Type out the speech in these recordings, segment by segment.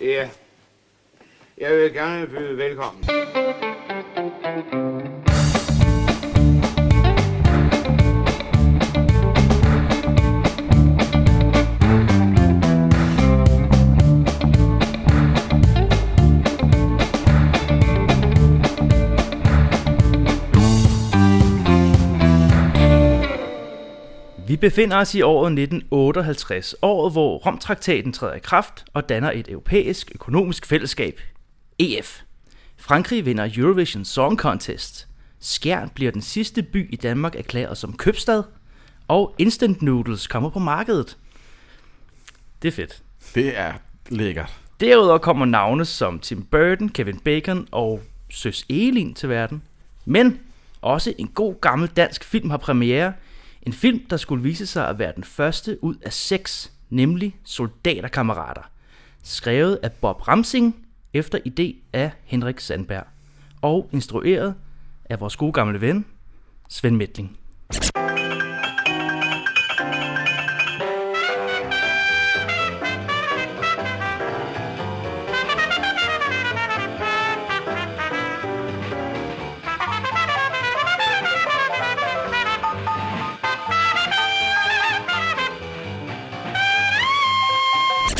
Ja. Jeg vil gerne byde velkommen. Vi befinder os i året 1958, året hvor Romtraktaten træder i kraft og danner et europæisk økonomisk fællesskab, EF. Frankrig vinder Eurovision Song Contest. Skjern bliver den sidste by i Danmark erklæret som købstad, og instant noodles kommer på markedet. Det er fedt. Det er lækkert. Derudover kommer navne som Tim Burton, Kevin Bacon og Søs Elin til verden. Men også en god gammel dansk film har premiere. En film, der skulle vise sig at være den første ud af seks, nemlig Soldaterkammerater. Skrevet af Bob Ramsing efter idé af Henrik Sandberg. Og instrueret af vores gode gamle ven, Svend Mætling.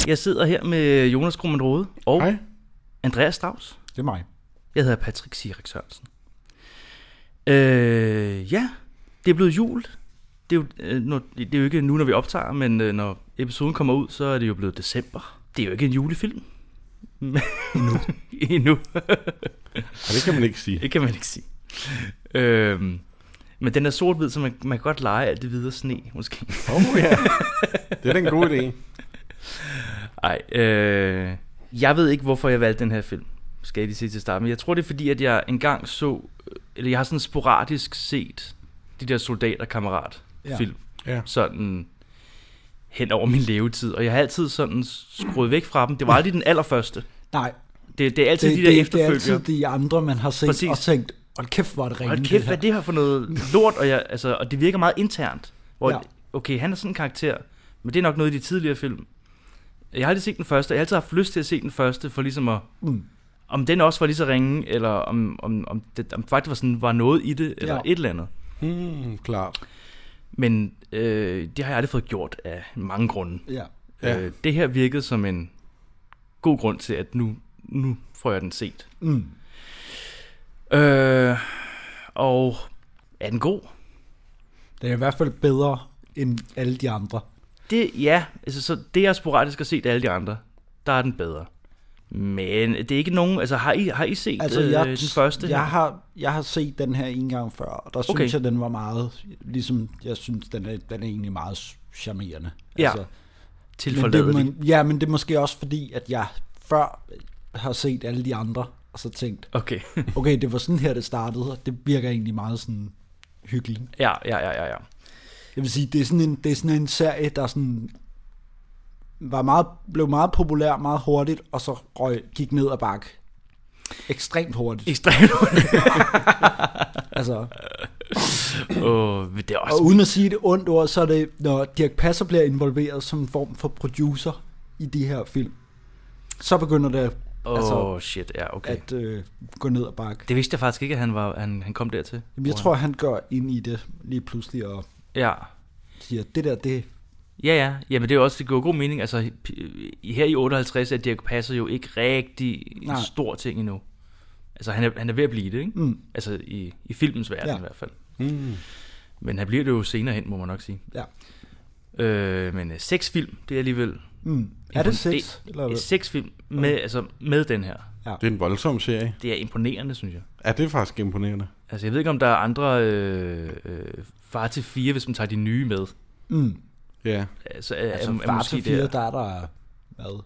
Jeg sidder her med Jonas Krummen Rode og Hej, Andreas Strauss. det er mig. Jeg hedder Patrick Sirik Sørensen. Øh, ja, det er blevet jul. Det er, jo, øh, når, det er jo ikke nu, når vi optager, men øh, når episoden kommer ud, så er det jo blevet december. Det er jo ikke en julefilm. Endnu. Endnu. Og det kan man ikke sige. Det kan man ikke sige. Øhm, men den er sort-hvid, så man, man kan godt lege alt det hvide og sne, måske. Oh, ja. Det er da en god idé. Ej, øh, jeg ved ikke, hvorfor jeg valgte den her film, skal jeg lige sige til starten. Men jeg tror, det er fordi, at jeg engang så, eller jeg har sådan sporadisk set de der soldaterkammerat-film, Ja. sådan hen over min levetid. Og jeg har altid sådan skruet væk fra dem. Det var aldrig den allerførste. Nej, Det, det er altid det, det, de der det, det er efterfølgere. altid de andre, man har set Præcis. Præcis. og tænkt, hold kæft, hvor er det Hold rent. kæft, hvad det her for noget lort, og, jeg, altså, og det virker meget internt. Hvor, ja. Ja. Okay, han er sådan en karakter, men det er nok noget i de tidligere film. Jeg har aldrig set den første, og jeg har altid haft lyst til at se den første, for ligesom at... Mm. Mm. Om den også var lige så ringe, eller om, om, om, det, om faktisk var, sådan, var noget i det, eller Ja. et eller andet. Hmm, klart. Men øh, det har jeg aldrig fået gjort af mange grunde. Ja. Ja. Ja. Øh, det her virkede som en god grund til, at nu, nu får jeg den set. Mm. Øh, og er den god? Det er i hvert fald bedre end alle de andre. Det, ja, altså så det jeg sporadisk har set af alle de andre, der er den bedre. Men det er ikke nogen, altså har I, har I set altså, jeg, øh, den første? her? jeg, har, jeg har set den her en gang før, og der synes Okay. okay. jeg, den var meget, ligesom jeg synes, den er, den er egentlig meget charmerende. Altså, Ja, men det, Tilforladet men, ja, men det er måske også fordi, at jeg før har set alle de andre, og så tænkt, Okay, okay, det var sådan her, det startede, og det virker egentlig meget sådan hyggeligt. ja, ja, ja, ja, ja. Jeg vil sige, det er sådan en, det er sådan en serie, der sådan var meget, blev meget populær meget hurtigt, og så røg, gik ned ad bakke. Ekstremt hurtigt. Ekstremt Altså, Åh, men det er og også... uden at sige det ondt ord, så er det, når Dirk Passer bliver involveret som en form for producer i de her film, så begynder det Åh, altså, oh, shit, ja, okay. at øh, gå ned ad bakke. Det vidste jeg faktisk ikke, at han, var, han, han kom dertil. Jamen, jeg tror, han går ind i det lige pludselig og Ja, siger, det der, det... ja, ja. Jamen, det er jo også, det giver god mening. Altså, p- her i 58 er Dirk Passer jo ikke rigtig en Nej. stor ting endnu. Altså, han er, han er ved at blive det, ikke? Mm, Altså, i, i filmens verden Ja. i hvert fald. Hmm. Men han bliver det jo senere hen, må man nok sige. ja. Øh, men øh, seks film, det er alligevel Mm. Er det Impon- seks? Eller hvad? øh, seks film med, altså, med den her. Det er en voldsom serie. Det er imponerende, synes jeg. Ja, det er faktisk imponerende. Altså, jeg ved ikke, om der er andre øh, øh, far til fire, hvis man tager de nye med. Mm. Ja. Altså, er, Altså, er, er, far måske til fire, der, der er der... Hvad?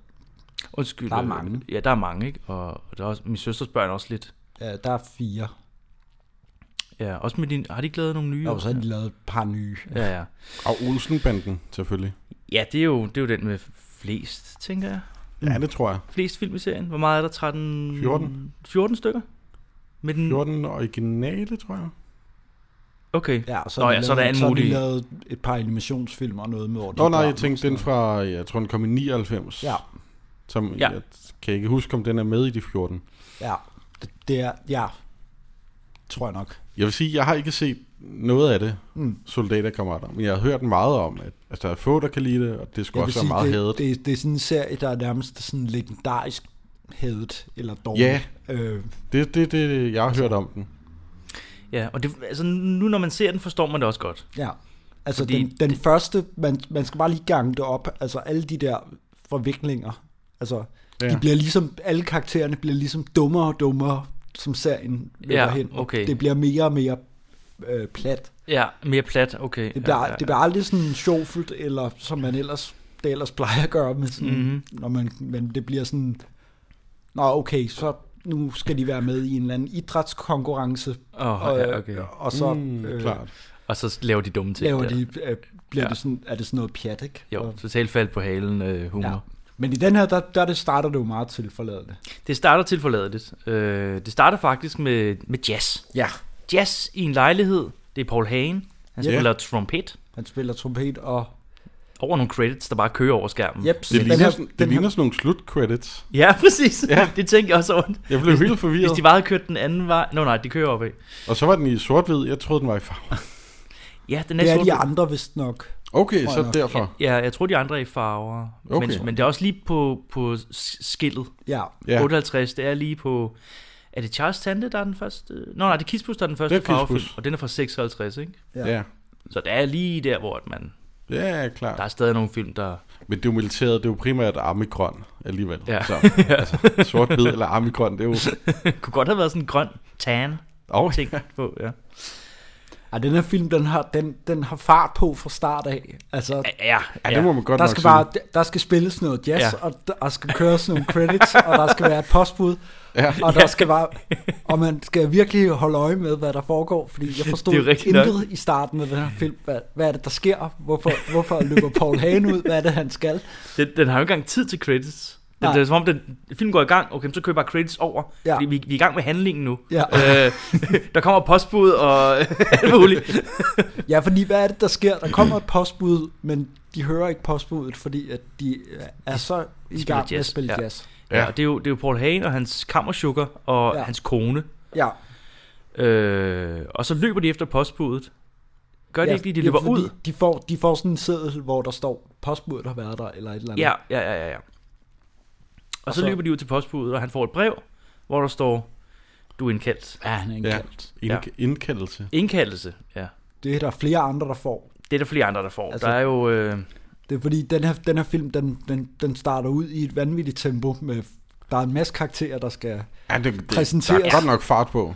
undskyld, der er øh, mange. Ja, der er mange, ikke? Og, og der er også, min søsters børn er også lidt. Ja, Øh, der er fire. Ja, også med din, har de ikke lavet nogle nye? Og så har de lavet et par nye. ja, ja. Og Olsenbanden, selvfølgelig. ja det, er jo, det er jo den med flest, tænker jeg. Ja, det tror jeg. Flest film i serien. Hvor meget er der? 13... 14. 14 stykker? Med den... 14 originale, tror jeg. Okay. Ja, og så Nå har de ja, lavet, så er der alle så har de mulige- lavet et par animationsfilm og noget med over de Nå nej, børn jeg og tænkte sådan den fra, jeg tror den kom i 99. noget. Ja, Som Ja. ja. jeg kan ikke huske, om den er med i de 14. Ja, det, det er, ja, tror jeg nok. Jeg vil sige, jeg har ikke set noget af det, mm. soldaterkammerater, men jeg har hørt meget om, at, at der er få, der kan lide det, og det skulle Jeg vil også sige, være meget det, hadet. Det, det er sådan en serie, der er nærmest sådan legendarisk hadet eller dårlig. Ja. Øh, Det, det, det, jeg har hørt om den. Ja, og det, altså, nu når man ser den, forstår man det også godt. ja. Altså Fordi den, den det... første, man, man skal bare lige gange det op, altså alle de der forviklinger, altså ja. de Ja. bliver ligesom, alle karaktererne bliver ligesom dummere og dummere, som serien løber Ja, hen. okay. Det bliver mere og mere øh, plat. Ja, mere plat, okay. Det bliver, ja, ja, ja. det bliver aldrig sådan sjovfuldt, eller som man ellers, det ellers plejer at gøre, med sådan, Mhm. mm-hmm. når man, men det bliver sådan, nå okay, så nu skal de være med i en eller anden idrætskonkurrence, Åh, og, øh, ja, okay. og så mm, øh, øh, klart. Og så laver de dumme ting. laver der. de, øh, bliver Ja. ja. det sådan, er det sådan noget pjat, ikke? Jo, Og, totalt fald på halen øh, humor. ja. Ja. Men i den her, der, der det starter det jo meget til forladende. Det starter tilforladeligt. Øh, det starter faktisk med, med jazz. Ja. Jazz i en lejlighed. Det er Paul Hagen. Han Ja. spiller trompet Han spiller trompet, og over nogle credits, der bare kører over skærmen. yep, Det ligner, sådan- det ligner sådan nogle slutcredits. Ja, præcis. Ja. Det tænkte jeg også over. Jeg blev helt Hvis forvirret. de bare havde kørt den anden vej... Nå nej, de kører opad. Og så var den i sort-hvid. Jeg troede, den var i farve. Ja, den er det er sort. de andre vist nok. Okay, Tror jeg så nok. derfor. Ja, jeg tror, de andre er i farver. Okay. Men, men det er også lige på, på s- skillet. Ja, Ja, 58, det er lige på... Er det Charles Tante, der er den første? Nå nej, det er Kispus, der er den første Det er Kispus. farvefilm, og den er fra 56, ikke? ja. Så det er lige der, hvor at man, Ja, der klart. er stadig nogle film, der... Men det er jo militæret, det er jo primært armigrøn alligevel. Ja. Så, altså, sort-hvid eller armigrøn, det er jo... kunne godt have været sådan en grøn tan Oh, ting på, ja. Ej, den her film, den har, den, den har fart på fra start af. Altså, Ja, ja, ja, det må man godt der nok skal sige. bare der skal spilles noget jazz, Ja. ja. og der skal køres nogle credits, og der skal være et postbud, Ja. og der skal bare og man skal virkelig holde øje med, hvad der foregår, fordi jeg forstod Det er jo rigtigt intet i starten af den her film. Hvad, hvad er det, der sker? Hvorfor, hvorfor løber Paul Hagen ud? Hvad er det, han skal? Den, den har jo ikke engang tid til credits. Den, Nej. det er som om, den film går i gang, okay, men så kører jeg bare credits over, ja. Ja. fordi vi, vi er i gang med handlingen nu. Ja. Øh, der kommer postbud og alt muligt. Ja, fordi hvad er det, der sker? Der kommer et postbud, men de hører ikke postbuddet, fordi at de øh, er så i spiller gang med at jazz, spille ja. jazz. Ja. ja, og det er, jo, det er jo Paul Hagen og hans kammerchukker og ja. Ja. hans kone. Ja, Øh, og så løber de efter postbuddet. Gør de ja, ikke lige, de ja, løber fordi ud? De får, de får sådan en seddel, hvor der står, postbuddet har været der, eller et eller andet. Ja, ja, ja, ja, ja. Og, og så, så så- løber de ud til postbuddet, og han får et brev, hvor der står, du er indkaldt. ja han er Ja. indkaldt. Ja. Indk- indkaldelse. Indkaldelse, ja. Det er der flere andre, der får. Det er der flere andre, der får. Altså, Altså- der er jo... Øh, Det er fordi, den her, den her film, den, den, den starter ud i et vanvittigt tempo med... Der er en masse karakterer, der skal... Ja, det, det, der Præsenteres. er godt nok fart på.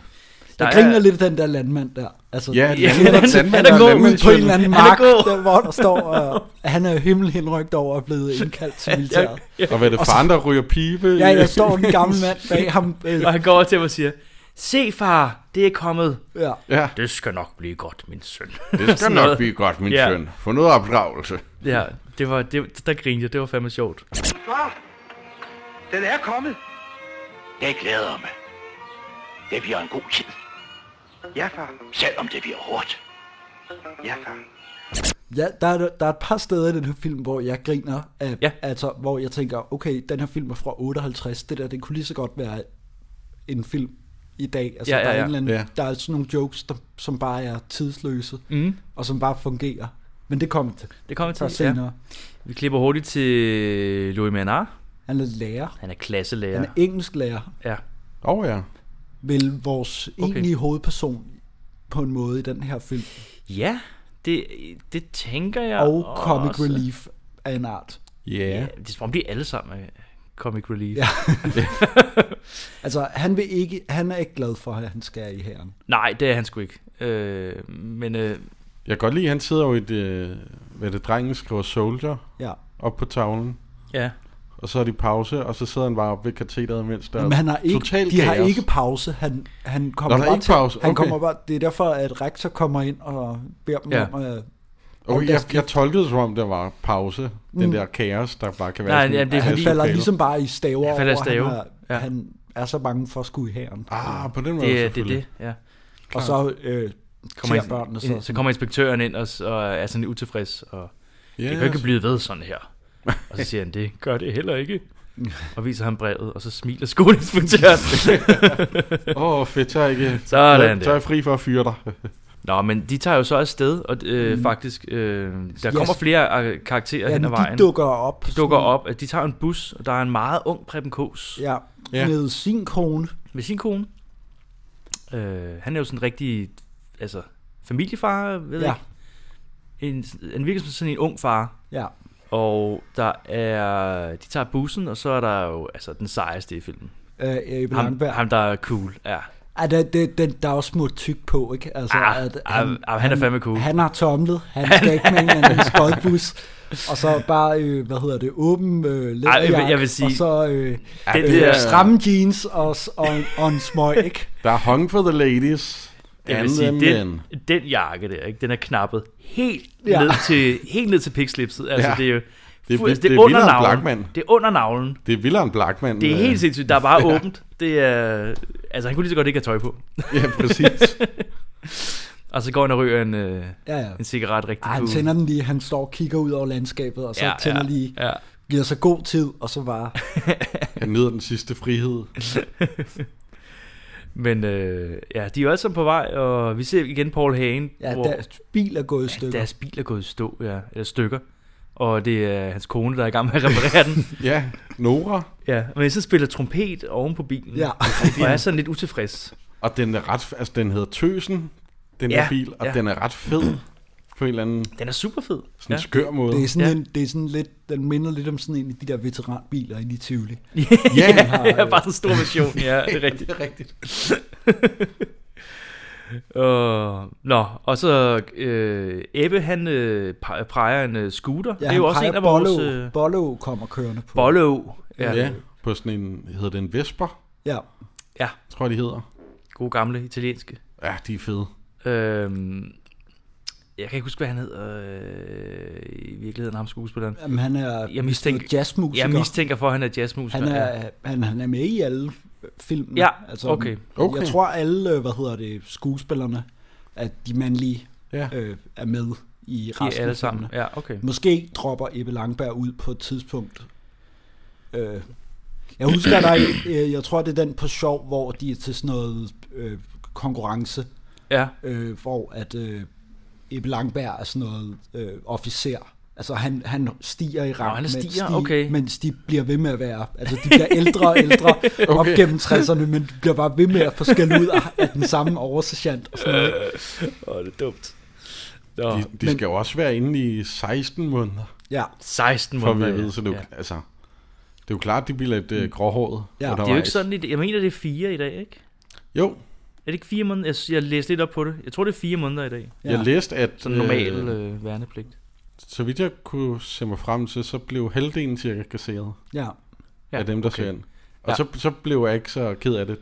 der Jeg griner lidt af den der landmand der. Altså, Ja, Ja, den han- er han sandmand, er og god ud på landmandsøl. en eller anden Han er mark, god. der, hvor der står, og han er himmelhenrygt over og blevet indkaldt til militæret. Og hvad er det for andre, der ryger pibe? Ja, der står en gammel mand bag ham. Øh, Og han går over til mig og siger, se far, det er kommet. ja. Ja, Det skal nok blive godt, min søn. det skal Sådan nok noget. blive godt, min Ja. søn. For noget opdragelse. Ja, det var, det, der grinede jeg, det var fandme sjovt. Far, den er kommet. Det glæder mig. Det bliver en god tid. Ja, far. Selvom det bliver hårdt. Ja, far. Ja, der er, der er et par steder i den her film, hvor jeg griner. Af, Ja. ja. Altså, hvor jeg tænker, okay, den her film er fra 58. Det der, det kunne lige så godt være en film i dag. Altså, Ja, ja, Der, er ja. en eller anden, Ja. der er sådan nogle jokes, der, som bare er tidsløse, Mm. og som bare fungerer. Men det kommer til Det kommer så til senere. ja. Ja. Vi klipper hurtigt til Louis Menard. Han er lærer. Han er klasselærer. Han er engelsk lærer. Ja. Åh oh, ja. Vel vores Okay. okay. egentlige hovedperson på en måde i den her film. ja, det, det tænker jeg og comic også. relief af en art. Ja. Ja, det er som om, de alle sammen er comic relief. Ja. Ja. Altså, han, vil ikke, han er ikke glad for, at han skal i hæren. Nej, det er han sgu ikke. Øh, men øh, Jeg kan godt lide, at han sidder jo i det, hvad er det drengen skriver soldier Ja. op på tavlen. ja, Og så er de pause, og så sidder han bare oppe ved katheteret, mens der Men han har ikke, totalt de har kaos. ikke pause. Han, han kommer Nå, der er bare ikke til, pause. Han Okay. kommer bare, det er derfor, at rektor kommer ind og beder dem Ja. ja. om at... Okay, der jeg, skal- jeg tolkede det, som om, der var pause. Mm. Den der kaos, der bare kan være Nej, sådan... jamen, det er Han fordi- falder lokaler. ligesom bare i staver Han falder i over, stave. Han, er, Ja. ja. han er så bange for at skulle i hæren. Ah, på den måde det, er- det er selvfølgelig. det. Ja. og så øh, kommer ser børnene så, ind, så kommer inspektøren ind og, s- og er sådan lidt utilfreds. Og, Ja, Det kan jo ikke blive ved sådan her. Og så siger han, det gør det heller ikke. og viser ham brevet, og så smiler skoleinspektøren. Åh, oh, fedt, så er jeg ikke... Sådan Så er der. jeg fri for at fyre dig. Nå, men de tager jo så afsted, og øh, mm. faktisk, øh, der kommer flere øh, karakterer ja, hen ad ja, vejen. de dukker op. De dukker op, at de tager en bus, og der er en meget ung Preben Kås Ja, Ja. ja. med sin kone. med sin kone. Øh, han er jo sådan en rigtig, altså, familiefar, ved Ja. jeg ikke. En, han virker som sådan en ung far. Ja. Og der er, de tager bussen, og så er der jo altså, den sejeste i filmen. Øh, Ebbe Ham, Langberg. ham, der er cool, ja. Ah, det, det, den, der er også smurt tyk på, ikke? Altså, Ah, ah, ah, han er fandme cool. Han har tomlet, han skal ikke med en anden skodbus, og så bare, øh, hvad hedder det, åben øh, læderjakke, jeg vil sige- og så øh, Den øh, der- stramme jeans og, s- og, og en smøg, ikke? Der er hung for the ladies. Jeg vil and sige, the den, men. den jakke der, ikke? den er knappet helt, ja. Ja. ned, til, helt ned til pikslipset. Altså, ja. Ja. det er jo Det er fu- vildt- altså, det det er er under vildere end navlen. Blachman. Det er under navlen. Det er vildere end Blackman. Det er øh, helt sindssygt. Der er bare åbent. Det er, altså, han kunne lige så godt ikke have tøj på. Ja, præcis. Og så går han og ryger en, øh, Ja, ja. en cigaret rigtig Ej, Ah, han cool. tænder den lige, han står og kigger ud over landskabet, og så Ja, ja, tænder ja, ja. lige, ja. giver sig god tid, og så bare, Han nyder den sidste frihed. Men øh, ja, de er jo alle sammen på vej, og vi ser igen Paul Hagen. ja, deres bil er gået i stykker. Deres bil er gået i stå, ja, eller stykker. Og det er hans kone, der er i gang med at reparere den. Ja, Nora. Ja, men så spiller trompet oven på bilen. Ja. Og er sådan lidt utilfreds. Og den er ret... Altså, den hedder Tøsen, den Ja, her bil. Og ja. den er ret fed. På en eller anden Den er super fed. sådan Ja. ja. skør måde. Det er, sådan Ja. ja. en, det er sådan lidt, den minder lidt om sådan en af de der veteranbiler inde i Tivoli. ja, ja, bare sådan en stor version. Ja, det er rigtigt. det er rigtigt. Uh, nå, og så øh, Ebbe, han øh, pe- peger en øh, scooter. Ja, det er han jo også peger en af vores... Bollo, Øh, Bollo kommer kørende på. Bollo. Ja, Ja. ja. ja. På sådan en... Hedder det en Vesper? Ja. ja, Tror jeg, de hedder. gode gamle italienske. Ja, de er fede. Øhm, jeg kan ikke huske, hvad han hedder øh, i virkeligheden, ham skuespilleren. Jamen, han er Jeg mistænker, jazzmusiker. jeg mistænker for, at han er jazzmusiker. han, er, han, han er med i alle filmene. Altså, Ja, okay. Okay. Jeg tror, alle, øh, hvad hedder det, skuespillerne, at de mandlige Ja. øh, er med i ja, resten de er alle sammen. af filmene. Ja, okay. Måske dropper Ebbe Langberg ud på et tidspunkt. Øh, jeg husker dig, øh, jeg tror, det er den på sjov, hvor de er til sådan noget øh, konkurrence, Ja, øh, hvor at øh, Ebbe Langberg er sådan noget øh, officer. Altså han, han stiger i rang, han mens stiger, de, okay. mens de bliver ved med at være, altså de bliver ældre og ældre okay. op gennem 60'erne, men de bliver bare ved med at få skæld ud af, af den samme oversergeant og sådan noget. Øh, Åh, det er dumt. Nå, De, de skal jo også være inde i 16 måneder, Ja, 16 for måneder. vi ved, så det er jo, ja. altså, det er jo klart, de bliver lidt øh, gråhåret. Ja. Det er jo ikke sådan, i dag- jeg mener, det er fire i dag, ikke? Jo, Er det ikke fire måneder? Jeg, jeg læste lidt op på det. Jeg tror, det er fire måneder i dag. jeg Ja. læste, at Sådan normal øh, værnepligt. så vidt jeg kunne se mig frem til, så blev halvdelen cirka kasseret ja. ja, af dem, der okay. søger ind. Og Ja. ja. så, så blev jeg ikke så ked af det.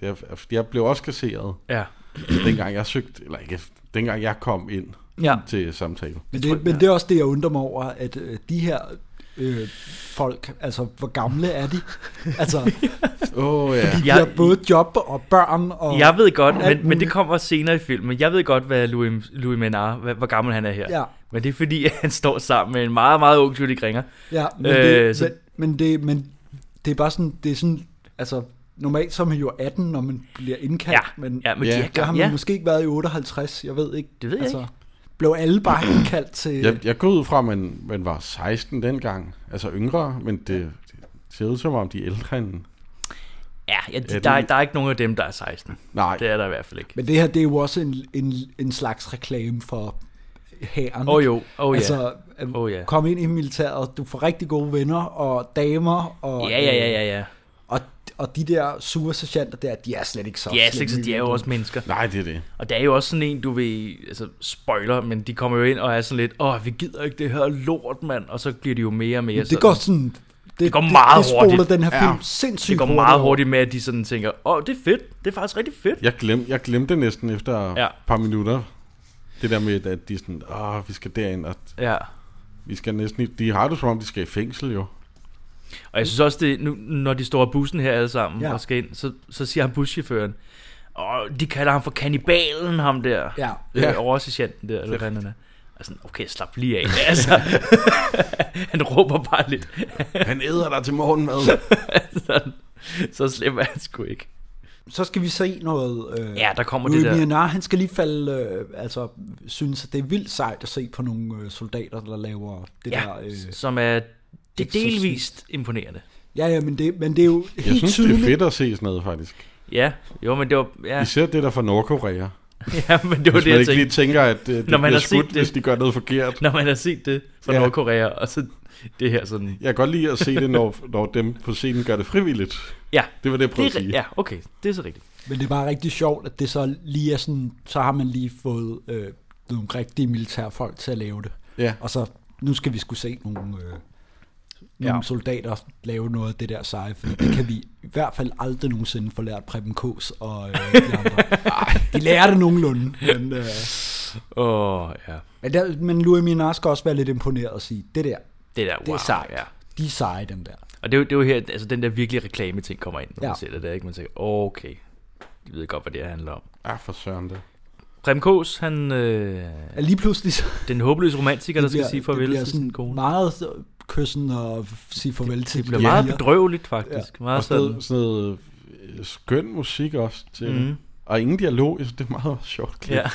det er, altså, jeg blev også kasseret, Ja. dengang jeg søgte, eller ikke, dengang jeg kom ind Ja. til samtale. Men, det, men det er også det, jeg undrer mig over, at øh, de her øh, folk, altså hvor gamle er de? Altså, Åh oh, ja, de Jeg- har både job og børn og... Jeg ved godt, alt men, men det muligt. kommer senere i filmen. Jeg ved godt, hvad Louis, Louis Menard, hvad, hvor gammel han er her. Ja. Men det er fordi, at han står sammen med en meget, meget ung Julie Gringer. Ja, men, Øh, øh, det, så- så... men, men, det, men det er bare sådan, det er sådan, altså normalt så er man jo 18, når man bliver indkaldt, Ja, men ja, men Ja. de er der har gamle. man Ja. måske ikke været i 58, jeg ved ikke. Altså, Det ved jeg ikke. Blev alle bare indkaldt til... Jeg, jeg går ud fra, at man, man var 16 dengang, altså yngre, men det, det ser ud som om, de er ældre end... Ja, ja de, Ja, der, er, det- der er ikke nogen af dem, der er 16. Nej, Det er der i hvert fald ikke. Men det her, det er jo også en, en, en slags reklame for hæren. Åh oh, jo, åh oh, ja. Altså, øh, Åh, ja. kom ind i militæret, du får rigtig gode venner og damer, og, ja, ja, ja, ja, øh, ja. og, og de der sure sergeanter der, de er slet ikke så De er, slet, slemme ikke- i de er jo virkeligheden. også mennesker. nej, det er det. Og der er jo også sådan en, du ved, altså spoiler, men de kommer jo ind og er sådan lidt, åh, vi gider ikke det her lort, mand. Og så bliver de jo mere og mere Det går sådan... Det, det går meget det, det spoler hurtigt. den her film Ja. ja. sindssygt det går hurtigt meget over. hurtigt med, at de sådan tænker, åh, det er fedt, det er faktisk rigtig fedt. Jeg, glem, jeg glemte næsten efter et Ja. par minutter, det der med, at de er sådan, åh, vi skal derind, og Ja. vi skal næsten... i-" De har det som om, de skal i fængsel jo. Og jeg synes også, det, nu, når de står af bussen her alle sammen ja. Ja. og skal ind, så, så siger han buschaufføren, åh, de kalder ham for kannibalen, ham der. Ja. Øh, Ja. Oversergeanten der, eller hvad han er. Og sådan, okay, slap lige af. altså, han råber bare lidt. Han æder dig til morgenmad. Sådan. så slipper han sgu ikke. Så skal vi se noget... Øh, Ja, der kommer Louis det der- Mianar, han skal lige falde... Øh, altså, synes, at det er vildt sejt at se på nogle øh, soldater, der laver det der... Ja, Øh, som er det er Exorcist. delvist imponerende. ja, ja, men det, men det er jo helt Jeg synes, det tydeligt. er fedt at se sådan noget, faktisk. Ja, jo, men det var... Ja, Især det der fra Nordkorea. ja men det var det, Hvis man jeg ikke tænkte. lige tænker, at øh, det Når man har bliver set skudt, det. hvis de gør noget forkert. Når man har set det fra Ja. ja. Nordkorea, og så det her sådan... Jeg kan godt lide at se det, når, når dem på scenen gør det frivilligt. Ja, Det var det, jeg prøvede det at er, ri- sige. ja okay, det er så rigtigt. Men det er bare rigtig sjovt, at det så lige er sådan... Så har man lige fået øh, nogle rigtige militærfolk til at lave det. ja. Og så, nu skal vi skulle se nogle, øh, nogle Ja. ja. soldater lave noget af det der seje, for det kan vi i hvert fald aldrig nogensinde få lært Preben Kås og øh, de andre. Ej, de lærer det nogenlunde. Men, øh, Åh, oh, ja. men, der, men Louis Minar skal også være lidt imponeret og sige, det der, Det der, wow. det er sejt. Ja. De er seje, dem der. Og det er, jo, det er jo her, altså den der virkelig reklame-ting kommer ind, når ja. Ja. man ser det der, ikke? Man tænker, okay, de ved godt, hvad det her handler om. Ah, for søren det. Prem Kås, han, øh, Ja, lige pludselig så den håbløse romantiker, der skal bliver- sige det farvel bliver til sin kone. meget øh, kyssen og f- sige farvel til Det bliver dem. meget Ja. bedrøveligt, faktisk. Ja. Og Meget sådan, sådan, sådan noget øh, skøn musik også til mm. mm, det. Og ingen dialog, jeg synes, det er meget sjovt. klip. ja.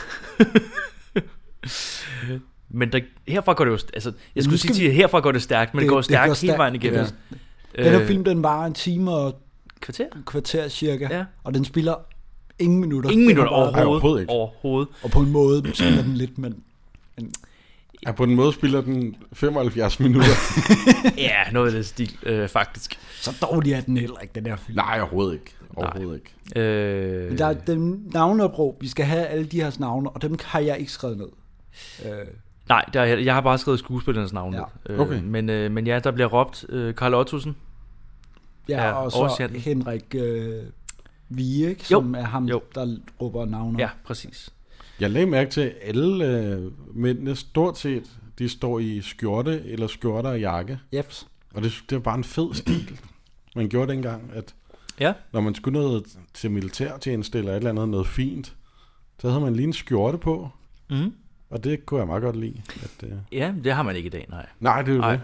men der, herfra går det jo, st- altså, jeg skulle nu sige, skal til, herfra går det stærkt, men det, Det- det går det går stærkt hele stærkt, vejen igennem. ja. Øh, Den her film, den var en time og Kvarter? et kvarter cirka, Ja. ja. og den spiller ingen minutter. Ingen Den minutter er overhovedet. bare- overhovedet overhovedet, ikke. overhovedet. Og på en måde spiller den lidt, men Ja, på en måde spiller den 75 minutter. Ja, noget af den stil, øh, faktisk. så dårlig er den heller ikke, den her film. Nej, overhovedet ikke. Overhovedet ikke. Øh, Men der er dem navneopråb, vi skal have alle de her navne, og dem har jeg ikke skrevet ned. Øh, Nej, der, er- jeg har bare skrevet skuespillernes navn Ja. ned. Øh, Okay. men, øh, men ja, der bliver råbt øh, Karl Ottosen. ja, Ja, ja, og så oversætten. Henrik øh, Vige, ikke, som er ham, jo. der råber navne. Ja, præcis. Jeg lagde mærke til, at alle øh, mændene stort set, de står i skjorte eller skjorter og jakke. Yep. Og det, det var bare en fed stil, man gjorde dengang, at Ja, når man skulle noget til militærtjeneste eller et eller andet, noget fint, så havde man lige en skjorte på, mm. og det kunne jeg meget godt lide. At, øh... ja det har man ikke i dag, nej. Nej, det er jo Nej. det.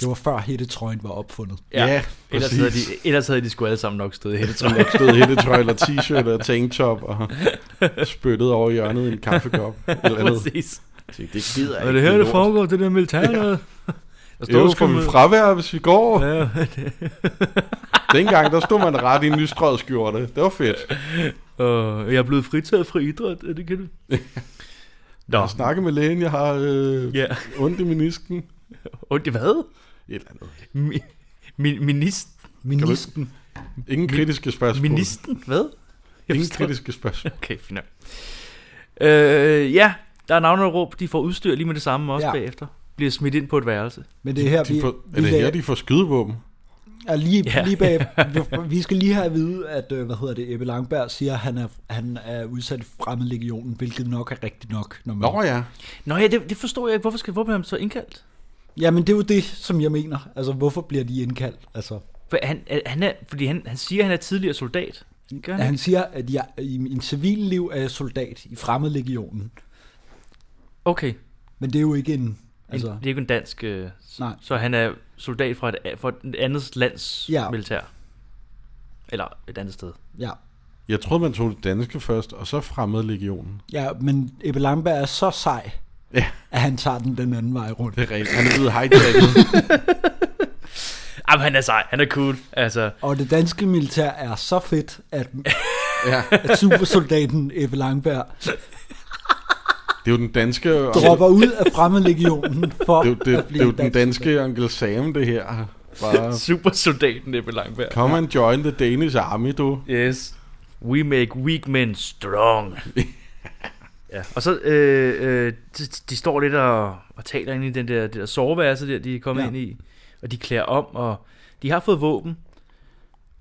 Det var før hættetrøjen var opfundet. Ja, ellers, præcis. havde de, ellers havde de sgu alle sammen nok stået hele Som der stod hættetrøjler, t-shirt og tanktop og spyttede over hjørnet i en kaffekop. Eller andet. Præcis. Jeg tænkte, Det gider Og det her, det foregår, det der militær noget. Der Det er jo for mit fravær, hvis vi går. Ja, Dengang, der stod man ret i en nystrøget skjorte. Det var fedt. og jeg er blevet fritaget fra idræt, er det kan du? Nå, Jeg snakke med lægen, jeg har øh, ja. ondt i menisken. Og det hvad? Et eller andet. Mi, min, minist, Minister. Ingen kritiske spørgsmål. ministen? Hvad? Jeg Ingen forstår- kritiske spørgsmål. Okay, fint. nok. Øh, ja, der er navneråb. De får udstyr lige med det samme også ja. Ja. bagefter. Bliver smidt ind på et værelse. Men det er her, De vi, får, er vi det her, lag- de får skydevåben? er lige, Ja. ja. lige bag, vi, vi skal lige have at vide, at øh, hvad hedder det, Ebbe Langberg siger, at han er, han er udsat i fremmed legionen, hvilket nok er rigtigt nok. Når man, Nå ja. Nå ja, det, det forstår jeg ikke. Hvorfor skal hvorfor bliver han så indkaldt? Jamen det er jo det, som jeg mener. Altså hvorfor bliver de indkaldt? Altså, For han, er- han er, fordi han, han siger, at han er tidligere soldat. Gør Ja, han? han ikke? siger, at jeg, i min civil liv er jeg soldat i fremmedlegionen. Okay, Men det er jo ikke en... altså. Altså, det er ikke en dansk... Øh, s- Nej. Så han er soldat fra et, a- fra et andet lands ja. Ja. militær. Eller et andet sted. ja. Jeg troede, man tog det danske først, og så fremmede legionen. ja, men Ebbe Langberg er så sej, Ja. at han tager den den anden vej rundt. Det er rigtigt. Han er blevet hijacket. Jamen, han er sej. Han er cool. Altså, Og det danske militær er så fedt, at, ja. at supersoldaten Ebbe Langberg Det er jo den danske... dropper ud af fremmedlegionen for Det er jo, det, at det blive er jo den dansk danske Onkel Sam, det her. Bare, supersoldaten Ebbe Langberg. come and join the Danish army, du. Yes. We make weak men strong. ja, og så øh, øh, de, de står lidt og, og taler inde i den der, det der soveværelse der, de er kommet ja. Ja. ind i. Og de klæder om, og de har fået våben.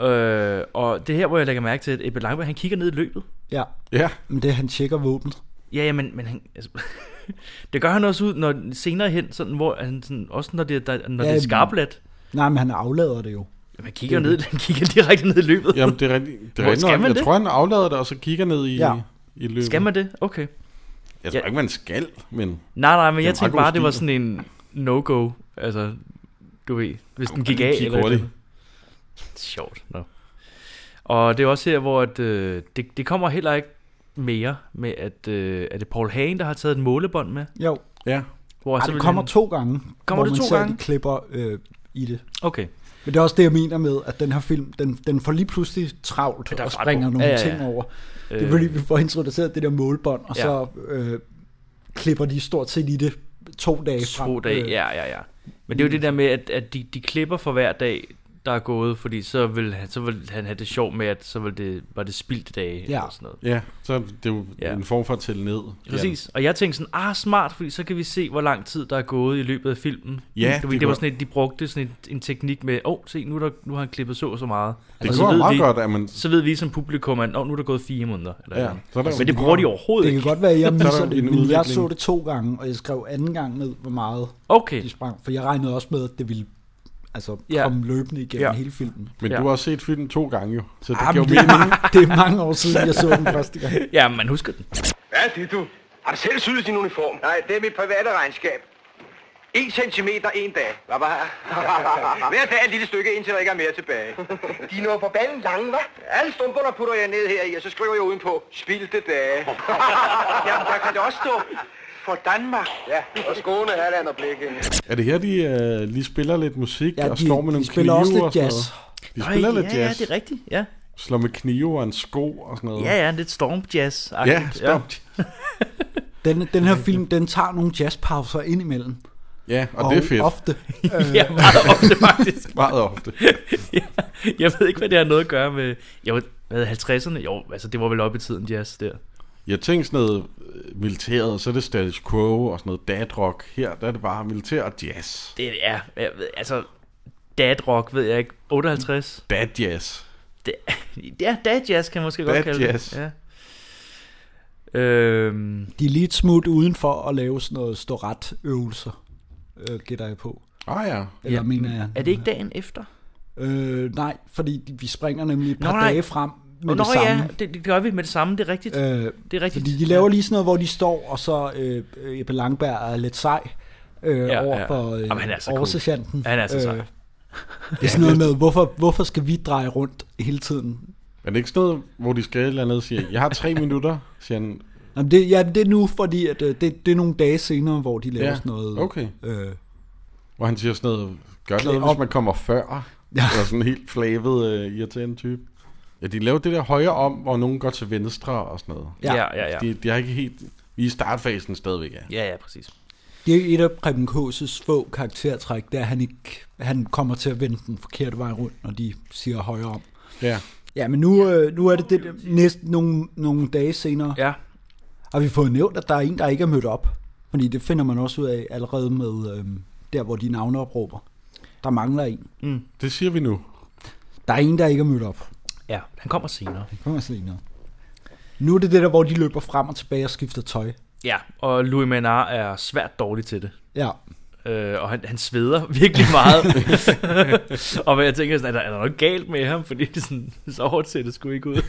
Øh, og det er her, hvor jeg lægger mærke til, at Ebbe Langberg, han kigger ned i løbet. Ja, Ja, men det er, han tjekker våbnet. Ja, ja, men, men han, altså, det gør han også ud, når senere hen, sådan, hvor han sådan, også når det, er- der, når ja, Ja, det er men- skarplat. Nej, men han aflader det jo. Man kigger ned, han kigger direkte ned i løbet. jamen det er rigtigt. Det Hvor er rigtigt. skal nok. man Jeg det? tror, han aflader det, og så kigger ned i, Ja. i løbet. Skal man det? Okay. Jeg tror Ja. ikke, man skal, men... Nej, nej, men er en jeg meget tænkte god bare, det var stil. sådan en no-go. Altså, du ved, hvis den gik den af. gik Eller et hurtigt. eller andet. Sjovt. No. Og det er også her, hvor at, øh, det, det kommer heller ikke mere med, at øh, er det Paul Hagen, der har taget et målebånd med? Jo, Ja, Hvor Ej, det simpelthen- kommer to gange, Kommer hvor det man to ser, gange? de klipper øh, i det. Okay. Men det er også det, jeg mener med, at den her film, den, den får lige pludselig travlt Ja, der er og fart på. springer nogle Ja, ja, ja. ting over. Det er Øh, fordi, vi får introduceret det der målbånd, og Ja. så øh, klipper de stort set i det to dage frem. To dage, Øh, ja, ja, ja. Men det er jo det der med, at, at de, de klipper for hver dag, der er gået, fordi så vil han, så vil han have det sjovt med, at så vil det, var det spildte dage ja. Ja. eller sådan noget. ja, så er det jo Ja. en form for at tælle ned. Præcis, og jeg tænkte sådan, ah smart, fordi så kan vi se, hvor lang tid der er gået i løbet af filmen. Ja, det, det det, det var kunne- sådan et, de brugte sådan et, en teknik med, åh, oh, se, nu, er der, nu har han klippet så og så meget. Ja. og Det så kunne være ved meget vi, godt, at man... Så ved vi som publikum, at oh, nu er der gået fire måneder. Eller Ja, ja. så er der jo- Men det bruger de overhovedet Det ikke. kan godt være, at jeg Så er der misser jo det, en men jeg udvikling. så det to gange, og jeg skrev anden gang ned, hvor meget Okay, de sprang. For jeg regnede også med, at det ville altså, Ja. komme løbende igennem Ja. hele filmen. Men Ja. du har også set filmen to gange jo, så det Jamen, giver jo det, er, mening. mange- det er mange år siden, jeg så den første gang. ja, man husker den. Hvad er det, du? Har du selv syet din uniform? Nej, det er mit private regnskab. En centimeter en dag. Hvad var Hver dag et lille stykke, indtil der ikke er mere tilbage. De er noget forbandet lange, hva'? Alle stumperne putter jeg ned her i, og så skriver jeg udenpå, spildte dage. Jamen, der kan det også stå, for Danmark. Ja, og Skåne, Halland og Blikken. Er det her, de øh, lige spiller lidt musik Ja, og de- står med de nogle spiller knive også lidt og sådan jazz. noget? De spiller ja, lidt ja, jazz. det er rigtigt, ja. Slår med knive og en sko og sådan noget. Ja, ja, lidt stormjazz ja stop. Den, den her film, den tager nogle jazzpauser ind imellem. Ja, og, og det er fedt. Ofte. ofte. Øh, Ja, meget ofte faktisk. Meget ofte. Jeg ved ikke, hvad det har noget at gøre med... Jo, hvad 50'erne? Jo, altså det var vel op i tiden jazz der. Jeg tænkte sådan noget øh, militæret, så er det status quo og sådan noget dadrock. Her der er det bare militær og jazz. Det er... Jeg ved, altså, dad rock, ved jeg ikke. 58? Dad jazz. Det, ja, dad jazz kan man måske Dad godt kalde jazz. det. Ja. Øhm, de er lige et smut udenfor at lave sådan noget storat øvelser, øh, gætter jeg på. Ah ja. Eller Ja, ja, mener jeg. er det ikke dagen efter? Øh, nej, fordi de- vi springer nemlig et Nå, par nej. dage frem med Nå, det samme. ja, det, det, gør vi med det samme, det er rigtigt. Øh, Øh, det er rigtigt. fordi de laver lige sådan noget, hvor de står, og så øh, øh, Ebbe Langberg er lidt sej øh, Ja, ja, over ja. for øh, Jamen, han er så cool. oversergeanten. Øh, Han er så sej. det er sådan noget med, hvorfor, hvorfor skal vi dreje rundt hele tiden? Er det ikke sådan noget, hvor de skal et eller andet og siger, jeg har tre minutter, siger han. Jamen, det, ja, det er nu, fordi at, øh, det, det er nogle dage senere, hvor de laver Ja, sådan noget. okay. Øh, Hvor han siger sådan noget, gør Klæd noget, hvis op. man kommer før. Ja. Eller sådan en helt flavet, øh, irriterende type. Ja, de laver det der højre om, hvor nogen går til venstre og sådan noget. Ja, ja. ja, ja. ja. De, de har ikke helt... Vi er i startfasen stadigvæk, ja. Ja, ja, præcis. Det er et af Preben K's få karaktertræk, det er, at han, ikke, han kommer til at vende den forkerte vej rundt, når de siger højere om. Ja. Ja, men nu, øh, nu er det, det næsten nogle, nogle dage senere. Ja, Har vi fået nævnt, at der er en, der ikke er mødt op? Fordi det finder man også ud af allerede med øh, der, hvor de navneopråber. Der mangler en. Det siger vi nu. Der er en, der ikke er mødt op. ja. Han kommer senere. Det kommer senere. Nu er det det der, hvor de løber frem og tilbage og skifter tøj. Ja, og Louis Menard er svært dårlig til det. Ja, Øh, og han, han sveder virkelig meget. og jeg tænker sådan, er der, er der noget galt med ham? Fordi det er sådan, så hårdt ser det sgu ikke ud.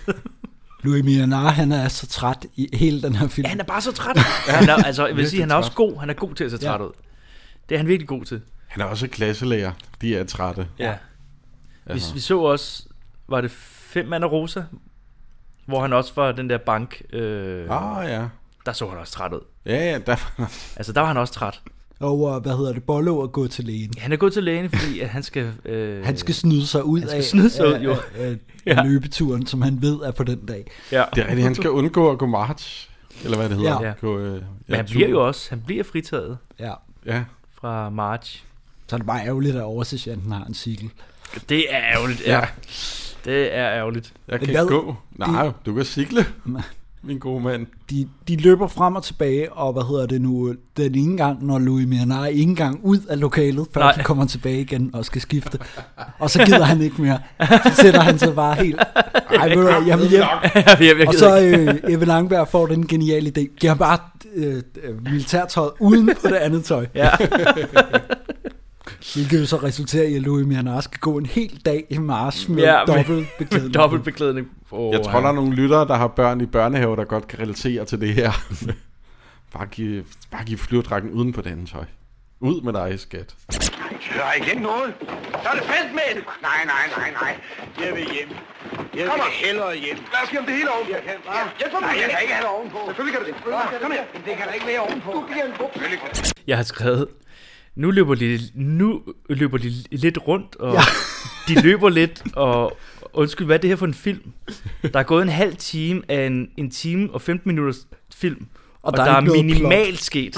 Louis Mianar, han er så træt i hele den her film. ja, han er bare så træt. han er, altså, jeg vil sige, han er også god. Han er god til at se træt ud. Det er han virkelig god til. Han er også klasselærer. De er trætte. Ja. Vi, vi så også, var det Fem Mand og Rosa? Hvor han også var den der bank. Øh, Ah, ja. Der så han også træt ud. Ja, ja, der Altså, der var han også træt. Over, øh, hvad hedder det, Bollo at gå til lægen. Han er gået til lægen, fordi at han skal... Øh, Han skal snyde sig ud han skal af, snyde sig ud, af, jo. af, af Ja. ja. løbeturen, som han ved er på den dag. ja. det er rigtigt. Han skal undgå at gå march. Eller hvad det hedder. Ja. Gå, øh, ja, Men han tur. bliver jo også... Han bliver fritaget Ja. Ja. fra March. Så er det bare ærgerligt, at oversergeanten har en cykel. Det er ærgerligt, ja. Ja. ja. Det er ærgerligt. Jeg kan Hvad? ikke gå. Nej, du kan cykle, min gode mand. De, de løber frem og tilbage, og hvad hedder det nu, den ene gang, når Louis Mianar ikke engang ud af lokalet, før Nej. Nej. de kommer tilbage igen og skal skifte. Og så gider han ikke mere. Så sætter han sig bare helt, ej, ved du hvad, jeg vil hjem. jeg, jeg, jeg Og så øh, Eva Langberg får den geniale idé. Giv ham bare øh, øh, militærtøjet uden på det andet tøj. Ja. Hvilket jo så resulterer i, at Louis Mianar skal gå en hel dag i march med Ja, ja, men- dobbelt beklædning. Dobbeltbeklædning. Oh, Jeg tror, der er nogle lyttere, der har børn i børnehave, der godt kan relatere til det her. Bare giv, bare giv flyverdragten uden på det andet tøj. Ud med dig, skat. Altså, Jeg har ikke glemt noget. Så er det fest med Nej, nej, nej, nej. Jeg vil hjem. Jeg Kom vil hellere hjem. Lad os give ham det hele ovenpå. Jeg kan bare... Jeg tror, nej, jeg kan ikke have det ovenpå. Selvfølgelig kan du det. Nå, kom her. Det kan der ikke være ovenpå. Du bliver en bog. Selvfølgelig kan det. Jeg har skrevet, nu løber de, nu løber de lidt rundt, og ja. de løber lidt, og undskyld, hvad er det her for en film? Der er gået en halv time af en, en time og 15 minutters film, og, og der, der er, ikke noget minimalt sket.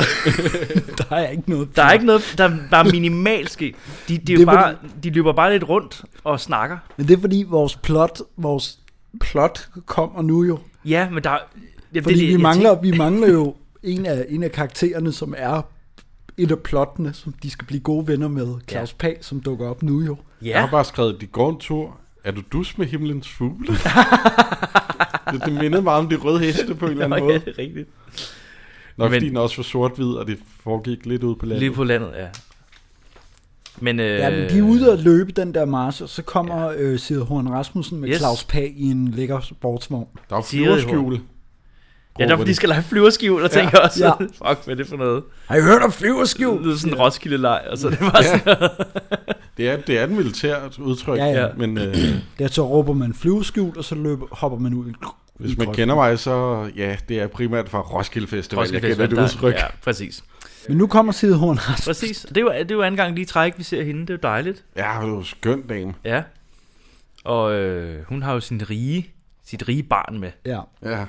Der er ikke noget. Der er ikke noget, der, der er minimalt sket. De, de, er Det jo er bare, de løber bare lidt rundt og snakker. Men det er fordi vores plot, vores plot kommer nu jo. Ja, men der... Ja, Fordi det, jeg vi, mangler, tænker- vi mangler jo en af, en af karaktererne, som er et af plottene, som de skal blive gode venner med. Claus ja. Pag, som dukker op nu jo. Jeg Ja, har bare skrevet, de går en tur. Er du dus med himlens fugle? det, det mindede meget om de røde heste på en eller anden Nå, ja, måde. det er rigtigt. Nok Men- fordi den også var sort-hvid, og det foregik lidt ud på landet. Lige på landet, ja. Men, øh, Ja, men de er ude at løbe den der march, og så kommer ja. øh, Sid Horn Rasmussen med Yes. yes. Claus Pag i en lækker sportsvogn. Der var Siger det, flyverskjul. Ja, der er, fordi de skal lege flyverskjul, og tænker ja, også, ja. fuck, hvad er det for noget? Har I hørt om Det flyverskjul? lyder sådan en Roskilde-leg, og så er Mm. det bare sådan, det, er, det er et militært udtryk, Ja, ja. men øh, Der så råber man flyverskjul, og så løber, hopper man ud. i- i hvis man grøften. kender mig, så ja, det er primært fra Roskilde Festival, Roskilde jeg kender Festival, det udtryk. Ja, præcis. Men nu kommer Sid Horn Rasmussen. Præcis. Det er jo, det er jo anden gang lige træk, vi ser hende. Det er jo dejligt. Ja, det var skønt, dame. Ja. Og øh, hun har jo sin rige, sit rige barn med. Ja. Ja.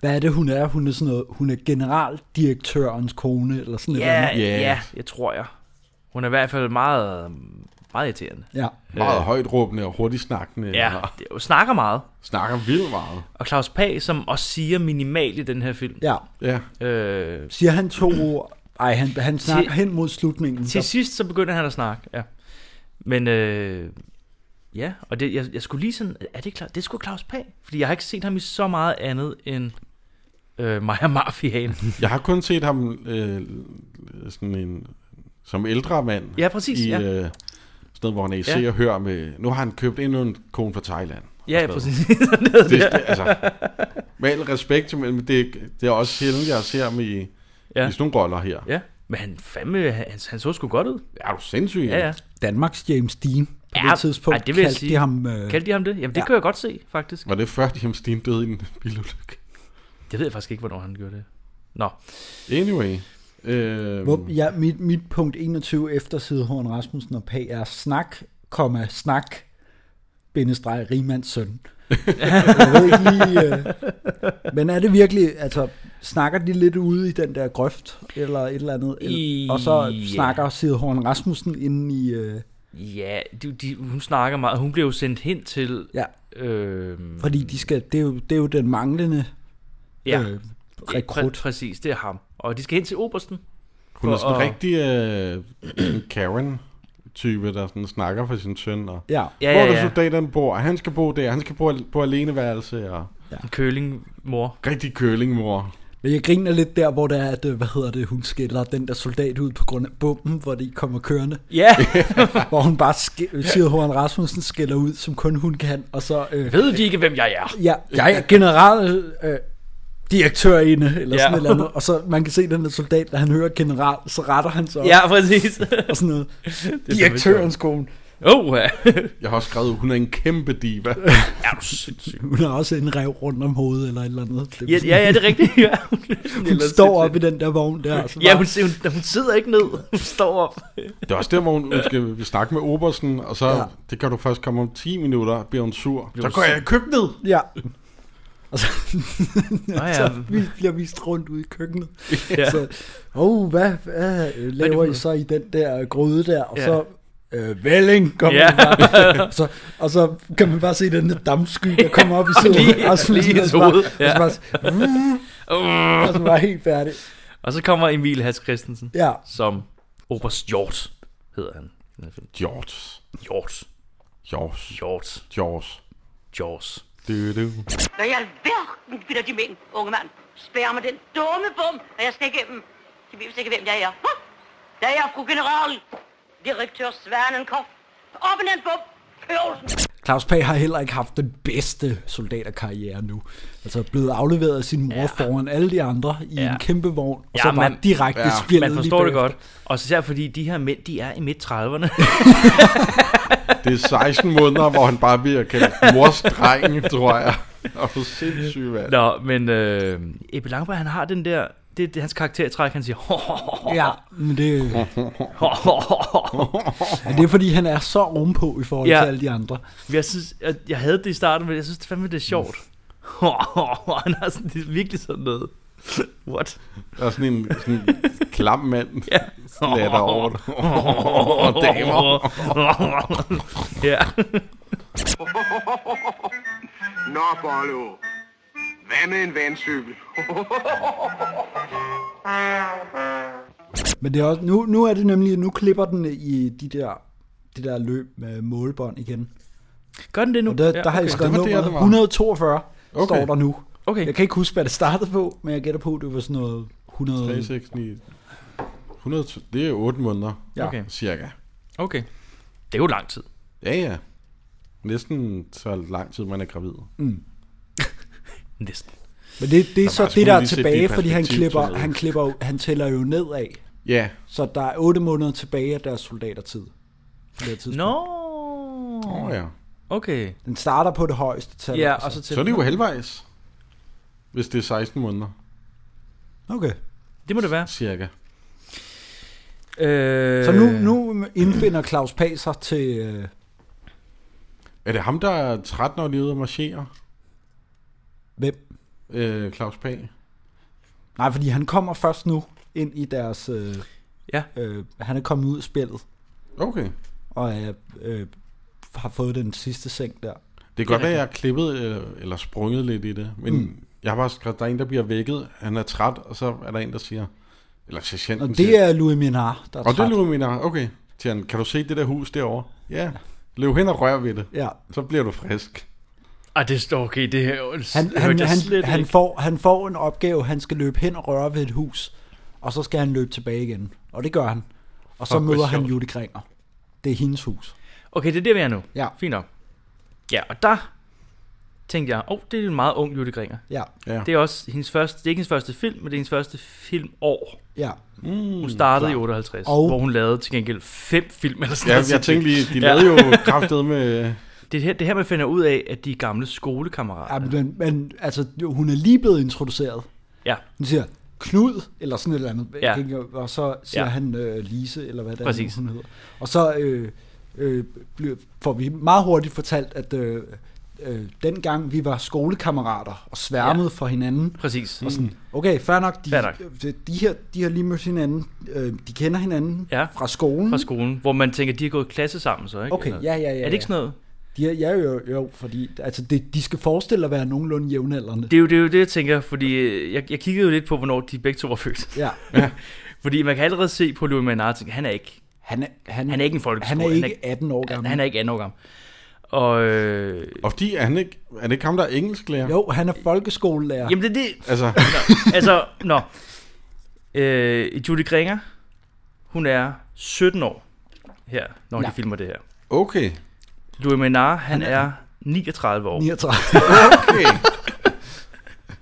Hvad er det, hun er? Hun er sådan noget, hun er generaldirektørens kone, eller sådan Ja, noget. ja, Ja. ja, jeg tror jeg. Hun er i hvert fald meget, meget irriterende. Ja. Meget højt råbende og hurtigt snakkende. Ja, og det, hun snakker meget. Snakker vildt meget. Og Claus Pag, som også siger minimalt i den her film. Ja. Ja. Øh, Siger han to ord? Ej, han, han snakker Til- hen mod slutningen. Til Der, sidst så begynder han at snakke, ja. Men øh, ja, og det, jeg, jeg skulle lige sådan, er det klart? Det skulle Claus Pag, fordi jeg har ikke set ham i så meget andet end øh, Maja Mafiaen. Jeg har kun set ham øh, sådan en, som ældre mand. Ja, præcis, I ja. øh, sådan noget, hvor han er i Ja. ja. og hører med... Nu har han købt endnu en kone fra Thailand. ja, Og sådan præcis. noget. Det, det, altså, med al respekt, men det, det er også sjældent, jeg ser ham i, ja. ja, i sådan nogle roller her. Ja, ja. Men han, fandme, han, han så sgu godt ud. er du sindssyg? Ja, ja. Danmarks James Dean. På Ja, det tidspunkt ej, det vil jeg kaldte sige. de ham... Øh, Kaldte de ham det? Jamen, det Ja. kan jeg godt se, faktisk. Var det før, de ham Steen døde i en bilulykke? Det ved jeg faktisk ikke, hvornår han gjorde det. Nå, Anyway. Øh, hvor, ja, mit, mit punkt 21 efter Sidehorn Rasmussen og Pag er snak, komma, snak, bindestreg, rimands søn. jeg ved ikke lige... Øh, men er det virkelig... Altså, snakker de lidt ude i den der grøft, eller et eller andet? Eller, og så Ja. snakker Sidehorn Rasmussen inde i... Øh, ja, de, de, hun snakker meget. Hun blev jo sendt hen til... ja, Øh, Fordi de skal, det, er jo, det er jo den manglende ja, øh, præ- rekrut. præcis, det er ham. Og de skal hen til Obersten. hun er sådan en for at- rigtig øh, en Karen-type, der sådan snakker for sin søn. Og, Ja, Ja, hvor ja, er ja. det soldaterne bor? Han skal bo der. Han skal bo på aleneværelse. Og En kølingmor. rigtig kølingmor. men jeg griner lidt der, hvor det er, at, øh, hvad hedder det, hun skiller den der soldat ud på grund af bomben, hvor de kommer kørende. Ja, hvor hun bare sk- øh, siger, Horn Rasmussen skiller ud, som kun hun kan, og så... Øh, ved de ikke, hvem jeg er? ja, jeg er general... Øh, direktørinde, eller Ja. ja. sådan et eller andet. Og så man kan se den der soldat, da han hører general, så retter han sig op, Ja, præcis. og sådan noget. Direktørens kone. Åh, ja. Jeg har også skrevet, hun er en kæmpe diva. er du sindssyg? Hun har også en rev rundt om hovedet, eller et eller andet. Det er Ja, sådan- ja, ja, det er rigtigt. Ja, hun, Hun står op i den der vogn der. og så Ja, bare- hun, hun, hun sidder ikke ned. Hun står op. Det er også der, hvor hun hun skal snakke med Obersten, og så, ja. Ja. det kan du først komme om 10 minutter, bliver hun sur. så hun går sur. jeg i køkkenet. Ja. Og så, Nå ja. så vi bliver vist rundt ude i køkkenet. Ja. Ja. Så, oh, hvad, hvad øh, for laver I noget? så i den der øh, gryde der? Og Ja. ja. så, øh, Velling, kom Ja. ja. bare. Så, og så kan man bare se den der dammsky, der kommer op i siden. lige- og så, lige i og så, bare, hovedet, ja. ja. og så bare, Uh. og så bare helt færdig. Og så kommer Emil Hans Christensen, Ja, som Oberst Hjort hedder han. i den her film. George. Hjort. George. Hjort. George. Jaws. Du, du. Hvad i alverden bilder de mig ind, unge mand? Spær mig den dumme bum, og jeg skal igennem. De ved vist ikke, hvem jeg er. Huh? Jeg er fru general, direktør Svanenkopf. Op med den bum, Kørelsen. Claus Pag har heller ikke haft den bedste soldaterkarriere nu. Altså blevet afleveret af sin mor ja. foran alle de andre i Ja. ja. en kæmpe vogn, og Ja, ja, så var man- direkte ja, ja, spillet Man forstår det godt. Og især fordi de her mænd, de er i midt-30'erne. Det er 16 måneder, hvor han bare bliver kaldt mors dreng, tror jeg. Og for sindssygt, mand. Nå, men øh, Ebbe Langberg, han har den der... Det er det- hans karaktertræk, han siger... Ja, men det, men det er fordi, han er så ovenpå i forhold Ja. ja. til alle de andre. Jeg synes, jeg, jeg havde det i starten, men jeg synes det fandme, det er sjovt. han har sådan, det er virkelig sådan noget. What? Der er sådan en sådan en klam mand, Ja. latter over det. Åh, damer. ja. Nå, Bollo. Hvad med en vandcykel? Men det er også, nu, nu er det nemlig, nu klipper den i de der, det der løb med målbånd igen. Gør den det nu? Og der, ja, der har okay. jeg skrevet Det var der, nummeret det var. 142, okay. Okay. står der nu. Okay. Jeg kan ikke huske, hvad det startede på, men jeg gætter på, at det var sådan noget 100... 3, 6, 9, 100, det er 8 måneder, Ja. Okay. cirka. okay. Det er jo lang tid. Ja, ja. Næsten så lang tid, man er gravid. Næsten. Men det, det er var så sgu det, der er lige set det i tilbage, fordi han perspektiv, klipper, sådan noget. han klipper, jo- han tæller jo nedad. Ja, Så der er 8 måneder tilbage af deres soldatertid. På det her tidspunkt. Nå. åh oh, ja. Okay. Den starter på det højeste tal. Ja, og så til... Så er det jo halvvejs, hvis det er 16 måneder, Okay. Det må det være. cirka. Øh... Så nu, nu indfinder Claus Pag sig til... øh, Er det ham, der er 13 år lige ude og marchere? Hvem? Øh, Claus Pag? Nej, fordi han kommer først nu ind i deres... Øh, Ja. øh, han er kommet ud af spillet, Okay. og er, øh, har fået den sidste seng der. Det kan godt være, jeg har klippet øh, eller sprunget lidt i det, men mm. jeg har bare skrevet, der er en, der bliver vækket, han er træt, og så er der en, der siger, eller Og sergeanten det siger, er Louis Minard, der er og det træt. løber min okay, siger han, kan du se det der hus derovre? Ja, løb hen og rør ved det, Ja. så bliver du frisk. Ah, det står okay, det her Han, han, hørte jeg han, slet han, ikke. får, han får en opgave, han skal løbe hen og røre ved et hus, og så skal han løbe tilbage igen. Og det gør han. Og så Fuck, hvor møder han sjovt. Judy Kringer. Det er hendes hus. Okay, det er der, vi er nu. Ja. Fint nok. Ja, og der tænkte jeg, åh, oh, det er en meget ung Jytte Gringer. Ja, Ja. Det er også hendes første, det er ikke hendes første film, men det er hendes første filmår. ja. Mm, Hun startede i 58, Og- hvor hun lavede til gengæld fem film eller sådan Ja, noget. jeg tænkte lige, de Ja. lavede jo kraftet med... Det er her, det er her, man finder ud af, at de er gamle skolekammerater. ja men, men altså, jo, hun er lige blevet introduceret. Ja, Hun siger, Knud, eller sådan et eller andet. Ja. Ja. Og så siger Ja. ja. han øh, Lise, eller hvad det Præcis. er, nu, hun hedder. Og så øh, øh, bliver, får vi meget hurtigt fortalt, at øh, øh, dengang vi var skolekammerater og sværmede ja. for hinanden, præcis. Mm. Og sådan, okay, fair nok, de, Fair fair nok. nok. De, de, her, de har lige mødt hinanden, øh, de kender hinanden Ja. ja. fra skolen. Fra skolen, hvor man tænker, de har gået i klasse sammen så, ikke? Okay, ja, ja, ja, Er det ikke ja. sådan noget? de er, ja, jo, jo, fordi altså, de, de skal forestille at være nogenlunde jævnaldrende. Det er, jo, det er jo det, jeg tænker, fordi øh, jeg, jeg kiggede jo lidt på, hvornår de begge to var født. Ja, Fordi man kan allerede se på Louis Maynard, tænke, han er ikke, han, er, han, han er ikke en folkeskole. han er ikke 18 år han, gammel. han er ikke 18 år gammel. Og, øh, Og fordi er han ikke... Er det ikke ham, der er engelsklærer? Jo, han er folkeskolelærer. Jamen det er det, Altså, altså, nå. Øh, Judy Gringer, hun er 17 år her, når ja. de Ja. filmer det her. okay. Louis Menard, han, han er, 39 år. 39. Okay.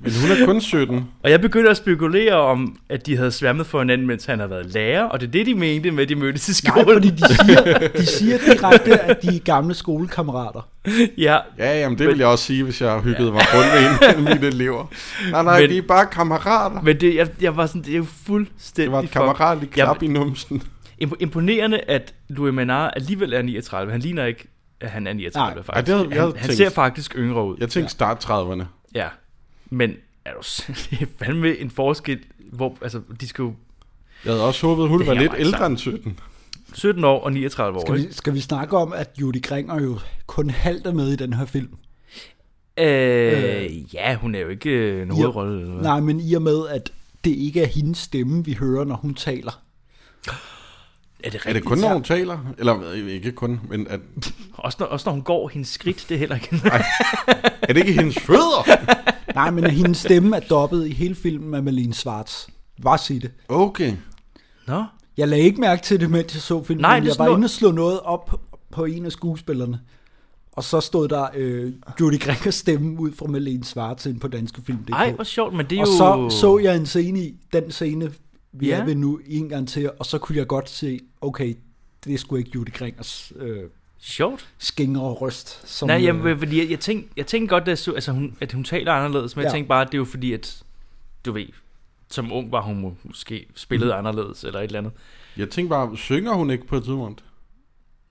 Men hun er kun 17. Og jeg begyndte at spekulere om, at de havde sværmet for hinanden, mens han har været lærer, og det er det, de mente med, at de mødtes i Nej, skolen. fordi de siger, de siger direkte, at de er gamle skolekammerater. ja, Ja, jamen det ville jeg også sige, hvis jeg hyggede mig rundt med en af mine elever. Nej, nej, Men- vi er bare kammerater. men det, jeg, jeg var sådan, det er jo Det fuldstændig var et fuck- kammeratligt Jeg- klap i numsen. Imp- Imponerende, at Louis Menard alligevel er 39. Han ligner ikke, at han er 39, Nej. faktisk. Ej, det havde- jeg han, havde han tænkt- ser faktisk yngre ud. Jeg tænkte start 30'erne. Ja, men er du s- det er fandme en forskel, hvor altså, de skal jo Jeg havde også håbet, hun Det var her lidt var ikke ældre end 17. 17 år og 39 år. Skal Ikke? vi, skal vi snakke om, at Judy Gringer jo kun halvt er med i den her film? Øh, ja, hun er jo ikke øh, en I- hovedrolle. Eller hvad? Nej, men i og med, at det ikke er hendes stemme, vi hører, når hun taler. Er det Er det rigtigt? kun, når hun taler? Eller øh, ikke kun, men er, Også, når, også når hun går hendes skridt, det er heller ikke. er det ikke hendes fødder? Nej, men at hendes stemme er dobbet i hele filmen af Malene Schwartz. Bare sig det. Okay. Nå, Jeg lagde ikke mærke til det, mens jeg så filmen. Nej, men det er jeg sådan var noget- inde og slå noget op på en af skuespillerne. Og så stod der øh, Judy Gregers stemme ud fra Malene Svartin på danske film. Ej, hvor sjovt, men det er og jo... så så jeg en scene i, den scene, vi Ja. ja. er ved nu en gang til, og så kunne jeg godt se, okay, det skulle ikke Judy Gringers øh, Sjovt. skingre og røst. Som, Nej, øh, jamen, fordi jeg, jeg, tænkte, jeg tænkte godt, at, jeg så- altså, hun, at hun taler anderledes, men ja. jeg Ja. tænkte bare, at det er jo fordi, at du ved, som ung var hun må- måske spillet mm. anderledes, eller et eller andet. Jeg tænkte bare, synger hun ikke på et tidspunkt?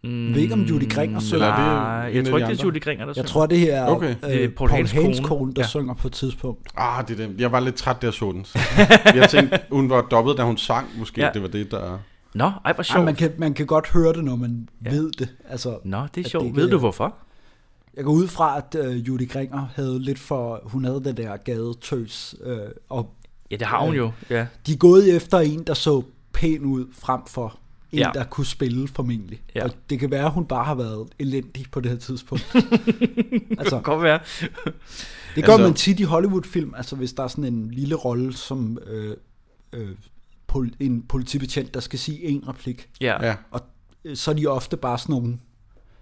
mm, jeg ved ikke, om Judy Gringer synger. Eller er det Nej, en jeg af tror ikke, de det er andre? Julie Gringer, der Jeg synger. tror, det her er Okay. øh, Det er Paul, Paul Hagens kone, der ja. ja. synger på et tidspunkt. Ah, det er den. Jeg var lidt træt, der så den. Så. Jeg tænkte, hun var dobbelt, da hun sang. Måske Ja. ja. det var det, der... Nå, ej, hvor Ej, sjovt. Ah, man, kan, man kan godt høre det, når man ja. ved det. Altså, Nå, det er At sjovt. det Ved kan- du hvorfor? Jeg går ud fra, at øh, Judy Gringer havde lidt for... Hun havde den der gadetøs, øh, og Ja, det har hun Øh. jo. Ja, de er gået efter en, der så pæn ud, frem for en, Ja. ja. der kunne spille formentlig. Ja. Ja. Og det kan være, at hun bare har været elendig på det her tidspunkt. altså, godt være. det gør Altså- altså, man tit i Hollywood-film, altså hvis der er sådan en lille rolle som øh, øh, pol- en politibetjent, der skal sige en replik, Ja, ja, Ja. og øh, så er de ofte bare sådan nogle,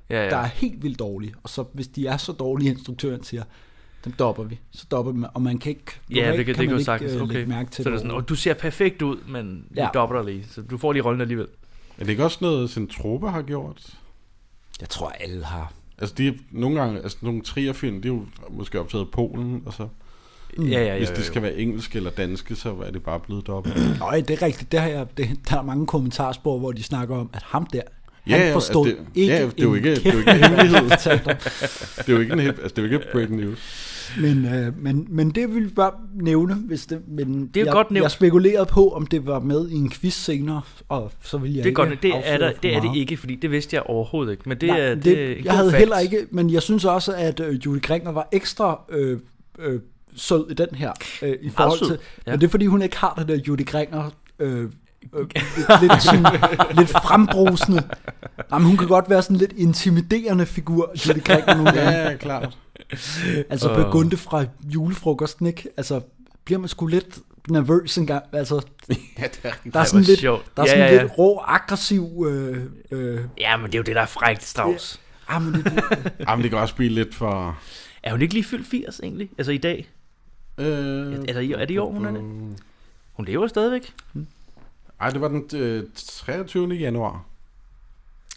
ja. der er helt vildt dårlige. Og så hvis de er så dårlige, instruktøren siger, dem dopper vi. Så dopper vi, dem, og man kan ikke, Ja, det kan, det kan jo man sagtens. øh, Okay. lægge mærke til så er det sådan, over. "Åh, du ser perfekt ud, men ja. Ja. vi dobbler dig lige. Så du får lige rollen alligevel. Er det ikke også noget, Centropa har gjort? Jeg tror, alle har. Altså, de er nogle gange... Altså, nogle trierfilm, de er jo måske optaget i Polen, og så... Mm. Ja, ja, ja. Hvis ja, det ja. skal være engelsk eller danske, så er det bare blevet dobbelt. Nej, det er rigtigt. Det har jeg, det, der er mange kommentarspor, hvor de snakker om, at ham der, Ja, ja, han forstod altså, det- ikke ja, det er jo en ikke- det er jo kæft, ikke en hvad han hemmelighed. fortalte om. Det er jo ikke, en, hip- altså, det er jo ikke breaking news. men, øh, men, men det vil vi bare nævne, hvis det, men er jo jeg, godt nævnt. jeg spekulerede på, om det var med i en quiz senere, og så vil jeg Det er, ikke godt, det, er afsløre der, for det er det meget. ikke, fordi det vidste jeg overhovedet ikke. Men det, Nej, er, men det, det er en jeg god havde fact. heller ikke, men jeg synes også, at øh, Julie Gringer var ekstra øh, øh, sød i den her, øh, i forhold sød, til, ja. ja. men det er fordi, hun ikke har det der Julie Gringer, øh, øh, lidt, lidt, sådan, lidt frembrusende. Jamen, hun kan godt være sådan lidt intimiderende figur, Julie Gringer nogle gange. Ja, ja, klart. Altså Åh. Burgunde fra julefrokosten, ikke? Altså, bliver man sgu lidt nervøs engang. Altså, der er sådan hvor lidt, sjovt. der er Ja, sådan ja, ja. lidt rå, aggressiv... Øh, øh, Ja, men det er jo det, der er frækt, Strauss. ah, men det, Jamen, det kan også blive lidt for... Er hun ikke lige fyldt 80 egentlig? Altså i dag? Øh, Altså, i- er det i år, hun er det? Hun lever stadigvæk. Ej, det var den øh, 23. januar.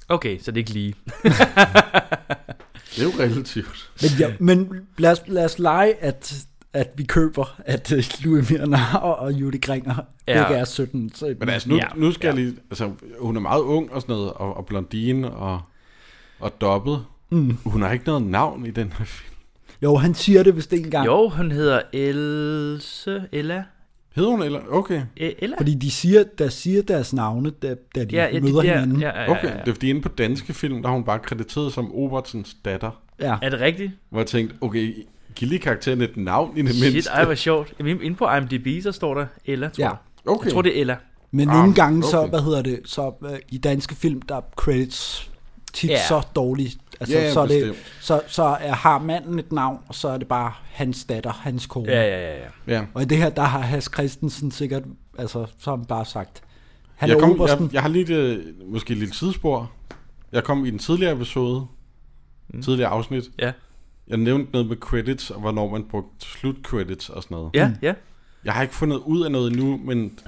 Okay, så det er ikke lige. Det er jo relativt. Men, ja, men lad, os, lad os lege, at, at vi køber, at uh, Louis Mirna og Judy Gringer Ja. ja. begge er 17. Så, Men altså, nu, Ja, ja, nu skal ja. jeg lige... Altså, hun er meget ung og sådan noget, og, og blondine og, og dobbet. Mm. Hun har ikke noget navn i den her film. Jo, han siger det vist en gang, jo. Jo, hun hedder Else... Ella? Hedder hun eller... Okay. E- Ella? fordi de siger, der siger deres navne, da, da de ja, møder ja, hinanden. Ja, ja, ja, Okay, ja, ja. det er fordi inde på danske film, der er hun bare krediteret som Obertsens datter. Ja. Er det rigtigt? Hvor jeg tænkte, okay, giv lige karakteren et navn i det Shit, mindste. ej, hvor sjovt. Jamen, inde på IMDb, så står der Ella, tror Ja. jeg. Okay. Jeg tror, det er Ella. Men nogle Ah, gange så, okay. hvad hedder det, så øh, i danske film, der er credits tit Ja. yeah. så dårligt. Altså, Ja, så, er det, bestemt. så, så er, har manden et navn, og så er det bare hans datter, hans kone. Ja, ja, ja. ja. Ja. Og i det her, der har Hans Christensen sikkert, altså, så har han bare sagt, han Jeg, er kom, obersten. jeg, jeg har lige et, øh, måske et lille sidespor. Jeg kom i den tidligere episode, mm. tidligere afsnit. Ja, Jeg nævnte noget med credits, og hvornår man brugte slutcredits og sådan noget. ja. ja. Jeg har ikke fundet ud af noget endnu, men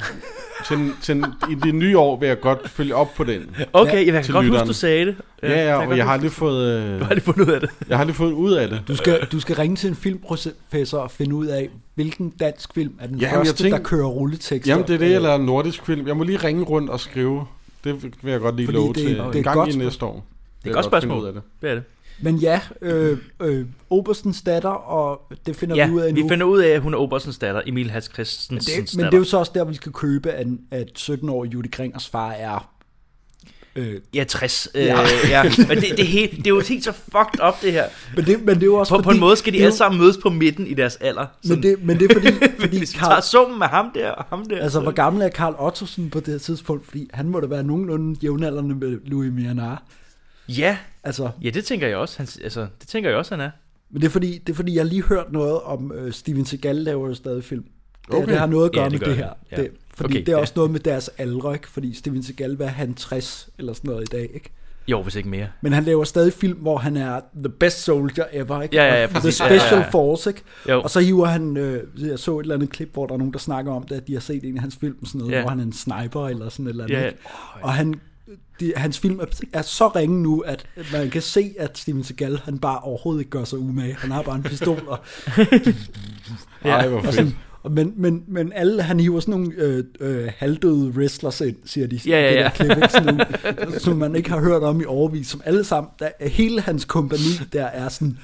til, til, i det nye år vil jeg godt følge op på den. Okay, jeg kan til godt huske, lytteren. du sagde det. Ja, ja, og godt jeg huske- har aldrig fået, øh, Du har lige fundet ud af det. jeg har aldrig fået ud af det. Du skal, du skal ringe til en filmprofessor og finde ud af, hvilken dansk film er den Ja, ja, men jeg første, tænker, tænker- der kører rulletekster. Øh, Jamen, det er det, eller en nordisk film. Jeg må lige ringe rundt og skrive. Det vil jeg godt lige Fordi love det- til det er en et gang godt i spørgsmål. næste år. Det godt spørgsmål. Ud af det. Hvad er det? Men ja, øh, øh, Oberstens datter, og det finder Ja, vi ud af nu. vi finder ud af, at hun er Obersens datter, Emil Hans Christensens det, men datter. det er jo så også der, vi skal købe, at, at 17-årige Judy Gringers far er... Øh, Ja, 60. Ja. Øh, ja. Men det, det, er helt, det er jo helt så fucked up, det her. men, det, men det er jo også På, fordi, på en måde skal de det er jo- alle sammen mødes på midten i deres alder. Men det, men det er fordi, fordi fordi Hvis vi tager Carl, summen af ham der og ham der. altså, så- hvor gammel er Carl Ottosen på det her tidspunkt? Fordi han må da være nogenlunde jævnaldrende med Louis Mianar. ja. Altså, ja, det tænker jeg også, han, altså, det tænker jeg også, han er. Men det er fordi, det er fordi jeg har lige hørt noget om øh, Steven Seagal laver jo stadig film. Det, Okay. okay. det har noget at gøre Ja, ja, det gør det med det det. Ja. her. Det, fordi Okay, okay, det er ja. også noget med deres alder, ikke? Fordi Steven Seagal var han 60 eller sådan noget i dag, ikke? Jo, hvis ikke mere. Men han laver stadig film, hvor han er the best soldier ever, ikke? Ja, ja, ja, Og The præcis. special Ja, ja, ja. force, ikke? Jo. Og så hiver han, øh, jeg så et eller andet klip, hvor der er nogen, der snakker om det, at de har set en af hans film, sådan noget, Ja. hvor han er en sniper eller sådan et eller andet. Ja, ja. ikke? Og han, de, hans film er, er så ringe nu, at man kan se, at Steven Seagal, han bare overhovedet ikke gør sig umage. Han har bare en pistol, og Ej, hvor og fedt. sådan, og men, men, men alle, han hiver sådan nogle øh, øh, halvdøde wrestlers ind, siger de. Ja, ja, Det ja. der klip, ikke? sådan nogle, som man ikke har hørt om i overvis, som alle sammen, der, hele hans kompani, der er sådan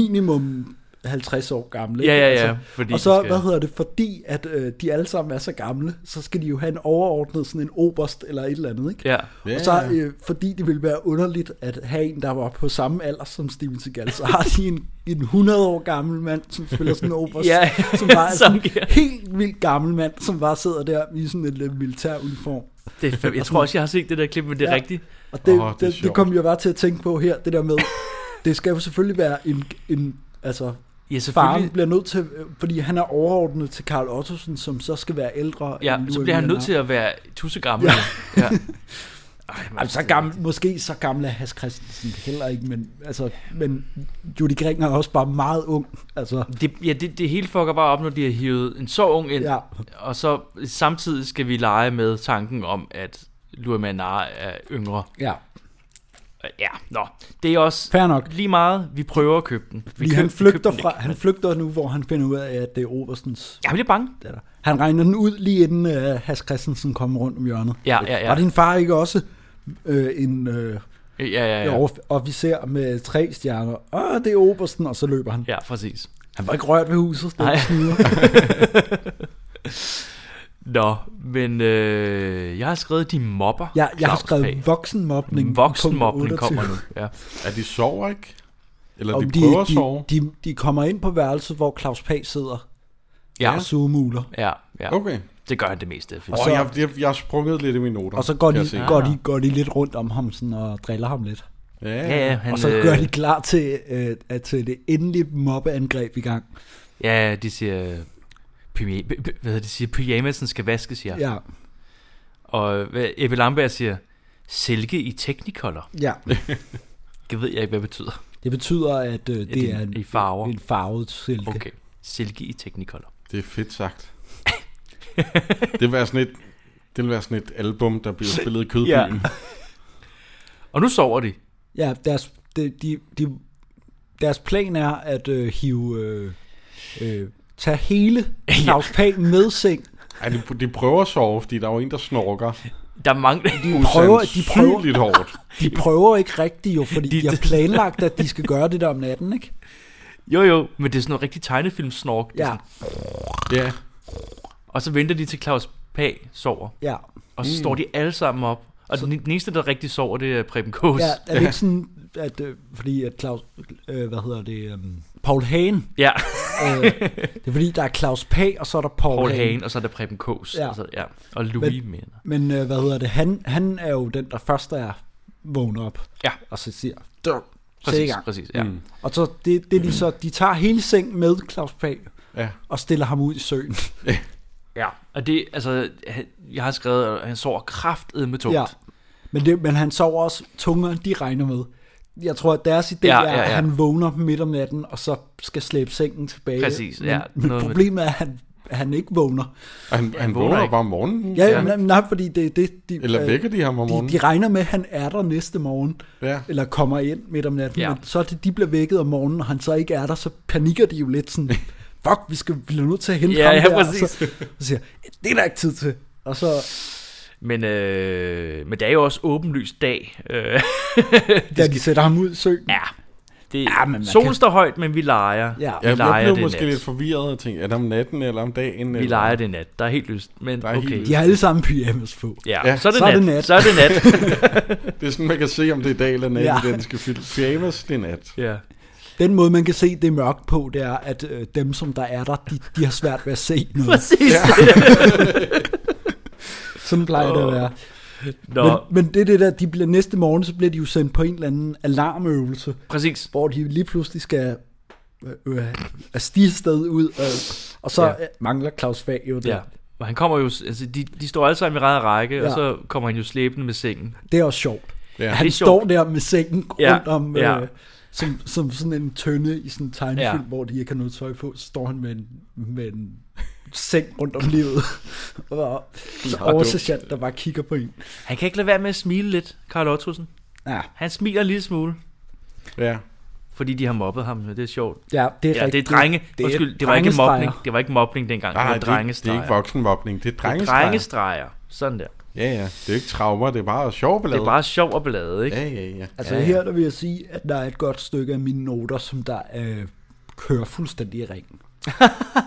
minimum 50 år gamle. ikke? Altså, Ja, ja, ja, fordi og de så, skal- hvad hedder det, fordi at øh, de alle sammen er så gamle, så skal de jo have en overordnet, sådan en oberst eller et eller andet, ikke? Ja. Og Ja, så, ja. øh, fordi det ville være underligt at have en, der var på samme alder som Steven Seagal, så har de en, en 100 år gammel mand, som spiller sådan en oberst, Ja, som bare er sådan som- ja. en helt vildt gammel mand, som bare sidder der i sådan en øh, militær uniform. Det er, fem- jeg tror også, jeg har set det der klip, men det er Ja. rigtigt. Og det, Åh, det er oh, det, det, det sjovt. kom jeg bare til at tænke på her, det der med, det skal jo selvfølgelig være en, en altså Ja, Faren selvfølgelig. bliver nødt til, øh, fordi han er overordnet til Karl Ottosen, som så skal være ældre. Ja, end så Louis bliver han nødt Vietnam. til at være tussegammel. Ja. ja. Ej, men, Jamen, Altså, så gammel, måske så gammel er Hans Christensen heller ikke, men, altså, men Judy Gring er også bare meget ung. Altså, Det, ja, det, det hele fucker bare op, når de har hivet en så ung ind, ja. og så samtidig skal vi lege med tanken om, at Luamanar er yngre. ja. Ja, nå. Det er også Fair nok. lige meget, vi prøver at købe den. Vi Fordi køb- han vi flygter, købte den fra, ikke, han men- flygter nu, hvor han finder ud af, at det er Oberstens Jeg bliver bange. datter. Han regner den ud lige inden uh, Hans Christensen kommer rundt om hjørnet. Ja, ja, ja. Var din far ikke også øh, en øh, Ja, ja, ja. ja. officer med tre stjerner? Åh, det er Obersten, og så løber han. Ja, præcis. Han var ikke rørt ved huset. Det Nej. er snyder. Nå, men øh, jeg har skrevet de mobber. Ja, jeg har Claus Pag. skrevet voksenmobning. Voksenmobning punkt kommer 28. nu. Ja. Er de sover ikke? Eller Om de, de prøver at sove? de, de, de kommer ind på værelset, hvor Claus Pag sidder Ja. og sugemuler. ja, ja. Okay. Det gør han det meste af Og filmen. så, jeg, jeg, jeg har sprunget lidt i mine noter. Og så går kan de, jeg se. går, de, Ah. går de lidt rundt om ham sådan, og driller ham lidt. Ja, Ja, ja, han, og så øh, gør de klar til, øh, at til det endelige mobbeangreb i gang. Ja, de siger... Pyjama, p- p- hvad hedder de siger? Pyjamasen skal vaskes her. Ja. Ja, Og øh, hvad Ebbe Lamberg siger, silke i teknikolder. ja. Det ved jeg ikke, hvad det betyder. Det betyder, at øh, det det er en, i farver. en farvet silke. Okay. Silke i teknikolder. Det er fedt sagt. det vil være sådan et, det vil være sådan et album, der bliver spillet i kødbyen. Ja. Og nu sover de. Ja, deres, de, de, de, deres plan er at øh, hive... Øh, øh, tage hele Claus Pag med seng. Ej, de, de prøver at sove, fordi der er jo en, der snorker. Der mangler... prøver- de prøver- Usandsynligt hårdt. De prøver ikke rigtigt jo, fordi De- de, de har planlagt, at de skal gøre det der om natten, ikke? Jo, jo, men det er sådan noget rigtig tegnefilmsnork. Det er Ja, sådan- Ja, Og så venter de til Claus Pag sover. ja. Og så mm. står de alle sammen op. Og den, den eneste, der rigtig sover, det er Preben Kås. Ja, er det ikke sådan, at, øh, fordi at Claus, øh, hvad hedder det, um, Paul Hagen, ja. øh, det er fordi, der er Claus Pag, og så er der Paul, Paul Hagen. Hagen, og så er der Preben Kås. Ja. Og, så, ja. og Louis Men... mener. Men øh, hvad hedder det, han, han er jo den, der først er vågner op, Ja, og så siger, se i præcis, gang. præcis. Ja. Mm. Og så det, det er de så, de tager hele sengen med Claus Pag, ja. og stiller ham ud i søen. ja. Og det, altså, han- jeg har skrevet, at han sover kraftedet med tungt. Ja. Ja. Men, det, men han sover også tungere, end de regner med. Jeg tror, at deres idé ja, ja, ja. er, at han vågner midt om natten, og så skal slæbe sengen tilbage. Præcis, men, ja. Men Noget med- problemet er, at han, at han ikke vågner. Og han, han vågner vågner jo ikke. bare om morgenen. Ja, ja. Nej, nej, fordi det er det, de... Eller øh, vækker de ham om De, morgenen? de regner med, at han er der næste morgen, Ja. eller kommer ind midt om natten, Ja. ja. men så er det, de bliver vækket om morgenen, og han så ikke er der, så panikker de jo lidt sådan, fuck, vi skal blive nødt til at hente Ja, ham ja, der. præcis. Og så, så siger jeg, det er der ikke tid til. Og så, Men, øh, men det er jo også åbenlys dag. Øh, da de sætter ham ud i søen, ja. Det, Ja, ja, men man men solen kan- står højt, men vi leger. Ja. Vi Ja, Jeg, jeg leger blev det måske nat. lidt forvirret og tænkte, er det om natten eller om dagen? Vi leger det nat. Der er helt lyst. Men Der er helt okay. lyst. de har alle sammen pyjamas på. Ja, Ja, så er det nat. Så er det nat. Det er sådan, man kan se, om det er dag eller nat, Ja. ja. den skal fylde. Pyjamas, det er nat. ja. Den måde, man kan se det er mørkt på, det er, at øh, dem, som der er der, de, de har svært ved at se noget. Præcis. Ja. Sådan plejer det at være. Nå, Men, men det er det der, de bliver næste morgen, så bliver de jo sendt på en eller anden alarmøvelse, præcis. hvor de lige pludselig skal øh, øh, af stige sted ud, øh, og så Ja. ja. øh, mangler Claus Fag jo det. Ja. Ja. Og han kommer jo, altså de, de står alle sammen i ræd og række, ja. og Ja. så kommer han jo slæbende med sengen. Det er også sjovt. Ja. Han Det er sjovt. står der med sengen rundt Ja, om, ja. Øh, som, som sådan en tønde i sådan en tegnefilm, Ja. ja. hvor de ikke har noget tøj på, så står han med en, med en seng rundt om livet. og så oversergeant, der bare kigger på en. Han kan ikke lade være med at smile lidt, Karl Ottosen. Ja, Han smiler en lille smule, Ja. fordi de har mobbet ham. Det er sjovt. ja det er Ja, rigtigt. det er drenge. Det, Undskyld, det var ikke en drengestreger. mobning. Det var ikke mobning dengang. Nej, det det, var er ikke- det er drengestreger. ikke voksenmobning, det er Det er drengestreger. drengestreger. Sådan der. Ja, ja. Det er jo ikke traumer, det er bare sjov ballade. Det er bare sjov og ballade, ikke? Ja, ja, ja. Altså Ja, ja, ja. her der vil jeg sige, at der er et godt stykke af mine noter, som der øh, kører fuldstændig i ringen.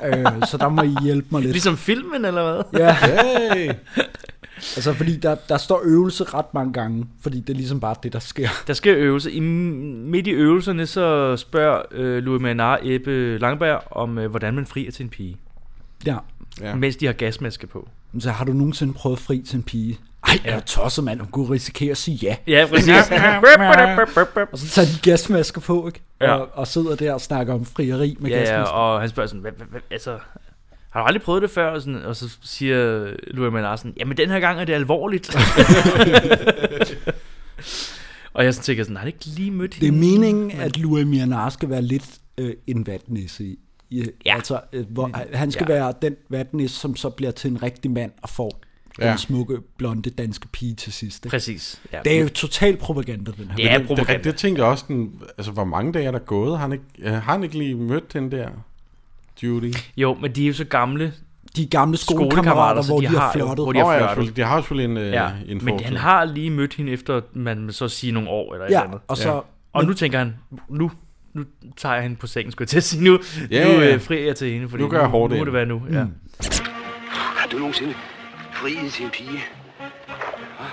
øh, så der må I hjælpe mig lidt. Ligesom filmen, eller hvad? Ja, Hey! altså fordi der, der står øvelse ret mange gange, fordi det er ligesom bare det, der sker. Der sker øvelse. I, midt i øvelserne, så spørger øh, Louis Manar Ebbe Langberg om, øh, hvordan man frier til en pige. Ja. Ja. Ja. Mens de har gasmaske på. Men Så har du nogensinde prøvet fri til en pige? Ej, jeg er tosset, mand. Hun kunne risikere at sige ja. Ja, præcis. Og så tager de gasmasker på, ikke? Ja. Og, og sidder der og snakker om frieri med ja, ja, gasmasker. og han spørger sådan, "Hvad- hvad- hvad- altså, har du aldrig prøvet det før? Og, sådan, og så siger Louis Manar sådan, jamen den her gang er det alvorligt. og jeg sådan tænker sådan, har han ikke lige mødt Det er hende? meningen, at Louis Mianar skal være lidt øh, en vatnisse i. i Ja. ja. Altså, øh, hvor, han skal Ja. ja. være den vatnisse, som så bliver til en rigtig mand og får ja. Ja. den smukke, blonde danske pige til sidst. ikke? Præcis. Ja, Det er jo total propaganda, den her. det er Det, det, propaganda. det tænkte jeg også, den, altså hvor mange dage er der gået? Har han ikke, øh, har han ikke lige mødt den der Judy? Jo, men de er jo så gamle, De gamle Skolekammerater, skolekammerater, så hvor de de, de har har jo- flottet. hvor Hvor de de har Nå ja, flørtet. selvfølgelig, de har jo selvfølgelig en, Ja, ja, en men han fortid. har lige mødt hende efter, man må så sige nogle år eller et eller ja, andet. og så... Ja. Ja. Og nu tænker han, nu, nu tager jeg hende på sengen, skulle jeg til at sige. Nu, Ja, nu ja. øh, frier jeg til hende, fordi Nu gør jeg hårdt nu, må ind. det være nu. Ja. Mm. Har du nogensinde friet til en pige?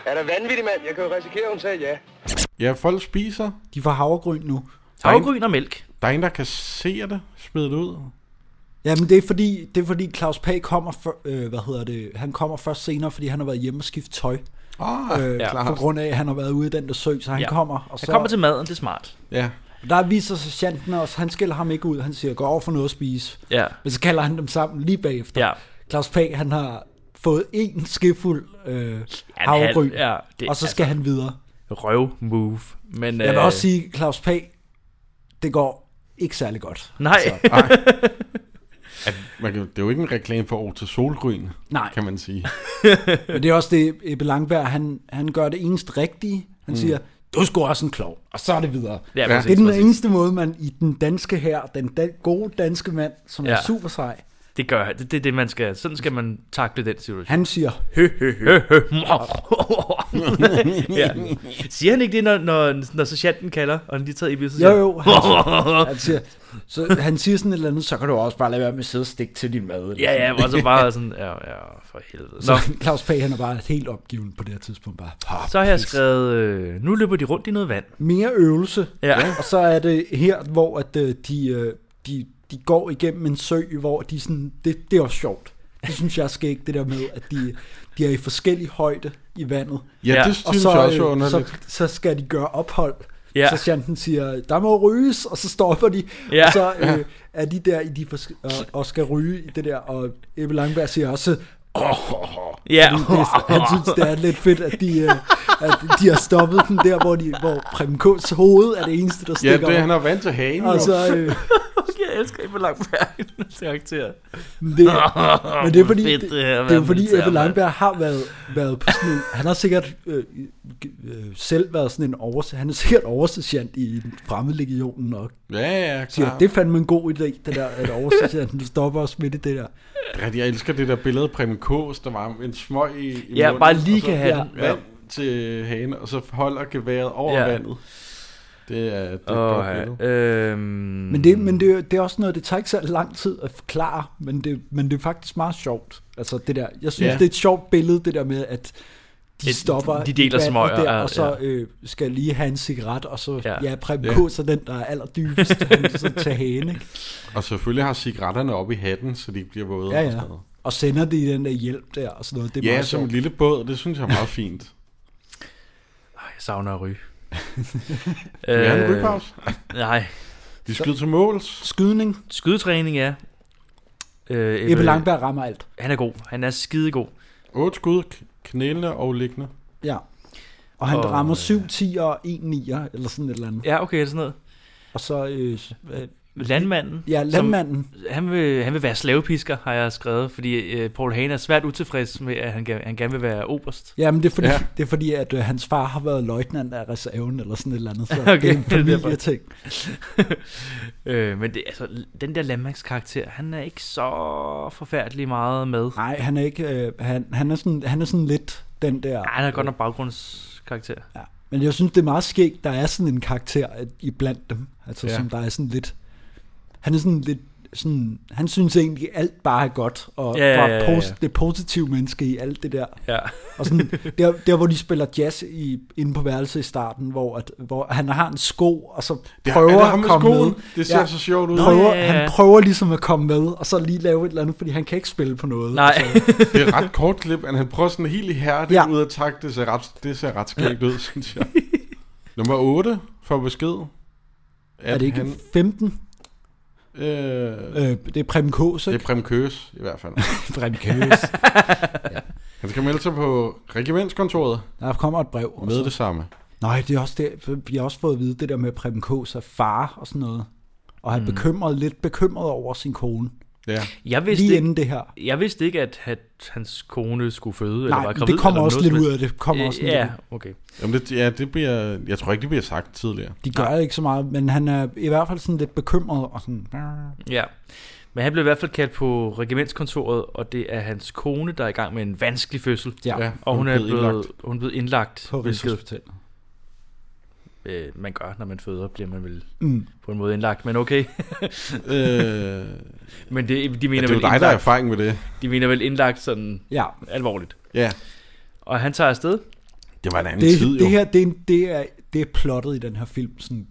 Er der vanvittig mand? Jeg kan jo risikere, at hun sagde ja. Ja, folk spiser. De får havregryn nu. Havgryn og mælk. Der er en, der kassere det, smider det ud. Jamen det er fordi, det er fordi Claus Pag kommer, for, øh, hvad hedder det, han kommer først senere, fordi han har været hjemme og skiftet tøj. Ah, Øh, ja. ja. På grund af, at han har været ude i den der sø, så han Ja. ja. kommer. Og Han så, kommer til maden, det er smart. ja. Der viser sergeanten også, han skiller ham ikke ud, han siger, gå over for noget at spise. Ja. Men så kalder han dem sammen lige bagefter. Ja. Claus Pag, han har fået en skefuld øh, han- havregryn, ja, det- altså- og så skal han videre. Røv move. Men, Jeg vil øh, også sige, Claus Pag, det går ikke særlig godt. Nej, Man kan, det er jo ikke en reklame for år til solgryn, Nej. kan man sige. Men det er også det, Ebbe Langberg, han, han gør det eneste rigtige. Han mm. siger, du er sgu også en klog, og så er det videre. Ja, det præcis, er den præcis. eneste måde, man i den danske her, den dan- gode danske mand, som ja. Ja. er super sej, det gør han. Det, det er det, man skal. Sådan skal man takle den situation. han siger, Hø, hø, hø, hø. ja. Siger han ikke det, når, når, når sergeanten kalder, og han lige tager i billedet? jo jo, han, han, siger, så, han siger sådan et eller andet, så kan du også bare lade være med at sidde og stikke til din mad. eller Ja, sådan ja, og så bare sådan, ja, ja, for helvede. Nå, Så Claus Pag, han er bare helt opgiven på det her tidspunkt. Bare, "Pah, så har jeg pis." skrevet, øh, nu løber de rundt i noget vand. Mere øvelse. Ja. Og så er det her, hvor at, øh, de, øh, de, de går igennem en sø, hvor de sådan, det, det er også sjovt. Det synes jeg er skægt, det der med, at de, de er i forskellig højde i vandet. Ja, Ja. ja. det Og synes så, jeg også er øh, underligt. så, så skal de gøre ophold. Ja. Ja. Så Shanten siger, der må ryges, og så stopper de. Ja. Og så øh, er de der i de forske- og, og skal ryge i det der, og Ebbe Langberg siger også, Ja, det, er- han synes, det er lidt fedt, at de, øh, at de har stoppet den der, hvor, de, hvor Prem K's hoved er det eneste, der Ja, stikker det, han op. er vant til hagen. Og Altså, så, øh, jeg elsker Ebbe Langbergs karakter. det, men det er fordi, Fedt, øh, det, det er at det er være jo fordi militær, Ebbe mand. Langberg har været, været på sådan en, han har sikkert øh, øh, selv været sådan en overs, han er sikkert oversergeant i den fremmede legionen og ja, ja, siger, klar. det er fandme en god idé, det der, at oversergeanten stopper os midt i det der. Rigtig, jeg elsker det der billede af Preben Kås, der var en smøg i, i Ja, munden, bare lige og så kan have den. Vand til hagen, og så holder geværet over Ja. ja. vandet. Det er, det er et Åh, godt billede. ja. øhm, men Men, det, men det, det er også noget, det tager ikke så lang tid at forklare, men det, men det er faktisk meget sjovt. Altså det der, jeg synes, Ja. yeah. det er et sjovt billede, det der med, at de Et- stopper de deler i vandet smøger, der, ja, og så ja. øh, skal lige have en cigaret, og så Ja. ja, ja Preben Ja. yeah. så den, der er allerdybest, han så tager hagen, ikke? Og selvfølgelig har cigaretterne oppe i hatten, så de ikke bliver våde. Ja, og ja. sådan noget. Og sender det i den der hjælp der, og sådan noget. Det er Ja, meget som sjovt. en lille båd, det synes jeg er meget fint. Ej, jeg savner at ryge. Vi har en Øh, rygpause. Nej, Vi skyder til måls. Skydning. skydetræning, ja. Øh, Ebbe Langberg rammer alt. Han er god. Han er skidegod. Otte skud, k- knælende og liggende. Ja. Og han Og- øh, og, rammer 7 10 og 1 9 eller sådan et eller andet. Ja. Ja, okay, sådan noget. Og så, øh, øh, Landmanden. ja, landmanden. Som, Som, han, vil, han vil være slavepisker, har jeg skrevet, fordi øh, Paul Hane er svært utilfreds med, at han, gerne- han gerne vil være oberst. jamen det er fordi, Ja. ja. det er fordi at øh, hans far har været løjtnant af reserven eller sådan et eller andet. Så Okay, okay, det er en det er derfor. familieting. øh, men det, altså, den der landmandskarakter, han er ikke så forfærdelig meget med. Nej, Nej, han er ikke, øh, han, han, er sådan, han er sådan lidt den der... han er godt nok baggrundskarakter. Ja. Men jeg synes, det er meget skægt, der er sådan en karakter at- iblandt dem, altså Ja. ja. som der er sådan lidt... Han er sådan lidt sådan, han synes egentlig, alt bare er godt, og Ja, ja, bare ja, ja, ja. Pos- det positive menneske i alt det der. Ja. Og sådan, der, der hvor de spiller jazz i, inde på værelset i starten, hvor, at, hvor han har en sko, og så Ja, prøver er det ham at med komme skoen? med. Det ser så sjovt ud. Prøver, ja, ja, ja. Han prøver ligesom at komme med, og så lige lave et eller andet, fordi han kan ikke spille på noget. Nej, Altså, Det er et ret kort klip, at han prøver sådan helt ihærdigt ja. Ja. ud af takt. Det ser ret, det ser ret skægt ud, synes jeg. Nummer 8 får besked. At Er det ikke Han, 15? øh, Øh, det er Preben Kås, det ikke? er Prem Køs, i hvert fald. Preben Kås. Han skal Altså, melde sig på regimentskontoret Der kommer et brev. og med så- det samme. Nej, det er også det. Vi har også fået at vide det der med at Preben Kås er far og sådan noget. Mm. Og han er bekymret, lidt bekymret over sin kone. Ja. jeg vidste, Lige ikke, inden det her. jeg vidste ikke, at, at hans kone skulle føde. eller Nej, var gravid, det kommer eller også noget lidt ud som af det. Kommer også helst. Øh, lidt Ja, ud. okay. Jamen det, ja, det bliver, jeg tror ikke, det bliver sagt tidligere. De gør ikke så meget, men han er i hvert fald sådan lidt bekymret. Og sådan, Ja. Men han blev i hvert fald kaldt på regimentskontoret, og det er hans kone, der er i gang med en vanskelig fødsel. ja, ja. Og hun, er blevet blevet, indlagt. hun er blevet indlagt, på hvilket Rigshospitalet. øh, man gør, når man føder, bliver man vel Mm. på en måde indlagt. Men okay, Øh, men det, de, ja, mener det er jo vel dig, der er indlagt, erfaring med det. de mener vel indlagt sådan Ja, alvorligt. Ja, Og han tager afsted. det var en anden det, tid jo. det her, det er, en- det, er, det er plottet i den her film. Sådan,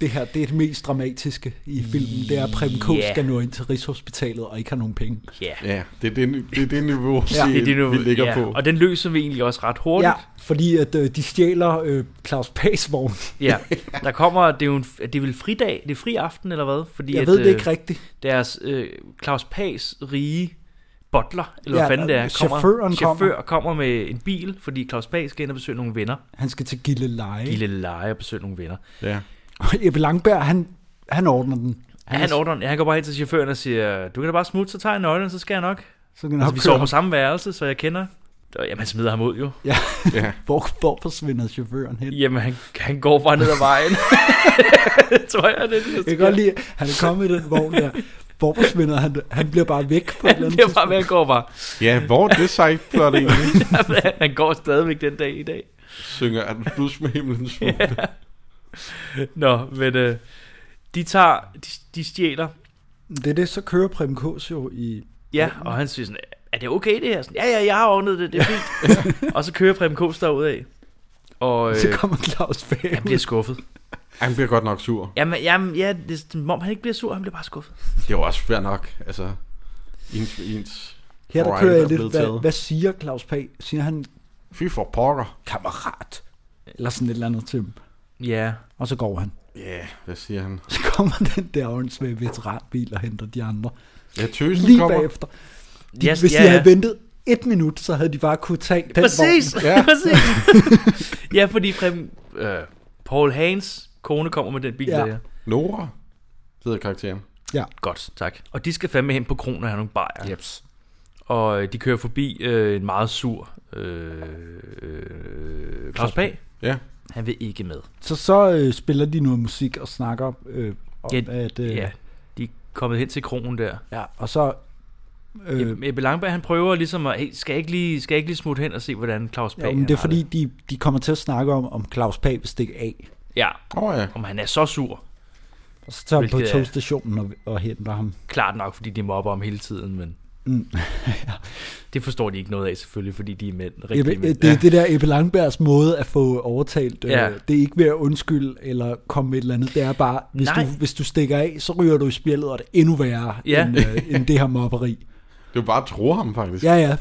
det her, det er det mest dramatiske i filmen. Det er, at Preben Kås Ja. skal nå ind til Rigshospitalet og ikke har nogen penge. Ja, Ja, det er det, det, er det niveau, ja, det er det nu. vi ligger ja. på. Og den løser vi egentlig også ret hurtigt. Ja, fordi at øh, de stjæler øh, Claus Pags vogn. Ja. Der kommer, det er jo en, er det er vel fridag, det er fri aften eller hvad? Fordi Jeg at, ved det øh, ikke rigtigt. deres øh, Claus Pags rige butler, eller Ja, hvad fanden det er, og chaufføren kommer. chauffør kommer med en bil, fordi Claus Pag skal ind og besøge nogle venner. Han skal til Gilleleje. I Gille. lille leje og besøge nogle venner. Ja. Og Ebbe Langberg, han, han ordner den. Han, han, ordner, ja, han går bare hen til chaufføren og siger, du kan da bare smutte, så tager jeg nøglen, så skal jeg nok. Så kan han Altså, altså, vi sover på samme værelse, så jeg kender. Og, jamen, han smider ham ud jo. Ja. Ja. ja. Hvor, hvor forsvinder chaufføren hen? Jamen, han, han går bare ned ad vejen. Det tror jeg, det er det, der Jeg kan sker. godt lide, at han er kommet i den vogn der. Hvor forsvinder han? Han bliver bare væk på et eller Han andet bliver bare ved at gå bare. ja, hvor er det sejt plot egentlig? Han går stadigvæk den dag i dag. Synger at plus med himlens smule. Nå, men øh, de tager, de, de stjæler tidspunkt. Det er det, så kører Prem Kås jo i... Ja, og han siger sådan, er det okay det her? Sådan, ja, ja, jeg har ordnet det, det er fint. og så kører Preben Kås derud af, og øh, Så kommer Claus Fag han bliver skuffet. Han bliver godt nok sur. Jamen, jamen ja, det er som om han ikke bliver sur, han bliver bare skuffet. Det er jo også fair nok. Altså, ens, ens Her der Brian kører er jeg lidt, blevet hvad, taget. hvad siger Claus Pag? Siger han Fy for pokker. kammerat? Eller sådan et eller andet til dem. Ja, Og så går han. Ja, yeah, hvad siger han? Så kommer den der åndsvage veteranbil og henter de andre. Ja, tøsen Lige kommer. bagefter. Ja, De, yes, hvis ja, de havde ja. ventet et minut, så havde de bare kunne tage den præcis, vogn. ja. præcis. ja, fordi Preben, øh, Paul Hans kone kommer med den bil ja. Ja. der. Nora hedder karakteren. Godt, tak. Og de skal fandme hen på kronen og have nogle bajer. Jeps. Og øh, de kører forbi øh, en meget sur øh, øh, Claus Pag. Ja. Han vil ikke med. Så så øh, spiller de noget musik og snakker øh, om, Ja, at... Øh, Ja, de er kommet hen til kronen der. ja. Og så... Øh, Øh, Ebbe Langberg, han prøver ligesom at, hey, skal jeg ikke lige, skal jeg ikke lige smutte hen og se, hvordan Claus Pag jo, men det han er har fordi, de, de kommer til at snakke om, om Claus Pag vil stikke af. Ja, Åh oh, ja. om han er så sur. Og så tager han på Hvilket er- togstationen og, og henter ham. Klart nok, fordi de mobber ham hele tiden, men... Mm. Det forstår de ikke noget af selvfølgelig, fordi de er mænd, Ebbe, rigtige øh, mænd. det er det der Ebbe Langbergs måde at få overtalt. Øh, Ja. Det er ikke ved at undskylde eller komme med et eller andet. Det er bare, hvis, Nej. du, hvis du stikker af, så ryger du i spjældet, og det er endnu værre Ja. ja. end, øh, end det her mobberi. Det var bare at tro ham, faktisk. Ja, ja.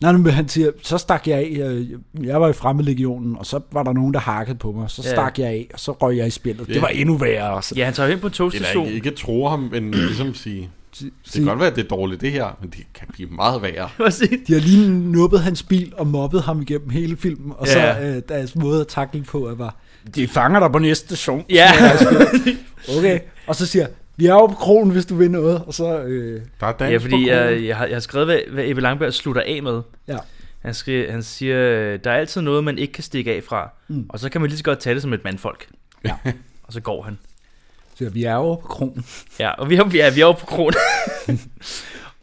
Nej, men han siger, så stak jeg af, øh, jeg var i fremmedlegionen, og så var der nogen, der hakkede på mig, så Ja. stak jeg af, og så røg jeg i spillet. Ja. Det var endnu værre. Så. Ja, han tager jo hen på en Eller togstation. ikke, ikke tro ham, men ligesom sige, Det kan godt være, at det er dårligt det her, men det kan blive meget værre. Præcis. De har lige nubbet hans bil og mobbet ham igennem hele filmen, og så Ja. øh, deres måde at takle på er bare, de fanger dig på næste station. Ja, Okay. Og så siger jeg, vi er jo på krogen, hvis du vil noget, og så, øh, Der er dans ja på fordi krogen. jeg, jeg, har, jeg har skrevet, hvad, hvad Ebbe Langberg slutter af med. ja. Han, skri, han siger, øh, der er altid noget, man ikke kan stikke af fra, mm. og så kan man lige så godt tage det som et mandfolk. Ja. Og så går han. Så siger jeg, vi er jo på krogen. Ja, og vi er, vi er, vi er oppe på kronen.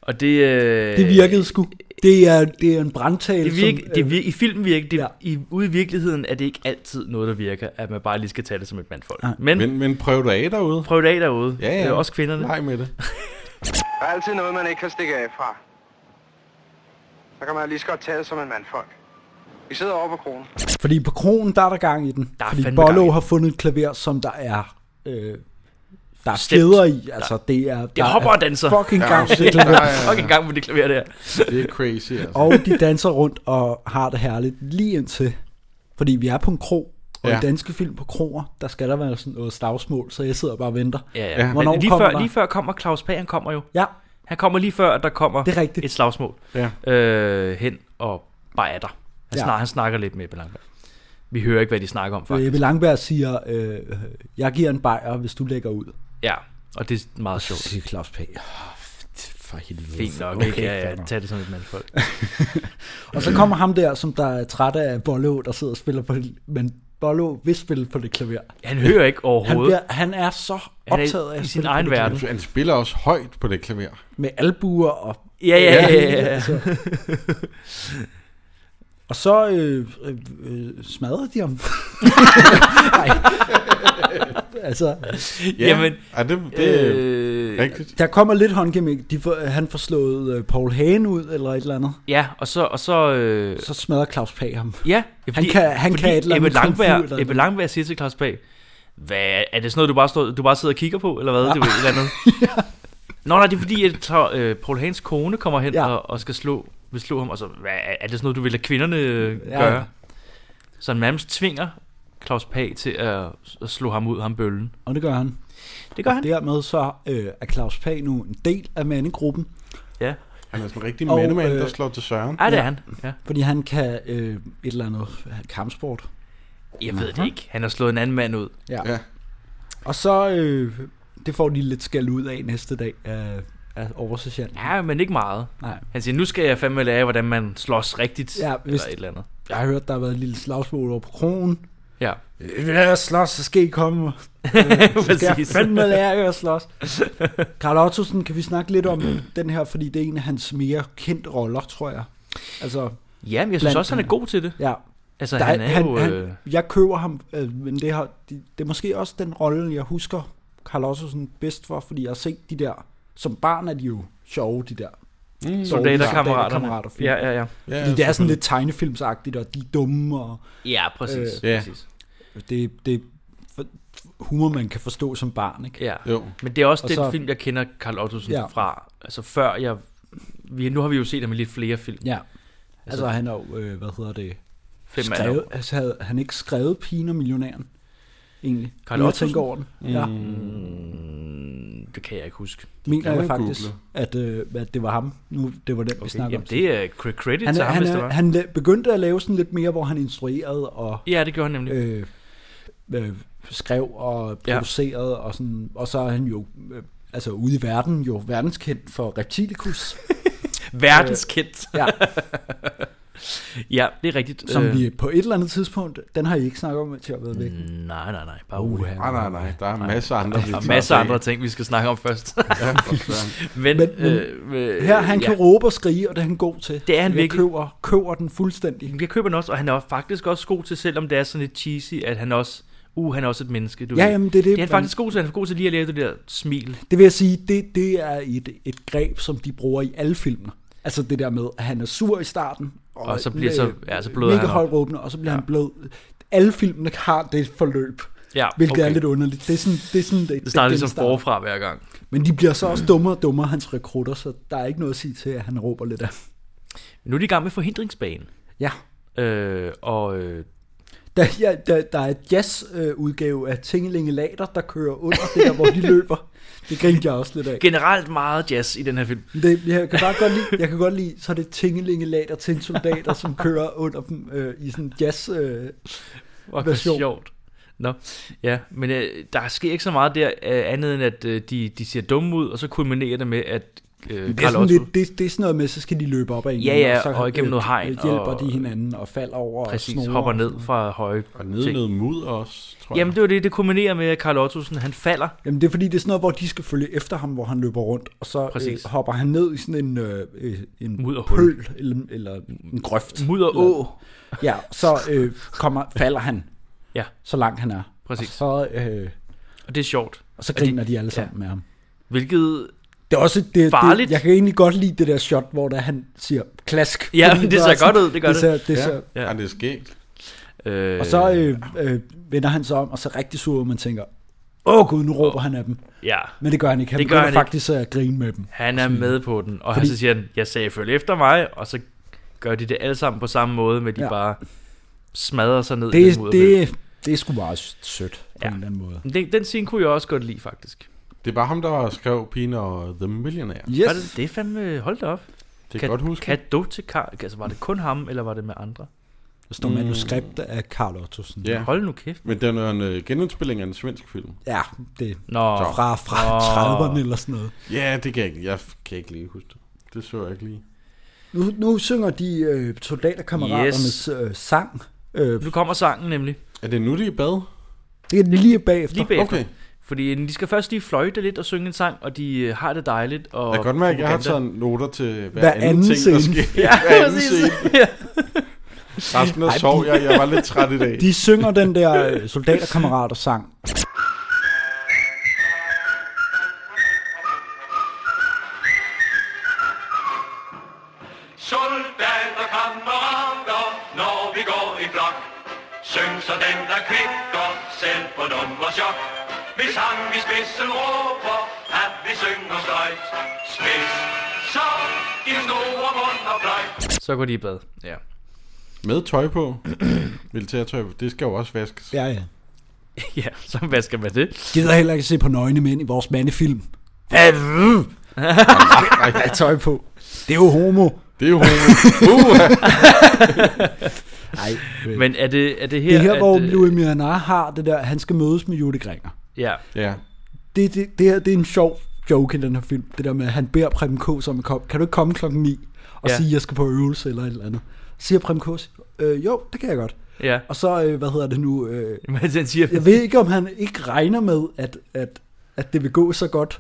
og det... Øh, Det virkede sgu. Det er, det er en brandtale, øh, Det virk, det virk, I filmen virker det, ja. ja. i, ude i virkeligheden er det ikke altid noget, der virker, at man bare lige skal tage det som et mandfolk. Nej. Men, Men Men, men prøv det af derude. prøv det af derude. Ja, ja. Det er også kvinderne. Nej med det. Der er altid noget, man ikke kan stikke af fra. Så kan man lige så godt tage det som en mandfolk. Vi sidder over på kronen. øh, fordi på krogen, der er der gang i den. Der er fordi fandme gang i Bollo den. har fundet et klaver, som der er... Øh, der er Stemt. kæder i, altså det er... Det hopper og danser. Fucking gang i det Der klaver. er- Fucking gang med det klaver der. Det er crazy, altså. Og de danser rundt og har det herligt lige indtil. Fordi vi er på en kro, Ja. og ja. i danske film på kroer, der skal der være sådan noget slagsmål, så jeg sidder bare og venter. Ja, ja. Ja. Men Hvornår lige, kommer før, der? lige før kommer Claus Pag, han kommer jo. Ja, Han kommer lige før, at der kommer Det er rigtigt. et slagsmål Ja. øh, hen og bare er der. Han, ja. Ja. snakker, han snakker lidt med Ebbe Langberg. Vi hører ikke, hvad de snakker om, Faktisk. faktisk. øh, Ebbe Langberg siger, øh, jeg giver en bajer, hvis du lægger ud. Ja, og det er meget sjovt. siger Claus P. "Åh, For helvede. Fint nok, Okay, okay, ikke? Ja, fair ja, nok. tag det som et mandfolk. Og så kommer ham der, som der er træt af Bollo, der sidder og spiller på det, men Bollo vil spille på det klaver. Han hører ikke Han, overhovedet. bliver, han er så Han er optaget af i at sin spille egen på det klaver. verden. Han spiller også højt på det klaver. Med albuer og... Ja, ja, ja, ja, ja. Altså. Og så øh, øh, øh, smadrer de ham. Nej. altså, Ja, Jamen, ja det, det er Øh, rigtigt. der kommer lidt håndgivning. De får, han får slået øh, Paul Hagen ud, eller et eller andet. ja, og så... Og så, øh, Så smadrer Claus Pag ham. ja, fordi, kan- han fordi kan et eller andet Ebbe trumfur eller Langberg, Ebbe noget. Langberg siger til Claus Pag, hvad, er det sådan noget, du bare, står, du bare sidder og kigger på, eller hvad? Det er jo et eller andet. Nå, nej, det er fordi, at Cla- øh, Paul Hans kone kommer hen Ja. ja. og, og, skal slå, vil slå ham, og så, hvad, er det sådan noget, du vil lade kvinderne øh, Ja, gøre? ja. Så han nærmest tvinger Claus Pag til at, at slå ham ud, ham bøllen. Og det gør han. Det gør han. Og dermed så øh, er Claus Pag nu en del af mandegruppen, Ja. Han er sådan en rigtig Og, mandemand, øh, der slår til Søren. Ej, det er Ja. han. Ja. fordi han kan øh, et eller andet øh, kampsport. Jeg ved det ikke. Han har slået en anden mand ud. Ja. Og så, øh, det får de lidt skæld ud af næste dag af, af oversergeanten. Ja, men ikke meget. Nej. Han siger, nu skal jeg fandme lære, hvordan man slås rigtigt, Ja, ja, hvis- hvis... eller et eller andet. Jeg har hørt, der har været et lille slagsmål over på kronen. Ja, Øh, Vil jeg slås, så skal I komme. Så skal jeg præcis. fandme lære jer at slås. Karl Ottosen, kan vi snakke lidt om den her, fordi det er en af hans mere kendte roller, tror jeg. Altså, Ja, men jeg synes Blandt- også, han er god til det. ja. Altså, Der, han er han, jo... Han, øh, jeg køber ham, øh, men det, har, det, det er måske også den rolle, jeg husker Carl Ottosen bedst for, fordi jeg har set de der, som barn er de jo sjove, de der. Mm, soldaterkammeraterne. soldaterkammeraterne. Ja, ja, ja. ja, altså, Fordi det er sådan lidt tegnefilmsagtigt, og de er dumme, og Ja, præcis. Øh, Ja. præcis. det, det er for- humor, man kan forstå som barn, ikke? Ja. Jo. Men det er også Og den så- film, jeg kender Carl Ottosen Ja. ja. fra. Altså, før jeg... Vi, nu har vi jo set ham i lidt flere film. Ja. Altså, han er jo, øh, hvad hedder det, Fem af skrevet, altså, havde han ikke skrevet Pigen og Millionæren, egentlig? Carl Nu jeg Ottosen? Mm. tænker over den. Ja, dem. Mm, Det kan jeg ikke huske. mener kan jeg man faktisk, google. at, øh, at det var ham. Nu, det var den, vi snakker Jamen, om. det er cre- credit Han, til er- ham, hvis det han, var. er- han la- begyndte at lave sådan lidt mere, hvor han instruerede og Ja, det gjorde han nemlig. øh, øh, skrev og Ja. producerede, ja. og, sådan, og så er han jo øh, altså ude i verden, jo verdenskendt for Reptilicus, øh, Verdenskendt. ja, Ja, det er rigtigt. som Øh, Mm. vi på et eller andet tidspunkt, den har I ikke snakket om, til at være væk. Nej, nej, nej. Bare uha. Nej, nej, nej. Der er masser af andre. vi Der er tager masser af bag. andre ting, vi skal snakke om først. Ja, for søren. Men, Men- men, men øh, øh, Her, han kan råbe og skrige, og det er han god til. Det er han jeg virkelig. Køber, køber den fuldstændig. Jeg køber den også, og han er faktisk også god til, selvom det er sådan lidt cheesy, at han også... Uh, han er også et menneske, du Ja, ved. jamen, det er det, Det er han man- faktisk god til. Han er god til lige at lave det der smil. Det vil jeg sige, det, det er et, et greb, som de bruger i alle filmene. Altså det der med, at han er sur i starten, og, øh, Og så bliver så- ja, så bløder mega han op. højråbende, og så bliver ja. han blød. Alle filmene har det forløb, Ja, hvilket okay. er okay. lidt underligt. Det er sådan, det, er sådan, det, Det starter den ligesom forfra hver gang. Men de bliver så også dummere og dummere, hans rekrutter, så der er ikke noget at sige til, at han råber lidt af. Nu er de i gang med forhindringsbanen. Ja, Øh, og øh, Der, ja, der, der er et jazzudgave af Tingelinge Later, der kører under det der, hvor de løber. Det grinte jeg også lidt af. Generelt meget jazz i den her film. Det, jeg kan bare godt lide, jeg kan godt lide, så er det tingelingelater til soldater, som kører under dem øh, i sådan en jazz. Øh. Fuck, hvor Hvad sjovt. sjovt. Nå, ja, men øh, der sker ikke så meget der, øh, andet end at øh, de, de ser dumme ud, og så kulminerer det med, at øh, Det er, Carl sådan Otto... lidt, det, det er sådan noget med, så skal de løbe op ad en. Ja, ja, så, og igennem øh, noget hegn, Hjælper og- de hinanden og falder over Præcis, og snorer. hopper ned fra høje Og nede ting. noget mudder også, tror Jamen jeg. det var det, det kombinerer med, at Carl Ottosen, han falder. Jamen det er fordi, det er sådan noget, hvor de skal følge efter ham, hvor han løber rundt, og så øh, Præcis. hopper han ned i sådan en, øh, øh, en Mudderhul. pøl, eller, eller en grøft. Mudder å. Ja, så øh, kommer, falder han, Ja, så langt han er. Præcis. Og så, øh, og det er sjovt. og så Og de- griner de, de alle sammen ja. med ham. Hvilket... Det er også det, Farligt. Det, jeg kan egentlig godt lide det der shot, hvor der han siger klask. Ja, Fordi det der er ser sådan- godt ud, det gør det. det. Ser, det ser, Ja. Ja. ja, det er skægt. Øh, Og så øh, øh, vender han sig om, og så er rigtig sur, og man tænker, åh gud, nu råber han af dem. Ja, Men det gør han ikke. Han Det det gør begynder han ikke. faktisk at grine med dem. han er med på den, og han Fordi- så siger han, jeg sagde følg efter mig, og så gør de det alle sammen på samme måde, men de ja. Ja. bare smadrer sig ned i Det, den mudderpøl. det, det er sgu meget sødt på Ja. ja. en eller anden måde. Men Den, den scene kunne jeg også godt lide, faktisk. Det er bare ham, der skrev Pina og The Millionaire. Yes. Var det, det er fandme... Hold da op. Det kan jeg godt huske. Kado til Carl. Altså, var det kun ham, eller var det med andre? Der står manuskript af Karl Ottosen. Ja. Hold nu kæft. Men den er en øh, genindspilling af en svensk film. ja, det er Nå, Så. fra, fra Åh. 30'erne eller sådan noget. Ja, det kan jeg ikke. Jeg kan ikke lige huske det. Det så jeg ikke lige. Nu, nu synger de øh, soldaterkammeraternes øh, sang. Øh, nu kommer sangen nemlig. Er det nu, de er i bad? det er lige bagefter. Lige bagefter. Okay. Okay. Fordi øh, de skal først lige fløjte lidt og synge en sang, og de øh, har det dejligt. Og Jeg kan godt mærke, at jeg har propaganda. taget noter til hver, Hver anden, anden ting, der scene. sker. Ja, hver anden præcis. scene. Ja. Resten af sov, jeg, jeg var lidt træt i dag. De synger den der øh, soldaterkammerater sang. Soldater, kammerater, når vi går i blok. Syng så den, der kvikker, selv på nummerchok. Hvis han vi spidsen råber, at vi synger sløjt. Spids, så din store mund og fløjt. Så går de i bad. Ja. Med tøj på. Militærtøj på. Det skal jo også vaskes. Ja, ja. ja, så hvad skal man det? Gider heller ikke se på nøgne mænd i vores mandefilm. Ej, Af tøj på. Det er jo homo. det er jo homo. Uh, Nej. Men Men er det, er det her... det er her, hvor at, øh, Louis Miranar har det der, han skal mødes med Judy Gringer. Ja, ja. Det, det, det her, det er en sjov joke i den her film. Det der med, at han beder Preben K. som kom. Kan du ikke komme klokken 9 og Ja. ja. sige, at jeg skal på øvelse eller et eller andet? Så siger Preben K. Øh, jo, det kan jeg godt. ja. Og så, øh, hvad hedder det nu? Øh, Men den siger... jeg ved ikke, om han ikke regner med, at, at, at det vil gå så godt.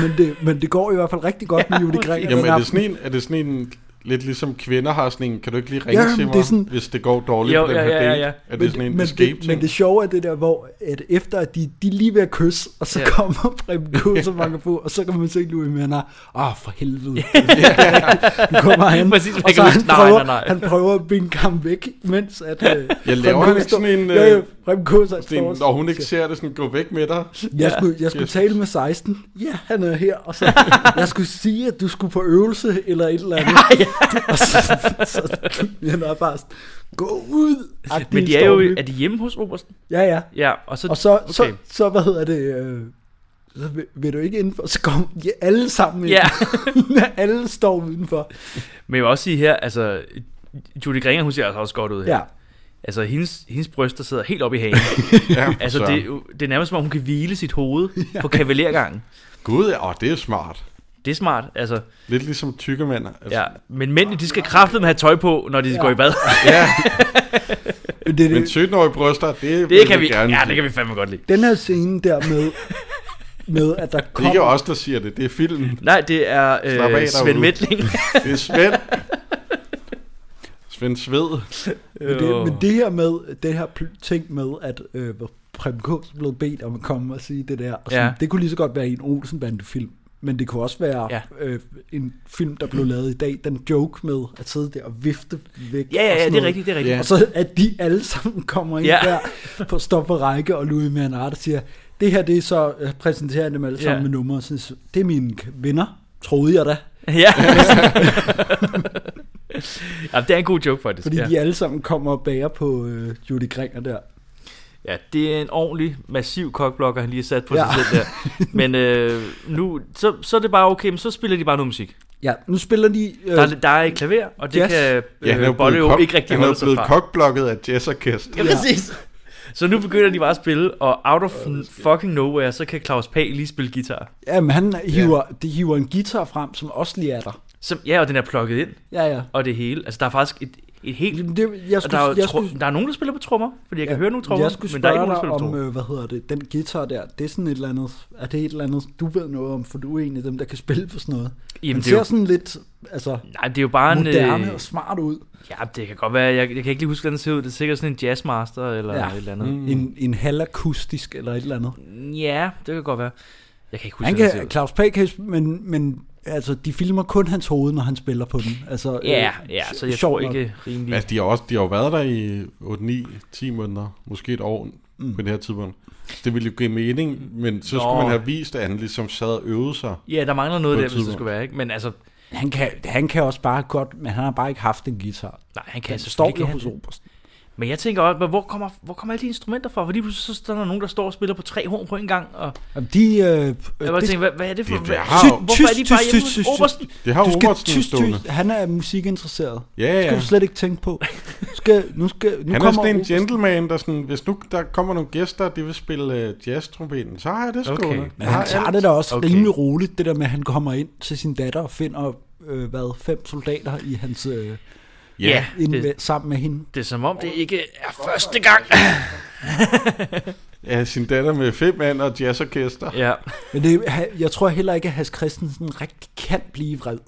Men det, men det går i hvert fald rigtig godt med Judy Gringer. Jamen, den er det, aften. sådan en, er det sådan en, lidt ligesom kvinder har sådan en, kan du ikke lige ringe Jamen, til mig, det er sådan- hvis det går dårligt Jo, på den ja, her ja, ja, date? ja. Er det sådan en men, escape det, men det sjove er det der, hvor at efter at de, de er lige ved at kysse, og så Ja. ja. kommer Preben K. som banker på, og så kan man se Louis Miller, åh for helvede, nu kommer han, Præcis, man og kan så han, huske, nej, prøver, nej, nej. han prøver at binde ham væk, mens at... Øh, Jeg laver Preben K. han ikke står- sådan en, Ja, ja, øh, Preben K. så Sådan, står og- en, når hun ikke ser det, sådan gå væk med dig. Jeg skulle, jeg skulle Yes. tale med 16, ja, han er her, og så... jeg skulle sige, at du skulle på øvelse, eller et eller andet. og så, så, så jeg er bare sådan, gå ud! Men de er jo... Er de hjemme hos Obersten? Ja, ja. Ja, og så... Og så, okay. okay. så, så hvad hedder det, øh, så vil, vil du ikke indenfor, så kom de alle sammen ind. Ja. alle står udenfor. Men jeg vil også sige her, altså... Julie Gringer, hun ser altså også godt ud her. Ja. Ja. Altså, hendes, hendes bryster sidder helt oppe i hagen. Ja, altså, så. det, er jo- det er nærmest, som om hun kan hvile sit hoved på kavalergangen. Gud, åh, det er smart. Det er smart, altså. Lidt ligesom tykke mænd. Altså, Ja. Men mændene, de skal kraftedeme have tøj på, når de ja. går i bad. Men det, Men det, 17-årige bryster, det, Det kan vi, gerne. ja, det kan vi fandme godt lide. den her scene der med, med at der Det er ikke kommer, os, der siger det. Det er filmen. Nej, det er Slap af øh, Svend derude. Mætling. Det er Svend. Svend Sved. men det, men det her med, det her pl- ting med, at øh, hvor Preben K. er blevet bedt om at komme og sige det der, og sådan, Ja. det kunne lige så godt være i en Olsen-bandefilm. Men det kunne også være Ja. ja. øh, en film, der blev lavet i dag, den joke med at sidde der og vifte væk. Ja, ja, og ja, sådan det er noget. rigtigt, det er rigtigt. Ja. Og så at de alle sammen kommer ind Ja. ja. der, på, står på række, og Louis Mernard siger, det her det er så, jeg præsenterer dem alle sammen Ja. ja. med numre, og sådan, det er mine k- venner, troede jeg da. Ja. Jamen, det er en god joke faktisk. Fordi ja. ja. de alle sammen kommer og bærer på øh, Judy Gringer der. Ja, det er en ordentlig, massiv kokblokker, han lige har sat på ja. Ja. sig selv der. Men øh, nu, så, så er det bare okay, men så spiller de bare noget musik. Ja, nu spiller de... Øh, Der, er- der er et klaver, og det Jazz. kan Øh. Ja, han er øh, jo ja, Bolle blevet, jo kok- ikke rigtig han er holde jo sig blevet fra. kokblokket af jazz orkester. Ja, præcis. Så nu begynder de bare at spille, og out of fucking nowhere, så kan Claus Pag lige spille guitar. jamen, han hiver, de hiver en guitar frem, som også lige er der. Som, ja, og den er plukket ind, Ja, ja. og det hele. Altså, der er faktisk et, et helt... Jamen, Det, jeg Og skulle, der, er, jo jeg tro- skulle, der er nogen, der spiller på trommer, fordi jeg kan ja, høre nogle trommer, jeg skulle men der er ikke spørge nogen, der dig spiller på om, trommer. øh, hvad hedder det, den guitar der, det er sådan et eller andet, er det et eller andet, du ved noget om, for du er en af dem, der kan spille på sådan noget. Jamen, Han det er ser jo- sådan lidt, altså, Nej, det er jo bare en... moderne øh, og smart ud. Ja, det kan godt være. Jeg, jeg kan ikke lige huske, hvordan den ser ud. Det er sikkert sådan en jazzmaster eller ja. Ja. et eller andet. Mm. En, en halvakustisk eller et eller andet. Ja, det kan godt være. Jeg kan ikke huske, Han hvordan den ser kan, ud. Claus Pag kan, men, men altså, de filmer kun hans hoved, når han spiller på den. Altså, Ja, øh, ja, så jeg sjovt tror nok. ikke rimelig. Altså, de har, også, de har jo været der i 8, 9, 10 måneder, måske et år mm. på det her tidspunkt. Så det ville jo give mening, men så Nå. skulle Nå. man have vist, at han ligesom sad og øvede sig. Ja, der mangler noget På der, et hvis det tidspunkt. skulle være, ikke? Men altså, Han kan, han kan også bare godt, men han har bare ikke haft en guitar. nej, han kan Han altså står jo hos obersten. Men jeg tænker også, men hvor kommer, hvor kommer alle de instrumenter fra? Fordi pludselig så står der nogen, der står og spiller på tre horn på en gang, og Jamen, De, øh, øh, jeg bare det- tænker, hvad, hvad er det for... Det er hvad, værre. Tyst, hvorfor er de tyst, bare tyst, hjemme hos tyst, tyst, tyst. Obersten? Det har du skal Robertsen tyst, stående. tyst. Han er musikinteresseret. Ja, Det skal ja. du slet ikke tænke på. Du Skal, nu skal, nu Han er kommer sådan en obersten. gentleman, der sådan, hvis nu der kommer nogle gæster, de vil spille uh, jazz-trompeten, så har jeg det Okay. stående. Men Men han tager det da også Okay. okay. rimelig roligt, det der med, at han kommer ind til sin datter og finder øh, hvad, fem soldater i hans, øh, Ja, ind, det, det. sammen med hende. det er som om, det ikke er første gang. Ja, sin datter med fem mand og jazzorkester. Ja, Men det, ha- jeg tror heller ikke, at Hans Christensen rigtig kan blive vred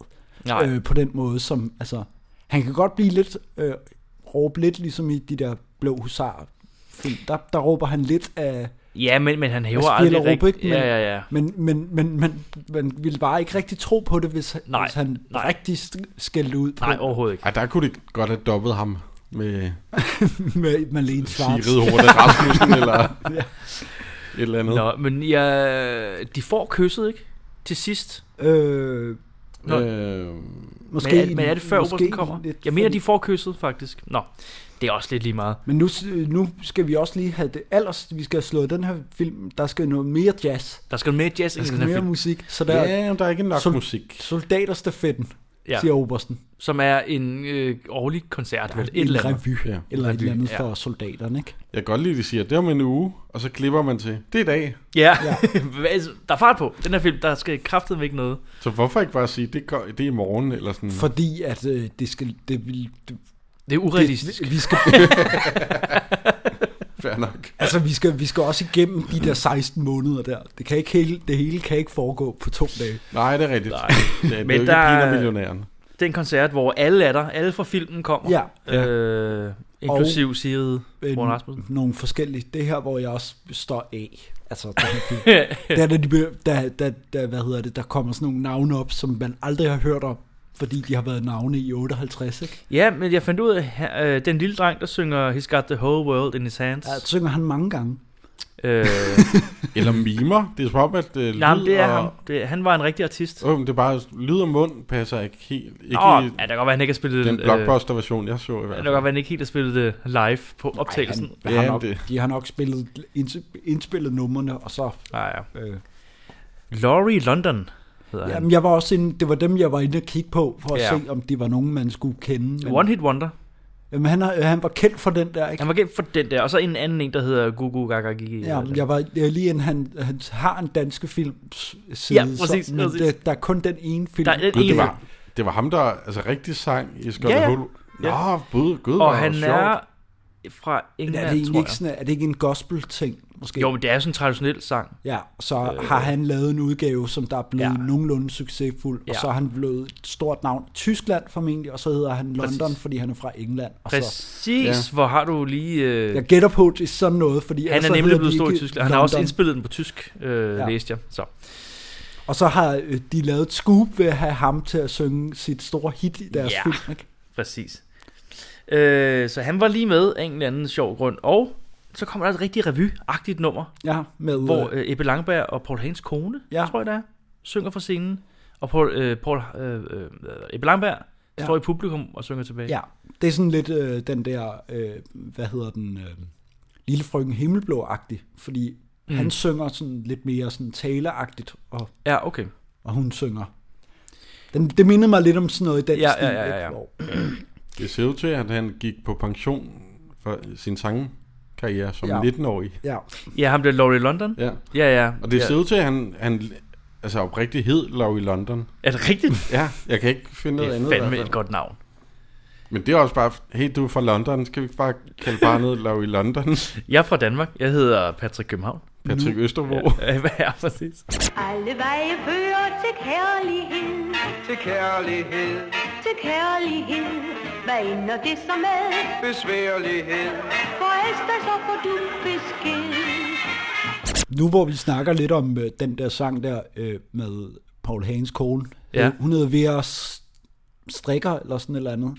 nej. øh, på den måde, som altså, han kan godt blive lidt øh, råbe lidt ligesom i de der blå husar film. Der, der råber han lidt af Ja, men, men han hæver af aldrig Spjælderup, rigtigt. ikke? Men, Ja, ja, ja. Men, men, men, men man ville bare ikke rigtig tro på det, hvis, Nej, nej, hvis han nej. nej. rigtig st- skældte ud på Nej, overhovedet ikke. Ej, der kunne de godt have dobbet ham med med Marlene Schwartz. Sigrid Horte Rasmussen eller et eller andet. Nå, men ja, de får kysset, ikke? Til sidst. Øh, Nå. Øh, måske, men, er, men er det før måske obersten kommer? lidt Jeg mener, fordi- de får kysset, faktisk. Nå, det er også lidt lige meget. Men nu, s- nu skal vi også lige have det allers, vi skal have slået den her film, der skal noget mere jazz, Der skal mere jazz der ind i skal den her mere film, musik, så der er ja, men der er ikke nok Så- musik. soldaterstafetten, Ja. ja. siger Obersten. som er en øh, årlig koncert, vel? Et en eller andet. revy, Ja, ja, eller et eller andet ja. ja. for soldaterne, ikke? Jeg kan godt lide, at de siger, det er om en uge, og så klipper man til, det er i dag. Ja, Hvad- altså, der er fart på. Den her film, der skal kraftedeme ikke noget. Så hvorfor ikke bare sige, det, går, det er i morgen, eller sådan. For... Fordi at øh, det skal, det vil, det, Det er urealistisk. det, vi skal, Fair nok. altså vi skal, vi skal også igennem de der 16 måneder der. Det kan ikke hele, det hele kan ikke foregå på to dage. Nej, det er rigtigt. Nej. Det er, det er Men jo ikke der- der... millionæren. Det er en koncert, hvor alle er der. Alle fra filmen kommer. Ja. Øh, inklusiv Sigrid Morten Rasmussen. Øh, nogle forskellige. Det her, hvor jeg også står af. Altså, den her film. det er, da, de, be- da, da, da, hvad hedder det, der kommer sådan nogle navne op, som man aldrig har hørt om, fordi de har været navne i 58, ikke? Ja, men jeg fandt ud af, at øh, den lille dreng, der synger He's got the whole world in his hands. Ja, det synger han mange gange. Øh, Eller mimer. Det er som om, at øh, lyd jamen, det er og... ham. Det, han var en rigtig artist. Oh, men det er bare, lyd og mund passer ikke helt. Ikke Nå, ja, i det kan godt være, han ikke har spillet... den altså. øh, blockbuster-version, jeg så i det kan hvert godt fald. være, han ikke helt har spillet det live på optagelsen. han, Ja, har nok, det- De har nok spillet, ind- indspillet numrene, og så... Nej, ja. Øh, Laurie London hedder han. jamen, jeg var også inde, det var dem, jeg var inde og kigge på, for at Ja. ja. se, om det var nogen, man skulle kende. One Hit Wonder. jamen, han, har- han var kendt for den der, ikke? Han var gennem for den der, og så en anden en, der hedder Gugu Gaga Gigi. Ja, men jeg var jeg er lige inden han, han har en danske film side, Ja, præcis, så, men præcis. Det, der er kun den ene film. Der er den Gud, ene. det var, det var ham, der altså rigtig sang i Scott Ja, ja. ja, Hull. Nå, Ja. ja. gud, gud, hvor og han sjovt. er fra Men er, England, det egentlig tror ikke sådan, er det ikke en gospel-ting, måske? jeg. Jo, men det er jo sådan en traditionel sang. Ja, så øh, har han lavet en udgave, som der er blevet Ja. ja. nogenlunde succesfuld, Ja. ja. og så er han blevet et stort navn i Tyskland formentlig, og så hedder han London, Præcis. fordi han er fra England. Og så, Præcis, ja. hvor har du lige... Øh, jeg gætter på, det er sådan noget, fordi... han ellers er så nemlig hedder blevet de stor i ikke Tyskland. Han har også London. indspillet den på tysk, øh, ja. Ja. læste jeg. Så. Og så har øh, de lavet et scoop ved at have ham til at synge sit store hit i deres Ja. ja. film, ikke? Præcis. Øh, så han var lige med af en eller anden sjov grund. Og så kommer der et rigtig revy-agtigt nummer, Ja, med... hvor øh, Ebbe Langberg og Paul Hagens kone, ja. Ja. tror jeg det er, synger fra scenen. Og Paul, øh, Paul øh, øh, Ebbe Langberg Ja. Står i publikum og synger tilbage. Ja, det er sådan lidt øh, den der, øh, hvad hedder den, øh, lille frøken himmelblå-agtig, fordi mm. han synger sådan lidt mere sådan taleagtigt, og, ja okay. og hun synger. Den, det mindede mig lidt om sådan noget i den Ja, stil. ja, ja, ja, ikke? ja. Hvor- Det ser ud til, at han gik på pension for sin sangkarriere som Ja. ja. 19-årig. ja. Ja, ham der Laurie London. Ja. Ja, ja. Og det ja. ser ud til, at han, han altså oprigtigt hed Love i London. Er det rigtigt? Ja, jeg kan ikke finde Det noget er andet. altså. i hvert fandme fald. et godt navn. Men det er også bare, hey, du er fra London, skal vi ikke bare kalde barnet Love i London? Jeg er fra Danmark. Jeg hedder Patrick København. Patrick Østerbro. Ja. Øh, Hvad er præcis? Alle veje fører til kærlighed, Til kærlighed, til kærlighed. Hvad ender det så med? besværlighed. For efter så får du besked. Nu hvor vi snakker lidt om øh, den der sang der øh, med Paul Hagens kone, Ja. ja. hun hedder Vera S- Strikker eller sådan et eller andet.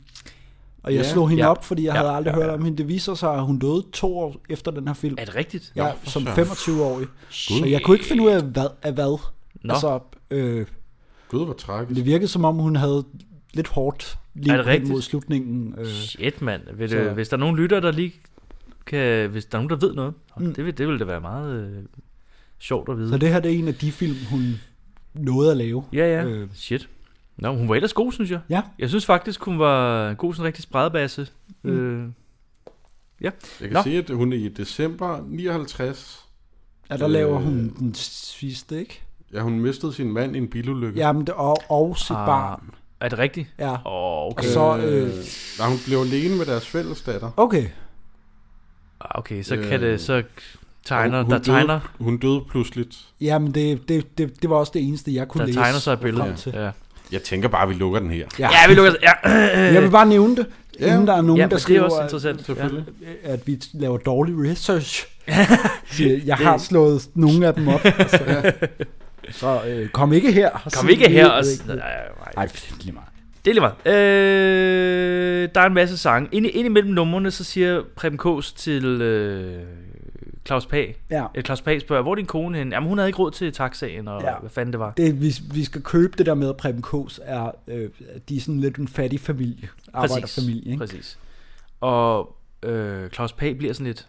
Og jeg Ja. slog hende Ja. ja. op, fordi jeg Ja, ja. havde aldrig ja, hørt ja. om hende. Det viser sig, at hun døde to år efter den her film. Er det rigtigt? Ja, for som søren. 25-årig. Så jeg kunne ikke finde ud af, hvad. Af hvad. Nå. Altså, øh, Gud, hvor tragisk. det virkede som om, hun havde lidt hårdt Er lige det hen rigtigt? mod slutningen. Øh, Shit, mand. Vil Så- det, hvis der er nogen lytter, der lige kan... Hvis der er nogen, der ved noget, mm. det, vil, det ville da være meget øh, sjovt at vide. så det her det er en af de film, hun nåede at lave. Ja, ja. Øh. Øh. Shit. Nå, hun var ellers god, synes jeg. Ja, Jeg synes faktisk, hun var en god, sådan rigtig spredbasse. Mm. Øh, Jeg kan Nå. Nå. se, at hun i december 59, ja der Øh. laver hun den sidste, ikke? ja, hun mistede sin mand i en bilulykke. Jamen, det, og, og sit Ah. ah. barn. er det rigtigt? Ja. Åh, oh, Og okay. så... Øh, Nej, hun blev alene med deres fælles datter. okay, Ah, Okay, så kan Øh, det... Så tegner, Og der tegner, Døde, hun døde pludseligt. jamen det, det, det, det var også det eneste, jeg kunne der læse. tegner sig et billede. frem til. Ja. Jeg tænker bare, at vi lukker den her. Ja. ja, vi lukker... Ja, Jeg vil bare nævne det, Ja. inden der er nogen, ja der men det er skriver, også at- interessant. Ja. Selvfølgelig. at vi laver dårlig research. Øh, jeg har slået nogle af dem op. Altså. Så øh, kom ikke her. og Kom sig, ikke vi her ved og... ikke. Nej, nej, nej. Ej, det er lige meget. Det er lige meget. Øh, der er en masse sange. Ind, ind imellem numrene, så siger Preben Kås til øh, Claus Pag. Ja. Øh, Claus Pag spørger, hvor er din kone henne? Jamen, hun havde ikke råd til taxaen, og ja. Ja. hvad fanden det var. Det, vi, vi skal købe det der med, at Preben Kås er, øh, de er sådan lidt en fattig familie. Arbejderfamilie, ikke? Præcis. Og øh, Claus Pag bliver sådan lidt,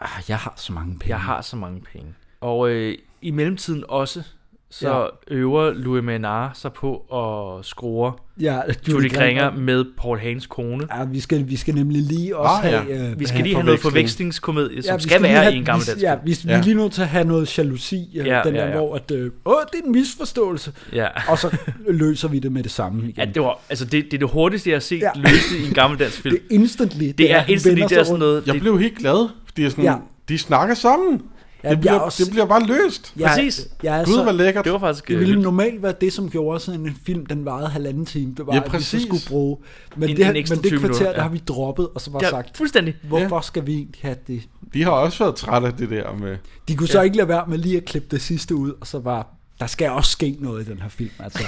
Ah, jeg har så mange penge. jeg har så mange penge. Og øh, i mellemtiden også, så Ja. ja. øver Louis Menard sig på at skrue Ja, Judy Kringer med Paul Hagens kone. Ja, vi skal, vi skal nemlig lige også Ah, ja. have... Øh, Vi skal lige have noget forveksling. forvekslingskomedie, som ja, ja, vi skal lige være have- i en gammel vi, dansk Ja, film. vi, vi Ja. er lige nødt til at have noget jalousi, ja, Ja, den der, ja, ja. hvor at, øh, åh, det er en misforståelse, Ja. og så løser vi det med det samme igen. Ja, det, var, altså det, det er det hurtigste, jeg har set ja. Ja. løst i en gammel dansk film. det Det, er instantly. Det, det er han instantly, vender det er sig sådan rundt. noget... Jeg det, blev helt glad, fordi jeg sådan, Ja. ja. de snakker sammen. Ja, det, bliver, jeg er også- det bliver bare løst. Ja. Jeg- præcis. Jeg er Gud, hvor så, lækkert. det var faktisk... det øh, ville normalt være det, som gjorde sådan en film, den varede halvanden time. Det var, Ja, ja, præcis. At vi præcis. så skulle bruge. Men, En- det, en ekstra men det 20 kvarter, minutter, der ja. har vi droppet, og så bare ja, ja. sagt, fuldstændig. hvorfor skal vi egentlig have det? De har også været trætte af det der med... De kunne så ikke lade være med lige at klippe det sidste ud, og så var der skal også ske noget i den her film, altså.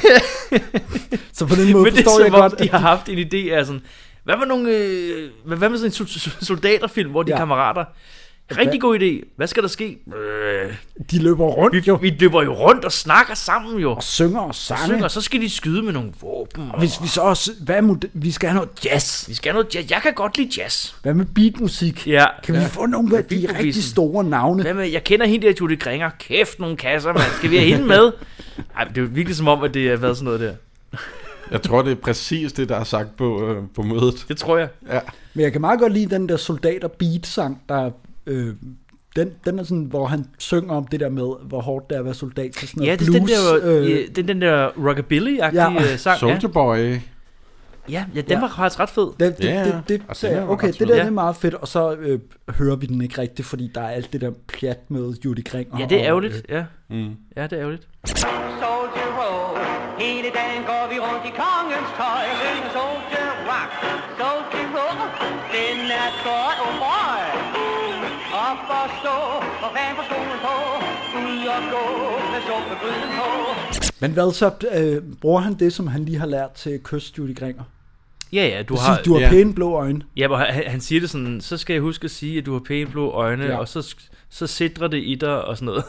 så på den måde Men det forstår er jeg som om, godt, de har haft en idé af sådan... Hvad var nogle... Øh, hvad, hvad med sådan en sol- sol- soldaterfilm, hvor de ja. Ja. kammerater... Rigtig god idé. Hvad skal der ske? Øh, de løber rundt jo, vi løber jo rundt og snakker sammen jo. og synger og Og sange. synger, og så skal de skyde med nogle våben. Og Hvis vi så også, hvad må det, vi skal have noget jazz. vi skal have noget jazz. Jeg kan godt lide jazz. Hvad med beatmusik? Ja. Kan vi få nogle af de beatmusik. rigtig store navne? Hvad med, jeg kender hende der, Judy Kringer. Kæft, nogle kasser, mand. Skal vi have hende med? Ej, men det er jo virkelig som om, at det har været sådan noget der. Jeg tror, det er præcis det, der er sagt på, øh, på mødet. Det tror jeg. Men jeg kan meget godt lide den der soldater beat sang, der øh, den, den er sådan, hvor han synger om det der med, hvor hårdt det er at være soldat til sådan noget Ja, det er blues. den der, øh, øh, det er den der rockabilly-agtige Ja. ja. sang. Ja. Soldier Boy. ja, ja, den var faktisk ret fed. det, det, Ja, det, det, og det, den er det, jo okay, ret det der fed. det er meget fedt, og så øh, hører vi den ikke rigtigt, fordi der er alt det der pjat med Judy Øh, Kring. Ja, det er ærgerligt. Ja, ja det er ærgerligt. Soldier Roll. Hele dagen går vi rundt i kongens tøj. Syng Soldier Rock. Soldier Roll. Den er godt, oh boy. Op og stå, og vand på skolen på. Ud og gå, med suppegryden på. Men hvad så, øh, bruger han det, som han lige har lært til at kysse Judy Kringer? Ja, ja, du Du har, har... Præcis, du har ja. pæne blå øjne. Ja, hvor han, han siger det sådan, så skal jeg huske at sige, at du har pæne blå øjne, ja. Ja. og så, sk- så sidrer det i dig, og sådan noget.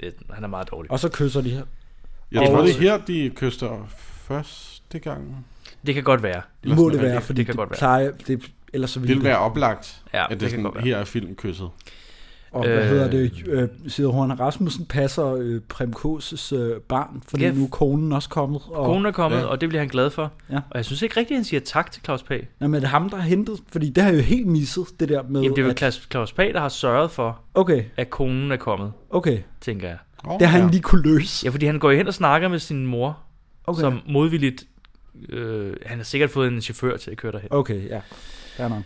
det, han er meget dårlig. Og så kysser de her. Jeg Og- tror, det er her, de kyster første gang. Det kan godt være. os Det må nu- det det- være, det fordi kan godt være. plejer... Det, ellers så Det ville ville det. være oplagt, Ja, ja, at det det er kan godt sådan, være. her er filmkysset. Og hvad Øh. øh, hedder det? Øh, Sidehorn Rasmussen passer øh, Prem K's øh, barn, fordi Ja. nu er konen også kommet. Og, Konen er kommet, ja. Ja. og det bliver han glad for. Ja. Og jeg synes ikke rigtigt, at han siger tak til Claus Pag. Nej, men er det ham, der har hentet? Fordi det har jeg jo helt misset, det der med... Jamen, det er vel at- Claus, Claus Pag, der har sørget for, Okay, at konen er kommet, okay. tænker jeg. Oh, Det har han lige kunne løse. Ja, fordi han går jo hen og snakker med sin mor, okay. Okay. som modvilligt... Øh, han har sikkert fået en chauffør til at køre derhen. Okay, ja. Fair nok.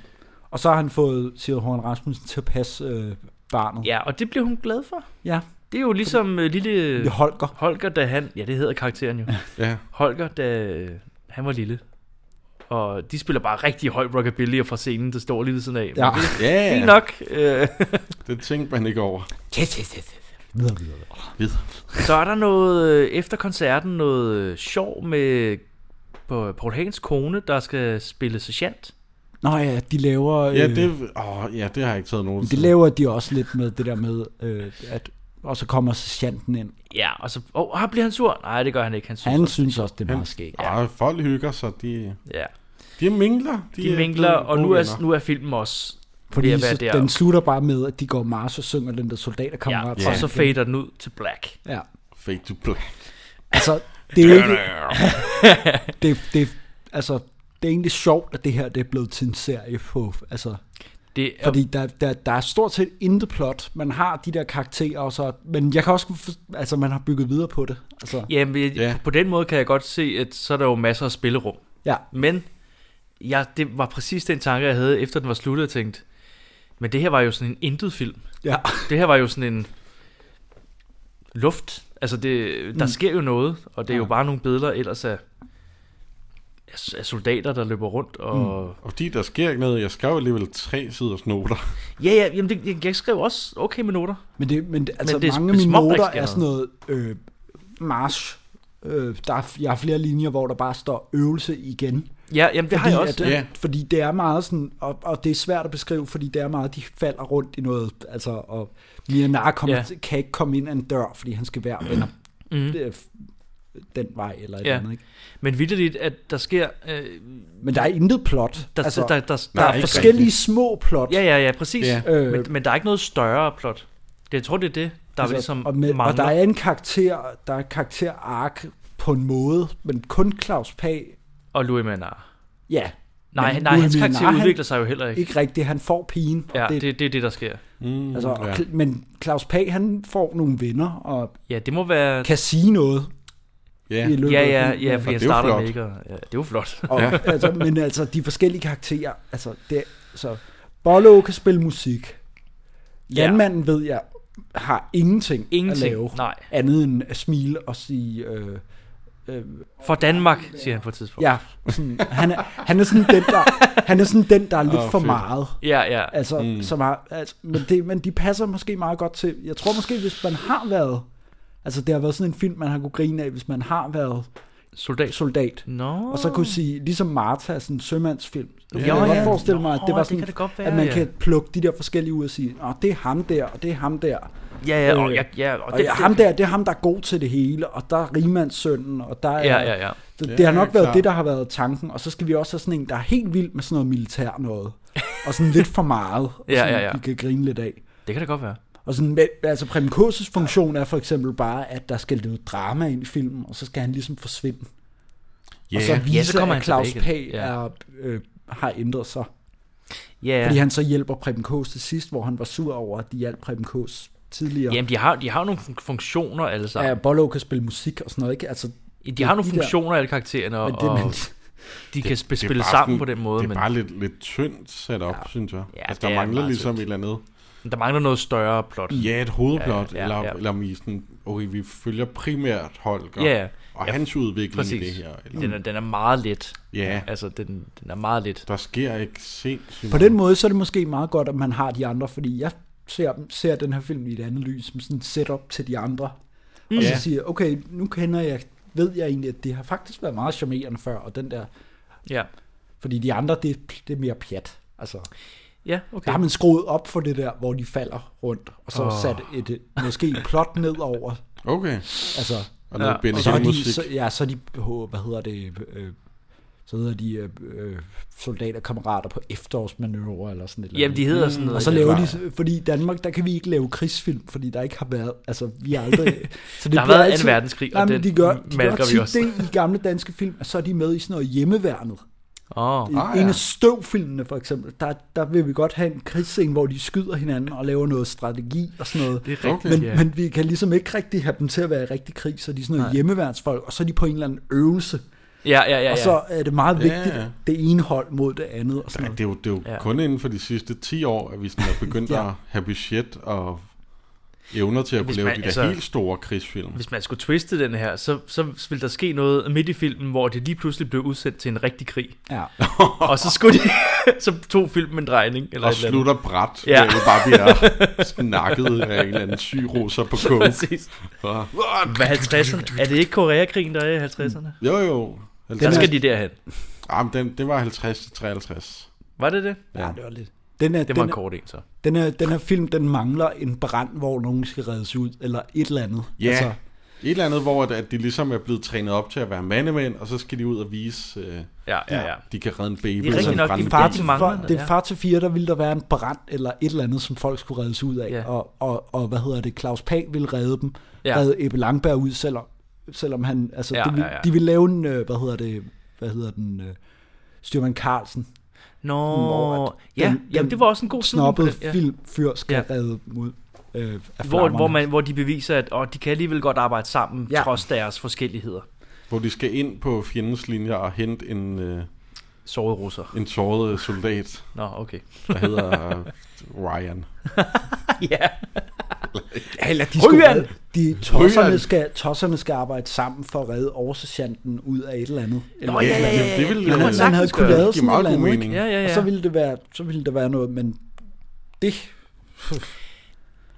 Og så har han fået Sidehorn Rasmussen til at passe øh, barnet. Ja, og det blev hun glad for. ja. Det er jo ligesom øh, lille Det er Holger. Holger, da han... Ja, det hedder karakteren jo. Ja, Holger, da øh, han var lille. Og de spiller bare rigtig høj rockabilly, og fra scenen, der står lige ved siden af. Ja. Men det ja, er Fint ja. nok. Øh, det tænkte man ikke over. Yes, yes, yes. Videre, videre. så er der noget, øh, efter koncerten, noget øh, sjov med på Paul Hagens kone, der skal spille sergeant. Nå ja, de laver... Øh, Ja, det, åh, ja, det har jeg ikke taget nogen det laver de også lidt med det der med, øh, at... Og så kommer sergeanten ind. Ja, og så oh, ah, bliver han sur. Nej, det gør han ikke. Han synes Han også- synes også, det er meget skægt. Ja. Arh, folk hygger sig, de, Ja. de mingler. De er vinkler, blevet og gode nu er, venner. nu er filmen også Fordi ved at være så, der. den slutter bare med, at de går Mars og synger den der ja, soldaterkammerat. og så fader den ud til black. Ja. Fake to black. Altså, det er ikke... det, det, altså, det er egentlig sjovt, at det her det er blevet til en serie på... Altså, Det er, fordi der, der, der er stort set intet plot. Man har de der karakterer, og så, men jeg kan også... for- Altså, man har bygget videre på det. Altså, jamen, ja. Ja. på den måde kan jeg godt se, at så er der jo masser af spillerum. ja. Men ja, det var præcis den tanke, jeg havde, efter den var sluttet, og tænkte, men det her var jo sådan en intet film. ja. Det her var jo sådan en luft. Altså, det, der mm. sker jo noget, og det er jo bare nogle billeder ellers af, af soldater, der løber rundt. Og, mm. Og fordi der sker ikke noget, jeg skrev alligevel tre siders noter. Ja, ja, jamen det, jeg- jeg skrev også okay med noter. Men, det, men det- altså, men det er det mange af mine småt, der ikke noter sker er sådan noget øh, march. Øh, der er, f- jeg har flere linjer, hvor der bare står øvelse igen. Ja, jamen øh, det har jeg også. At, Ja. Fordi det er meget sådan, og, og det er svært at beskrive, fordi det er meget, de falder rundt i noget, altså, og Mianar kommer, Ja. Mhm. ja. kan ikke komme ind ad en dør, fordi han skal være vender mm. den vej, eller et Ja. ja. andet, ikke? Men vildt at der sker... Øh, Men der er intet plot. der, altså, der, der, der, der der, Nej, er ikke forskellige rigtigt. små plot. ja, ja, ja, præcis. Ja. Øh, men, men der er ikke noget større plot. Det, jeg tror, det er det, der altså, ligesom og, med, og mangler. der er en karakter, der er karakterark på en måde, men kun Claus Pag, og Louis Manard. ja. Nej, men nej, Louis hans karakter Menard, han- udvikler sig jo heller ikke. Ikke rigtigt, han får pigen. og Ja, det, det, det er det, der sker. Mm, altså, ja. ja. Men Claus Pag, han får nogle venner, og Ja, det må være... kan sige noget ja. i løbet Ja, af ja, filmen. ja, fordi Og jeg det er jo starter flot. med ikke at... Ja, det er jo flot. Og, ja. altså, men altså, de forskellige karakterer, altså, det, så Bollo kan spille musik. Landmanden, ved jeg, har ingenting, Ingenting, at lave. nej. Andet end at smile og sige, øh, For Danmark, siger han på et tidspunkt. ja, sådan, han, er, han, er sådan den, der, han er sådan den, der er lidt Åh, oh, for fedt. meget. ja, ja. Altså, mm. som er, altså, men, det, men de passer måske meget godt til. Jeg tror måske, hvis man har været... Altså, det har været sådan en film, man har kunne grine af, hvis man har været Soldat. soldat. Nå. Og så kunne sige, ligesom Martha, sådan en sømandsfilm. Ja, jeg Ja, kan godt ja. forestille mig, at Nå, det var det sådan, kan det godt være, at man ja. kan plukke de der forskellige ud og sige, Nå, det er ham der, og det er ham der. Og, Ja, ja, Øh. og, jeg, ja, og det, det, ham der, det er ham, der er god til det hele, og der er rigmandssønnen, og der er... Ja, ja, ja. Det, det Ja, har nok klar. været det, der har været tanken. Og så skal vi også have sådan en, der er helt vild med sådan noget militær noget. Og sådan lidt for meget, og Ja, sådan, ja, ja. vi kan grine lidt af. Det kan det godt være. Og sådan, men, altså Preben Kurses funktion er for eksempel bare, at der skal lidt drama ind i filmen, og så skal han ligesom forsvinde. Ja, Og så vise, ja, så kommer kommer han at Claus tilbage Pag igen. Ja. ja. øh, har ændret sig. Ja, Fordi han så hjælper Preben Kås til sidst, hvor han var sur over, at de hjalp Preben Kås tidligere. Jamen, de har, de har nogle fun- funktioner alle Ja, sammen. Bollo kan spille musik og sådan noget, ikke? Altså, Ja, de har nogle de der- funktioner alle karaktererne, og, men det, og men, de kan sp- Det er spille bare sammen sådan- på den måde, Det er men bare lidt, lidt tyndt sat op, ja. synes jeg. Ja, Ja, altså, det der er mangler meget ligesom tyndt. et eller andet. der mangler noget større plot. Ja, et hovedplot, Ja, ja, ja, ja, ja. ja. eller, eller om i sådan, okay, vi følger primært Holger, Ja, ja. og Ja, hans udvikling Præcis. i det her. Eller, Den, er, den er meget let. Ja. Altså, den, den er meget let. Der sker ikke sindssygt på meget. den måde, så er det måske meget godt, at man har de andre, fordi jeg ser, ser den her film i et andet lys, som sådan et setup til de andre. Mm. Og så Ja. siger jeg, okay, nu kender jeg, ved jeg egentlig, at det har faktisk været meget charmerende før, og den der, Ja, fordi de andre, det, det er mere pjat. Altså, ja Der okay. har man skruet op for det der, hvor de falder rundt, og så oh. sat et, øh, måske et plot ned over. Okay, Altså, og noget Ja. ja. og så er de, musik. så, ja, så er de, åh, hvad hedder det, øh, så hedder de øh, øh, soldaterkammerater på efterårsmanøvre eller sådan et eller Jamen, de hedder sådan noget. Mm. og så ja. laver de, fordi i Danmark, der kan vi ikke lave krigsfilm, fordi der ikke har været, altså vi har aldrig... Så det Der har bliver været 2. verdenskrig, og nej, men den de gør, de gør malker vi tit også. det i gamle danske film, at så er de med i sådan noget hjemmeværnet. Åh, I ah, en af støvfilmene for eksempel, der, der vil vi godt have en krigsscene, hvor de skyder hinanden og laver noget strategi og sådan noget. det er rigtigt, Men, ja. men vi kan ligesom ikke rigtig have dem til at være i rigtig krig, så de er sådan noget hjemmeværnsfolk, og så er de på en eller anden øvelse. ja, ja, ja, Ja, ja. Og så er det meget Ja, vigtigt, ja. det ene hold mod det andet og sådan Ja, noget. det er jo, det er jo Ja. ja. kun inden for de sidste 10 år, at vi sådan er begyndt Ja. ja. at have budget og evner til at Hvis kunne lave man- de der altså- altså, helt store krigsfilm. Hvis man skulle twiste den her, så, så ville der ske noget midt i filmen, hvor det lige pludselig blev udsendt til en rigtig krig. Ja. Og så skulle de, så tog filmen en drejning. Eller Og et eller andet. slutter bræt, Ja. ja. der jo bare bliver snakket af en eller anden syg russer på coke. Præcis. Og- Hvad 50'erne? Er det ikke Koreakrigen, der er i 50'erne? Jo jo, Så 50, skal de derhen. ah, men den, det var 50 til 53. Var det det? ja, det var lidt. Den er, Det var den, en er, kort en, så. den, er, den her film, den mangler en brand, hvor nogen skal reddes ud, eller et eller andet. Ja, altså, et eller andet, hvor at, at de ligesom er blevet trænet op til at være mandemænd, og så skal de ud og vise, øh, Ja, ja, ja. de kan redde en baby. Det er rigtigt fra en nok, de brændende bare bil. til For- mangler den, det ja. er far til fire, der ville der være en brand eller et eller andet, som folk skulle reddes ud af. Ja. Ja. Og, og, og hvad hedder det, Claus Pag ville redde dem, Ja. ja. redde Ebbe Langberg ud, selvom, selvom han, altså Ja, ja, det, ville, ja, ja, ja. ja. de ville lave en, øh, hvad hedder det, hvad hedder den, øh, Styrman Carlsen, Nå, Hvor at ja, den- jamen, den det var også en god slutning på snobbede den, ja. filmfyr, skal Ja. ja. redde dem ud øh, af Hvor, flammerne. hvor, man, hvor de beviser, at åh, de kan alligevel godt arbejde sammen, ja. Ja. trods deres forskelligheder. Hvor de skal ind på fjendens linjer og hente en, øh, Sårede russer. en såret øh, soldat, Nå, okay. der hedder øh, Ryan. ja. Eller de, skulle Ryan! redde, de tosserne, Ryan! skal, tosserne skal arbejde sammen for at redde oversergeanten ud af et eller andet. Nå, ja, ja, ja. det- det ville- kunne man det ville- Man havde sagtens kunne gøre. lave Det giver sådan et meget god eller andet, ikke? mening. Ja, ja, ja. Og så ville, det være, så ville der være noget, men det...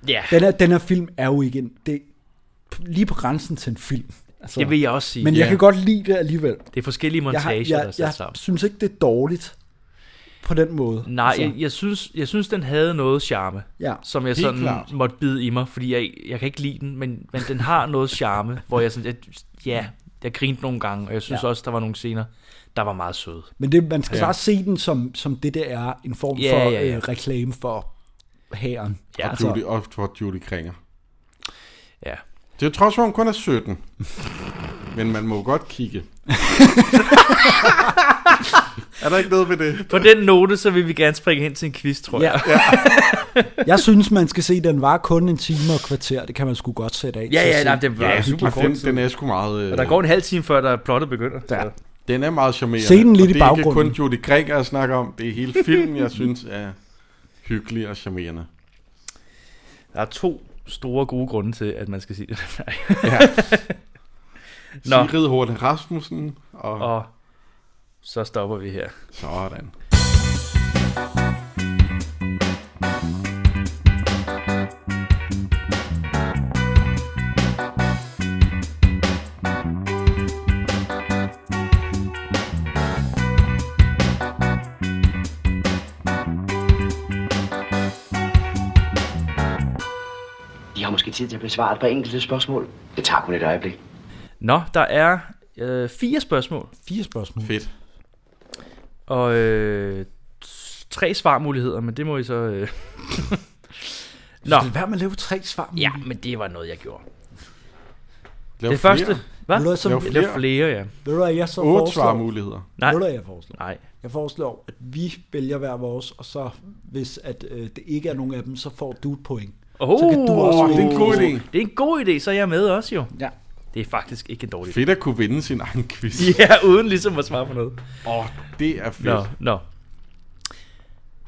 ja. Den her, den her film er jo ikke en... Det er lige på grænsen til en film. Altså, Det vil jeg også sige. men Men, jeg Ja. kan godt lide det alligevel. det er forskellige Jeg, har, montager, der er jeg, sat jeg sammen. synes ikke, det er dårligt på den måde. Altså, Nej, jeg, jeg, synes, jeg synes, den havde noget charme, Ja. som jeg Helt sådan klart. måtte bide i mig, fordi jeg, jeg kan ikke lide den, men, men den har noget charme, hvor jeg sådan, jeg, ja, jeg grinte nogle gange, og jeg synes ja. Ja. også, der var nogle scener, der var meget søde. Men det, man skal Ja. bare se den som, som det, der er. En form Ja, for ja, ja. Øh, reklame for hæren. Ja. Altså. Judy, og for Judy Kringer. Ja. Det er trods, for, hun kun er 17. Men man må jo godt kigge. er der ikke noget ved det? På den note, så vil vi gerne springe hen til en quiz, tror jeg. Ja. Jeg synes, man skal se, den var kun en time og kvarter. Det kan man sgu godt sætte af. til at se. det Ja, super den, tid. den er sgu meget... øh, Og der går en halv time, før der plottet begynder. Ja. Den er meget charmerende. Se den lidt og i det er ikke kun baggrunden. Judy Kringer, jeg snakker om. Det er hele filmen, jeg synes er hyggelig og charmerende. Der er to store gode grunde til, at man skal sige det. Nej. Nå. Nå. Sigrid Horte Rasmussen og, og Og så stopper vi her. sådan. De har måske tid til at besvare et par enkelte spørgsmål. Det tager kun et øjeblik. Nå, der er øh, fire spørgsmål, Fire spørgsmål. Fedt. og øh, t- tre svarmuligheder, men det må I så... Øh. Nå, Lad være med at lave tre svar. ja, men det var noget, jeg gjorde. Lav Det første... Hvad? Vil du Lav have som, flere. ved Det er flere, ja. du, hvad jeg så Otte foreslår? svarmuligheder. Nej, Ved du, hvad jeg foreslår? nej. Jeg foreslår, at vi vælger hver vores, og så hvis at, øh, det ikke er nogen af dem, så får du et point. Oh, kan du også Åh, det er en god idé. Det er en god idé, så er jeg med også jo. Ja. Det er faktisk ikke en dårlig idé. Fedt at kunne vinde sin egen quiz. Ja, uden ligesom at svare på noget. Åh, det er fedt. Nå, nå.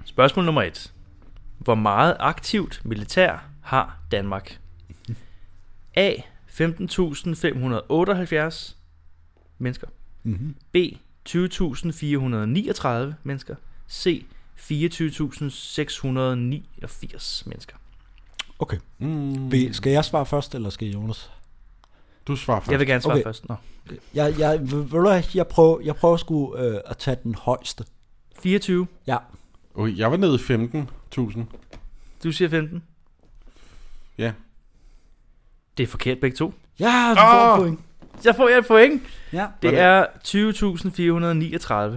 Spørgsmål nummer et. Hvor meget aktivt militær har Danmark? A. 15.578 mennesker. Mm-hmm. B. 20.439 mennesker. C. 24.689 mennesker. Okay. Mm. Skal jeg svare først, eller skal Jonas? Du svarer først. Jeg vil gerne svare okay. Okay. først. Nå. Jeg, jeg, ved du hvad, jeg prøver, jeg prøver sgu øh, at tage den højeste. 24. Ja. Okay, jeg var nede i 15.000. Du siger 15. Ja. Det er forkert begge to. Ja, du får Åh! et point. Så får jeg et point. Ja. Det Hvordan? er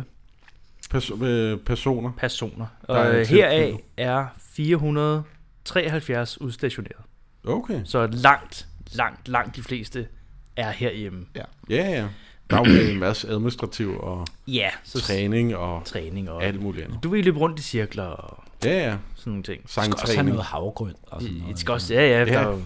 20.439 Perso- øh, personer. personer. Der Og er øh, tilknyttet. heraf er 473 udstationeret. Okay. Så langt, langt, langt de fleste er herhjemme. Ja, ja. Der er jo en masse administrativ og Ja, så træning og træning og... alt muligt andet. Du vil løbe rundt i cirkler og Ja, ja. sådan nogle ting. skal også have Sangtræning. noget altså. havgrød og sådan I- I noget. skal også... Ja, ja. Der... er jo-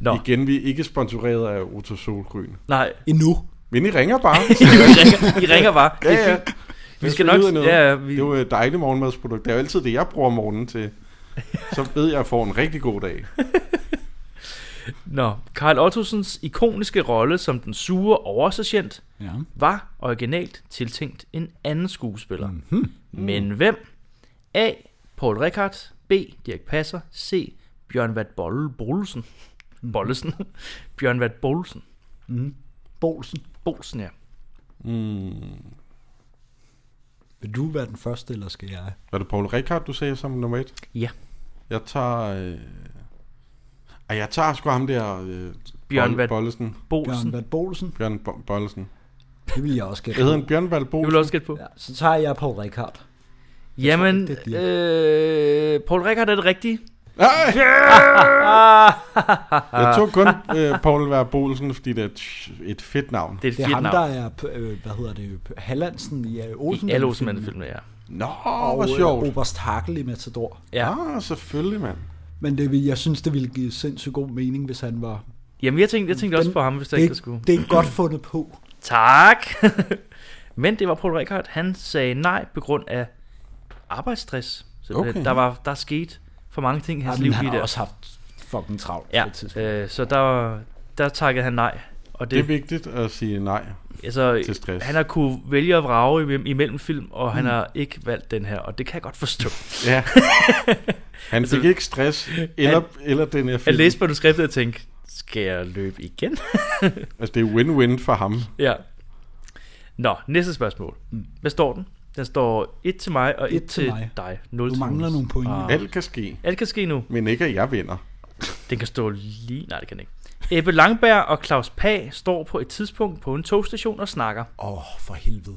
Nå, Igen, vi er ikke sponsoreret af Otto Solgryn. nej. Endnu. Men I ringer bare. I ringer, I ringer bare. Det er ja, ja. fint. Vi Hvis skal vi nok... nyder noget. Ja, Det vi, er jo et dejligt morgenmadsprodukt. Det er jo altid det, jeg bruger om morgenen til. Så ved jeg, at jeg får en rigtig god dag. Nå, Karl Ottosens ikoniske rolle som den sure oversergent Ja. var originalt tiltænkt en anden skuespiller. Mhm. Mm-hmm. Men hvem? A. Paul Rickard. B. Dirk Passer. C. Bjørn Vat Bolle Bollesen. Mm. Bollesen. Bjørn Vat Bollesen. Bolsen. Bollesen, ja. Vil du være den første, eller skal jeg? Var det Paul Rickard, du sagde som nummer et? Ja. Jeg tager... Øh... Ej, jeg tager sgu ham der... Øh... Bjørn Bol- Vat- Bollesen. Bjørn Bollesen. Vat Bolsen. Bjørn Bo- Bollesen. Det vil jeg også gætte. Jeg hedder en Bjørn Vat Det Bollesen. vil du også gætte på. Ja, så tager jeg på Rikard. Jamen, det er Dirk. øh, Paul Rickard er det rigtige. Ej! jeg tog kun øh, Paul Vat Bollesen, fordi det er et, et fedt navn. Det er et Det er fedt ham, navn. der er, p- øh, hvad hedder det, p- Hallandsen i øh, Olsen. I alle Olsenmanden-filmene, ja. Nå, Og hvor sjovt. øh, Oberst Hakel i Matador. ja. Ah, selvfølgelig, mand. Men det, vil- jeg synes, det ville give sindssygt god mening, hvis han var... Jamen, jeg tænkte, jeg tænkte også på ham, hvis der ikke der skulle. det er godt fundet på. Tak. Men det var Paul Rickard. Han sagde nej på grund af arbejdsstress. Okay. Okay. Der, var, der skete for mange ting i hans Jamen, liv han lige har der. også haft fucking travlt på et tidspunkt. ja. øh, så der, der takkede han nej. Og Det er det, det vigtigt at sige nej. altså, til stress. han har kunne vælge at vrage im- imellem film, og Mm. han har ikke valgt den her, og det kan jeg godt forstå. Ja. Han fik ikke stress, eller, eller den her Jeg film. Altså- læste manuskriptet og tænkte, skal jeg løbe igen? Altså, det er win-win for ham. ja. Nå, næste spørgsmål. Hvad står den? Den står et til mig og et, Mm. Et til til mig. dig. Nul Du til mangler Jonas. nogle point. Ah. Alt kan ske, Alt kan ske nu. men ikke at jeg vinder. Den kan stå lige... Nej, det kan den ikke. Ebbe Langberg og Claus Pag står på et tidspunkt på en togstation og snakker. Åh, oh, for helvede.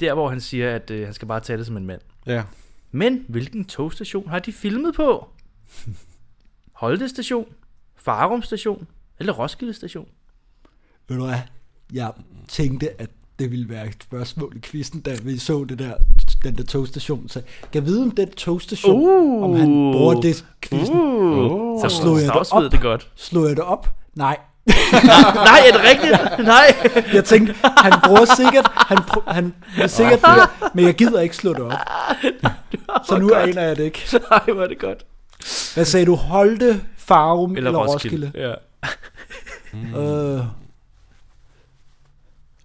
Der, hvor han siger, at øh, han skal bare tage det som en mand. Ja. Men hvilken togstation har de filmet på? Holte station? Farum station? Eller Roskilde station? Ved du hvad? Jeg tænkte, at det ville være et spørgsmål i quizzen, da vi så det der, den der togstation. Så kan jeg vide, om den togstation, Uh. om han bruger det quizzen? Uh. Uh, så slog jeg det stavsved op. det godt. Slår jeg det op? Nej. Nej, er det rigtigt? Nej. Jeg tænkte, han bruger sikkert, han, pr- han er sikkert det, men jeg gider ikke slå det op. Så nu aner jeg det ikke. Nej, hvor er det godt. Hvad sagde du? Holte, Farum eller, eller Roskilde? Ja. Roskilde.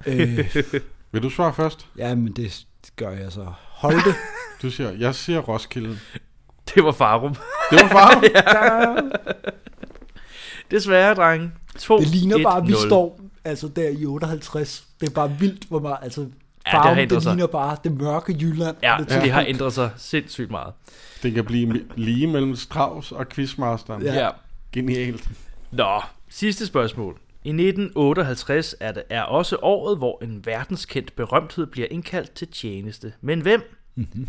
Øh, øh, Vil du svare først? jamen, det gør jeg så. Holte. Du siger, jeg siger Roskilde. Det var Farum. Det var far. Desværre, drenge. 2, Det ligner bare, at vi 0. står altså der i 58. Det er bare vildt, hvor meget... Altså, har farven, ja, det, ændret det sig. ligner bare det mørke Jylland. Ja, det, så det har ændret sig sindssygt meget. Det kan blive mi- lige mellem Strauss og Quizmasteren. Ja. Ja. Genialt. Nå, sidste spørgsmål. I 1958 er det er også året, hvor en verdenskendt berømthed bliver indkaldt til tjeneste. Men hvem? Mm-hmm.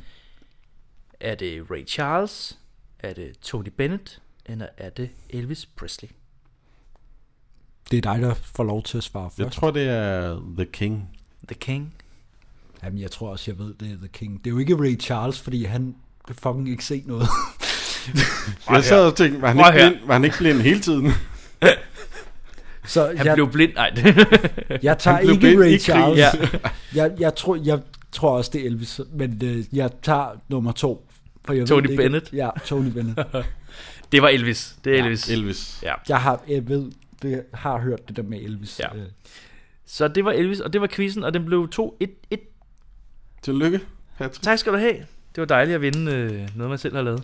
Er det Ray Charles? Er det Tony Bennett? Eller er det Elvis Presley? det er dig, der får lov til at svare Jeg først. tror, det er The King. The King? Jamen, jeg tror også, jeg ved, det er The King. Det er jo ikke Ray Charles, fordi han kan fucking ikke se noget. Jeg sad og tænkte, var han, Prøv ikke her. blind, var han ikke blind hele tiden? Så Han jeg, blev blind. Nej, det, jeg tager han blev ikke blind i Ray krig. Charles. ja. Jeg, jeg, tror, jeg tror også, det er Elvis, men øh, jeg tager nummer to. For jeg ved Tony det ikke. Bennett. Ja, Tony Bennett. det var Elvis. Det er Elvis. Elvis. Ja. Jeg har, jeg ved, det, har hørt det der med Elvis. Ja. Øh, Så det var Elvis, og det var quizzen, og den blev 2-1-1. Tillykke, Patrick. Tak skal du have. Det var dejligt at vinde øh, noget, man selv har lavet.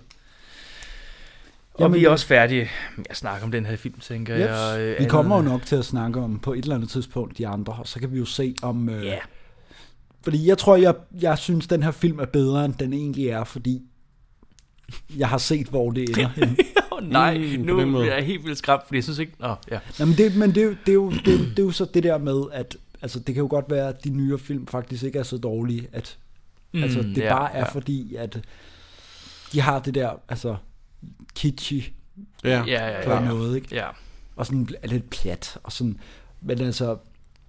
Og Jamen, Jamen, vi det- er også færdige med at snakke om den her film, tænker Jeps. jeg. øh, vi andet- kommer jo nok til at snakke om på et eller andet tidspunkt de andre, og så kan vi jo se om... Øh, Ja, Fordi jeg tror, jeg, jeg synes, den her film er bedre, end den egentlig er, fordi jeg har set, hvor det ender. henne. Åh oh, nej, Mm, mm, på nu den måde. er jeg helt vildt skræmt, fordi jeg synes ikke... Nå, ja. Jamen det, men det, er jo- det, er jo, det, er jo- det er jo så det der med, at altså, det kan jo godt være, at de nyere film faktisk ikke er så dårlige, at mm, altså, det ja, ja, bare er ja. ja. fordi, at de har det der altså, kitschy Ja, Ja, ja, på ja. ja, ja. noget, ikke? ja. og sådan er lidt plat. Og sådan. Men altså,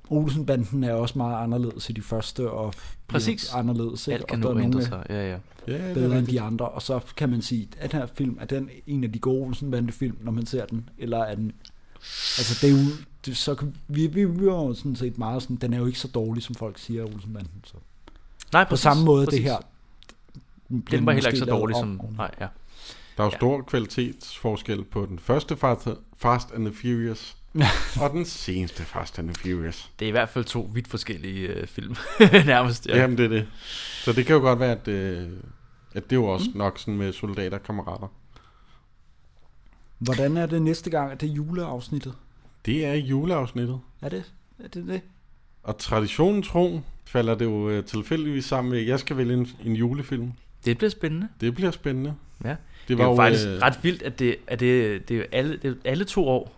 Olsenbanden er også meget anderledes i de første, og bliver Præcis. anderledes. Alt kan og der nu er ændre nogle sig. Ja, ja. ja det bedre er end rigtigt. de andre, og så kan man sige, at den her film, er den en af de gode Olsenbande-film, når man ser den, eller er den, altså det er jo, det, så kan, vi, vi, vi var jo sådan set meget sådan, den er jo ikke så dårlig, som folk siger, Olsenbanden. Så. På Nej, præcis, samme måde, præcis. det her. bliver Den var heller ikke måske så lavet dårlig om som... oven. Nej, ja. Der er jo Ja. stor kvalitetsforskel på den første Fast, Fast and the Furious og den seneste Fast and the Furious. Det er i hvert fald to vidt forskellige øh, film, nærmest. Ja. Ja. Jamen, det er det. Så det kan jo godt være, at, øh, at det er jo også mm. nok sådan med soldater og kammerater. Hvordan er det næste gang, at det er juleafsnittet? Det er juleafsnittet. Er det er det? det? Og traditionen tro falder det jo øh, tilfældigvis sammen med, at jeg skal vælge en, en julefilm. Det bliver spændende. Det bliver spændende. Ja. Det Det er jo faktisk øh, ret vildt, at det, at det, det er jo alle, det er jo alle to år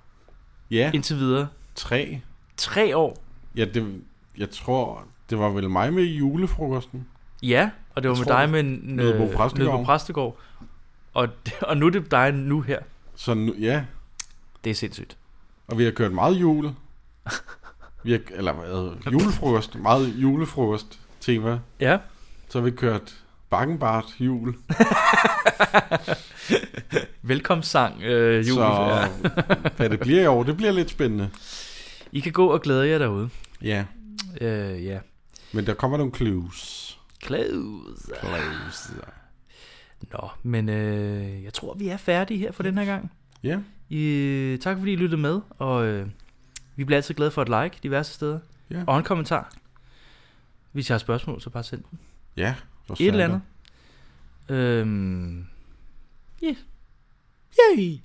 Ja, indtil videre. tre. Tre år. Ja, det, jeg tror, det var vel mig med i julefrokosten. Ja, og det var Jeg med tror, dig med en, øh, Nødebo Præstegård. Nødebo Præstegård. Og, og nu er det dig nu her. Så nu, ja, Det er sindssygt. og vi har kørt meget jul. Vi har, eller hvad, julefrokost, meget julefrokost tema. Ja. Så har vi kørt bakkenbart jul. Velkomstsang, øh, jul. så Ja. hvad det bliver i år, det bliver lidt spændende. I kan gå og glæde jer derude. Ja, Øh, ja. men der kommer nogle clues. Close. Clues. Nå, men øh, jeg tror, vi er færdige her for den her gang. Ja, I, tak fordi I lyttede med, og øh, vi bliver altid glade for et like diverse steder. Ja. Og en kommentar. Hvis jeg har spørgsmål, så bare send dem. ja. hvor Et svært eller er andet. Øhm, yeah. Yay!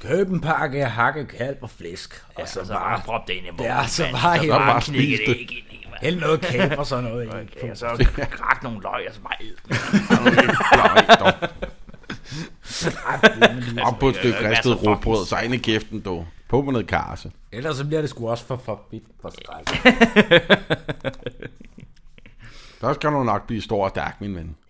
Køb en pakke hakke, kalv og flæsk, og så altså- bare prop det ind i munden. Ja, så bare helt bare bare spis det. ikke ind i, mand. Hæld noget kæb og sådan noget. Altså, i. Ja, så krak nogle løg, og så bare æd. dem. Nej, dog. Ej, men- Op på et stykke være så ristet fucking råbrød, så ind i kæften, dog. På med noget karse. Ellers så bliver det sgu også for forbidt for skræk. Der skal du nok blive stor og stærk, min ven.